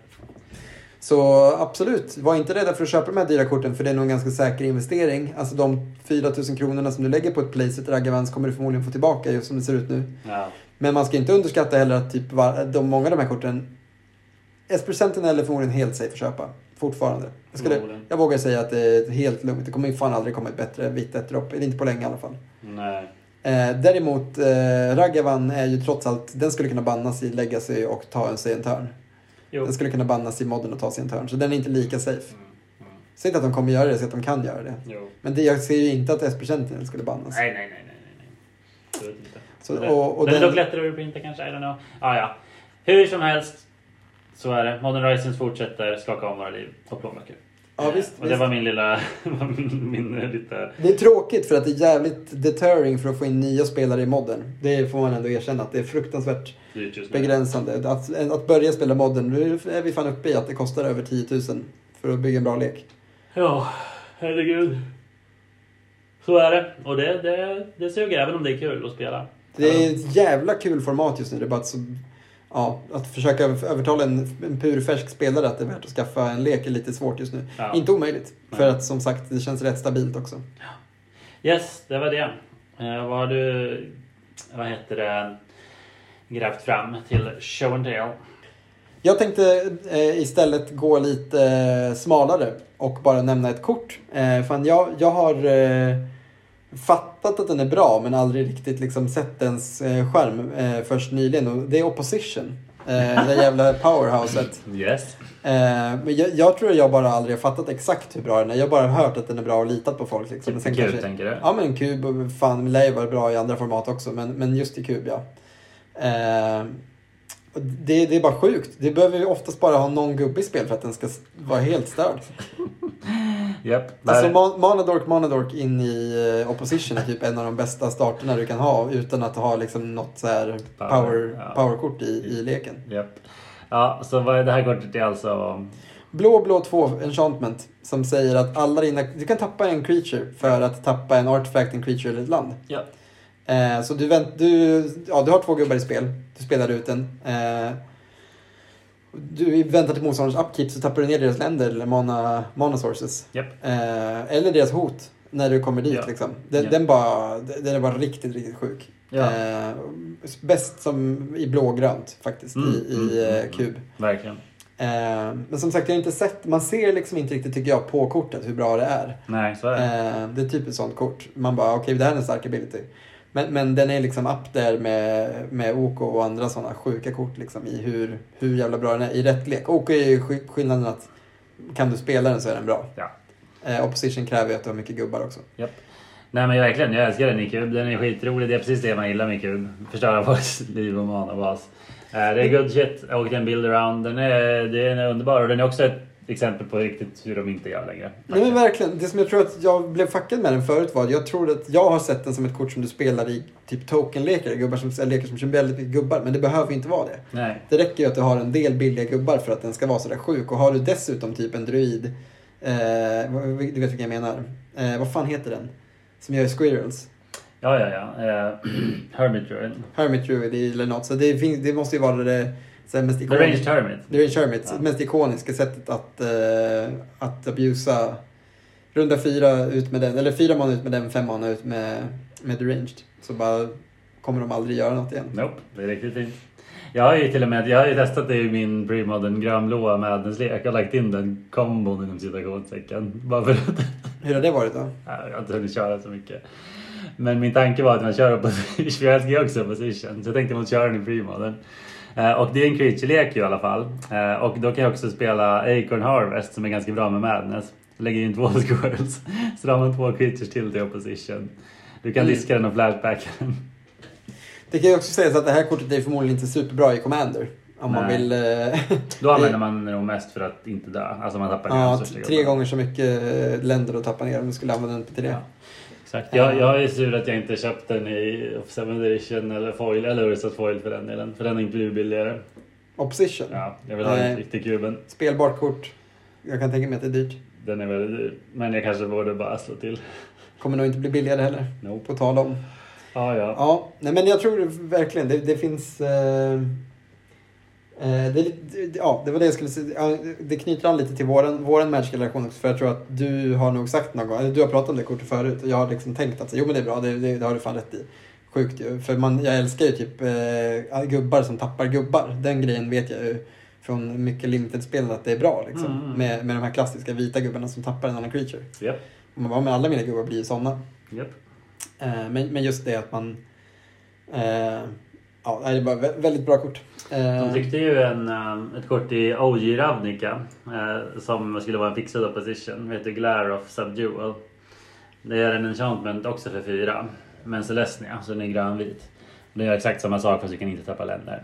Så absolut, var inte rädda för att köpa de här dyra korten för det är nog en ganska säker investering. Alltså de 4 000 kronorna som du lägger på ett Placet Raggavans kommer du förmodligen få tillbaka just som det ser ut nu.
Ja.
Men man ska inte underskatta heller att typ var, de, många av de här korten... S-procenten är förmodligen helt safe att köpa. Fortfarande. Jag, skulle,
Förmodligen.
jag vågar säga att det är helt lugnt. Det kommer ju fan aldrig komma ett bättre vitt ett dropp. Eller Inte på länge i alla fall.
Nej.
Eh, däremot, eh, Raghavan är ju trots allt, den skulle kunna bannas i Legacy och ta en sig en törn.
Jo.
Den skulle kunna bannas i modden och ta sig en törn, så den är inte lika safe.
Mm, mm.
Säg inte att de kommer göra det, säg att de kan göra det.
Jo.
Men det, jag ser ju inte att s Sentinel skulle bannas.
Nej, nej, nej, nej, nej, nej. Absolut inte.
Alltså. Så,
den,
och, och
den, är dock
den,
lättare att reprinta kanske, I don't know. Ah, ja. Hur som helst, så är det. Modern Horizons fortsätter skaka om våra liv och plånböcker.
ja, visst,
och det
visst.
var min lilla... min, min lite...
Det är tråkigt för att det är jävligt deterring för att få in nya spelare i modden. Det får man ändå erkänna att det är fruktansvärt
dyrt just nu.
begränsande. Att, att börja spela modden, nu är vi fan uppe i att det kostar över 10 000 för att bygga en bra lek.
Ja, herregud. Så är det. Och det, det, det suger, även om det är kul att spela.
Det är ett jävla kul format just nu. Det är bara att, så, ja, att försöka över- övertala en, en purfärsk spelare att det är värt att skaffa en lek är lite svårt just nu.
Ja.
Inte omöjligt, för
Nej.
att som sagt det känns rätt stabilt också.
Yes, det var det. Eh, vad har du... Vad heter det? Grävt fram till show and tell.
Jag tänkte eh, istället gå lite eh, smalare och bara nämna ett kort. Eh, fan, jag, jag har eh, fattat att den är bra men aldrig riktigt liksom sett dens eh, skärm eh, först nyligen. Och det är Opposition. Eh, det jävla powerhouset.
Yes.
Eh, men jag, jag tror jag bara aldrig har fattat exakt hur bra den är. Jag har bara hört att den är bra och litat på folk. Liksom.
Typ
Men
kul
kanske-
tänker du?
Ja men kub och fan lär ju vara bra i andra format också men, men just i kub ja. Eh, och det, det är bara sjukt. Det behöver ju oftast bara ha någon gubbe i spel för att den ska s- vara helt störd.
Japp. där-
Alltså Man- Manadork Manadork in i eh, opposition är typ en av de bästa starterna du kan ha utan att ha liksom något så här
Power,
power,
ja.
powerkort i, i leken.
Japp. Ja, så vad är det här kortet är alltså...
Blå blå 2 enchantment som säger att alla dina, du kan tappa en creature för att tappa en artifact, en creature eller ett land.
Ja.
Eh, så du, vänt, du, ja, du har två gubbar i spel. Du spelar ut en. Eh, du väntar till motståndarens upkeep så tappar du ner deras länder eller mana, mana sources.
Japp.
Eh, eller deras hot när du kommer dit.
Ja.
Liksom. Den,
Ja.
den, bara, den är bara riktigt, riktigt sjuk.
Ja.
Eh, bäst som i blågrönt faktiskt
Mm,
i,
mm,
i
mm,
eh,
mm.
kub.
Verkligen.
Eh, men som sagt, jag har inte sett, man ser liksom inte riktigt tycker jag på kortet hur bra det är.
Nej, så är det.
Eh, det är typ ett sånt kort. Man bara, okej det här är en stark ability. Men, men den är liksom up där med, med OK och andra sådana sjuka kort liksom i hur, hur jävla bra den är i rätt lek. OK är ju sk- skillnaden att kan du spela den så är den bra.
Ja.
Eh, opposition kräver ju att du har mycket gubbar också.
Japp. Nej men verkligen, jag älskar den i kub. Den är skitrolig. Det är precis det man gillar med kub. Förstöra folks liv och manabas. Eh, Det är good shit. Och den build around. Den är, den är underbar och den är också ett exempel på riktigt hur de inte gör längre.
Nej men verkligen, det som jag tror att jag blev fackad med den förut var att jag tror att jag har sett den som ett kort som du spelar i typ tokenlekar, gubbar som, eller leker som kör väldigt mycket gubbar, men det behöver ju inte vara det.
Nej.
Det räcker ju att du har en del billiga gubbar för att den ska vara sådär sjuk. Och har du dessutom typ en druid, eh, vad- du vet vilken jag menar, eh, vad fan heter den? Som gör squirrels.
Ja, ja, ja. Eh, Hermit Druid.
Hermit druid eller något. Så det, finns, det måste ju vara det såhär, mest
The Ranged
ikoniska.
Hermit.
Det är en Shermit,
Ja.
mest ikoniska sättet att, eh, att abusa. Runda fyra ut med den, eller fyra man ut med den, fem man ut med, med deranged. Så bara kommer de aldrig göra något igen.
Nope, det är riktigt fint. Jag har ju till och med jag har ju testat det i min premodern grönblåa Madness lek. Jag har lagt in den kombon inom citationstecken. Bara för att
Hur har det varit då?
jag har inte hunnit köra så mycket. Men min tanke var att man kör opposition, för jag älskar ju också opposition. Så jag tänkte man köra den i premodern. Eh, Och det är en creature-lek ju i alla fall. Eh, Och då kan jag också spela Acorn Harvest som är ganska bra med Madness. Jag lägger in två squirrels. Så då har man två creatures till till opposition. Du kan
Mm.
diska den och flashbacka den.
Det kan ju också sägas att det här kortet är förmodligen inte superbra i Commander. Om man
Nej.
vill... eh,
Då använder man det nog mest för att inte dö. Alltså man tappar den
ja,
största
tre
gubben.
gånger så mycket eh, länder att tappa ner om du skulle använda den till det.
Ja. Exakt. Jag, jag är sur att jag inte köpt den i 7 edition eller foil eller Ursat foil för den delen. För den har inte blivit billigare.
Opposition.
Ja, jag vill ha
Nej.
en riktig kuben.
Spelbart kort. Jag kan tänka mig att det är dyrt.
Den är väldigt dyr. Men jag kanske borde bara slå till.
Kommer nog inte bli billigare heller.
Nope.
På tal om.
Ja, ja.
Ja, nej men jag tror verkligen det, det finns... Eh, eh, det, det, ja, det var det jag skulle säga. Ja, Det knyter an lite till våran, våran Magic-relation också. För jag tror att du har nog sagt någon gång, eller du har pratat om det kortet förut. Och jag har liksom tänkt att så, jo men det är bra, det, det, det har du fan rätt i. Sjukt ju. För man, jag älskar ju typ eh, gubbar som tappar gubbar. Den grejen vet jag ju från mycket limited-spel att det är bra. Liksom.
Mm, mm.
Med, med de här klassiska vita gubbarna som tappar en annan creature.
Japp,
Och man bara, men alla mina gubbar blir ju sådana.
japp.
Eh, Men, men just det att man... Eh, ja, nej, det är bara vä- väldigt bra kort. Eh,
De tryckte ju en, eh, ett kort i OG Ravnica eh, som skulle vara en fixad opposition. Det heter Glare of Subdual. Det är en enchantment också för fyra. Men Celestia, så den är grönvit. Den gör exakt samma sak fast du kan inte tappa länder.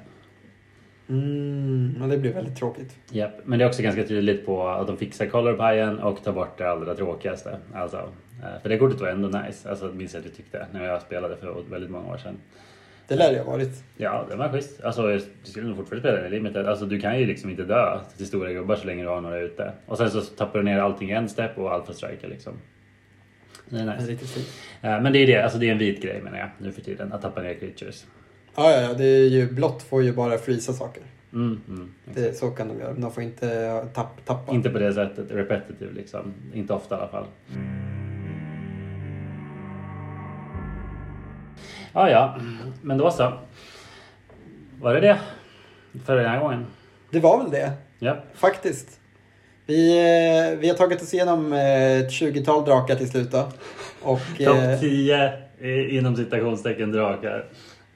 mm, men det blir väldigt tråkigt.
Japp, men det är också ganska tydligt på att de fixar colorpajen och tar bort det allra tråkigaste. Alltså, eh, för det kortet var ändå nice, alltså det minns jag att vi tyckte när jag spelade för väldigt många år sedan.
Det lär det ha varit.
Ja, det var schysst. Alltså, jag skulle nog fortfarande spela den i limited. Alltså, du kan ju liksom inte dö till stora gubbar så länge du har några ute. Och sen så tappar du ner allting i en step och allt för striker liksom. Det är
Det är
nice.
riktigt fint.
Eh, Men det är det, alltså det är en vit grej menar jag nu för tiden, att tappa ner creatures.
Ja, ja, ja, det är ju blått får ju bara frysa saker.
Mm, mm.
Det, så kan de göra. De får inte eh, tapp, tappa.
Inte på det sättet, repetitive liksom. Inte ofta i alla fall. Ja, Ah, ja, men då så. Var det det? För den här gången?
Det var väl det,
Ja.
faktiskt. Vi, eh, vi har tagit oss igenom eh, ett 20-tal drakar till slut då. Och, eh,
Topp 10 eh, inom citationstecken drakar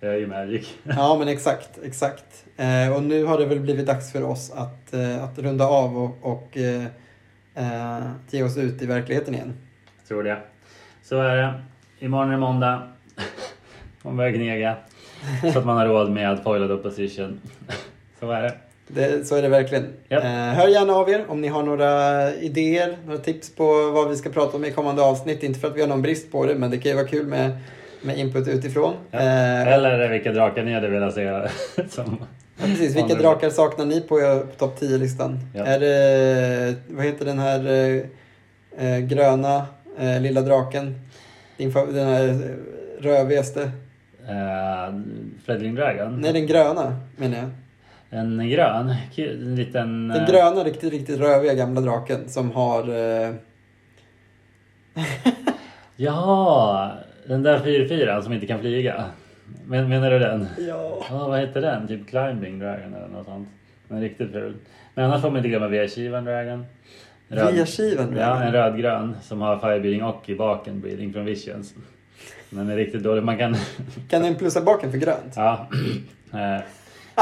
eh, i Magic.
ja men exakt, exakt. Eh, och nu har det väl blivit dags för oss att, eh, att runda av och, och eh, eh, ge oss ut i verkligheten igen.
Tror det. Så är det. Imorgon är det måndag. Man börjar gnega. Så att man har råd med att foilad opposition. Så är det.
Det, så är det verkligen.
Japp.
Eh, hör gärna av er om ni har några idéer, några tips på vad vi ska prata om i kommande avsnitt. Inte för att vi har någon brist på det, men det kan ju vara kul med, med input utifrån.
Ja.
Eh,
Eller vilka drakar ni hade velat se. Som...
Ja, precis. Vilka
Andra-
drakar saknar ni på, er- på topp 10-listan?
Ja.
Är det, vad heter den här eh, eh, gröna eh, lilla draken? Din, fa- den här eh, rövigaste?
Uh, Fledling Dragon?
Nej, den gröna menar jag.
En grön? Kul, En liten...
Den
eh,
gröna, riktigt, riktigt röviga gamla draken som har... Eh,
Ja, den där 4-4 som inte kan flyga. Men, menar du den?
ja.
Ja, vad heter den? Typ Climbing Dragon eller något sånt. Den är riktigt ful. Men annars får man inte glömma Viachivan Dragon. Röd-
Viachivan
Ja,
Dragon.
en rödgrön som har Firebeating och i baken Beating från Visions. Den är riktigt dålig. Man kan...
Kan den plussa baken för grönt?
Ja. Eh,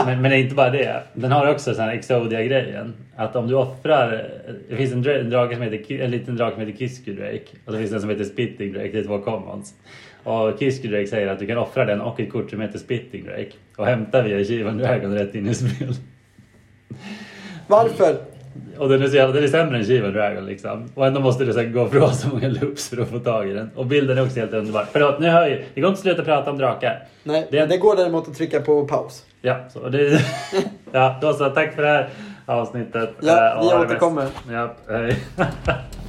Men, men det är inte bara det. Den har också sån här Exodia-grejen. Att om du offrar... Det finns en, dra- en, drake som heter, Ki- en liten drake som heter Kisku Drake. Och så finns det en som heter Spitting Drake. Det är två commons. Och Kisku Drake säger att du kan offra den och ett kort som heter Spitting Drake. Och hämta via Kivan Dragon rätt in i spel.
Varför?
Och den är, så jävla, den är sämre än Kivan Dragon liksom. Och ändå måste du så här gå och så många loops för att få tag i den. Och bilden är också helt underbar. Förlåt, nu hör ju. Det går inte att sluta prata om drakar.
Nej,
Det-
det går däremot att trycka på paus.
Ja, så det, ja då så. Tack för det här avsnittet.
Ja,
Eh, och
vi
ha det bäst.
återkommer.
Ja, hej.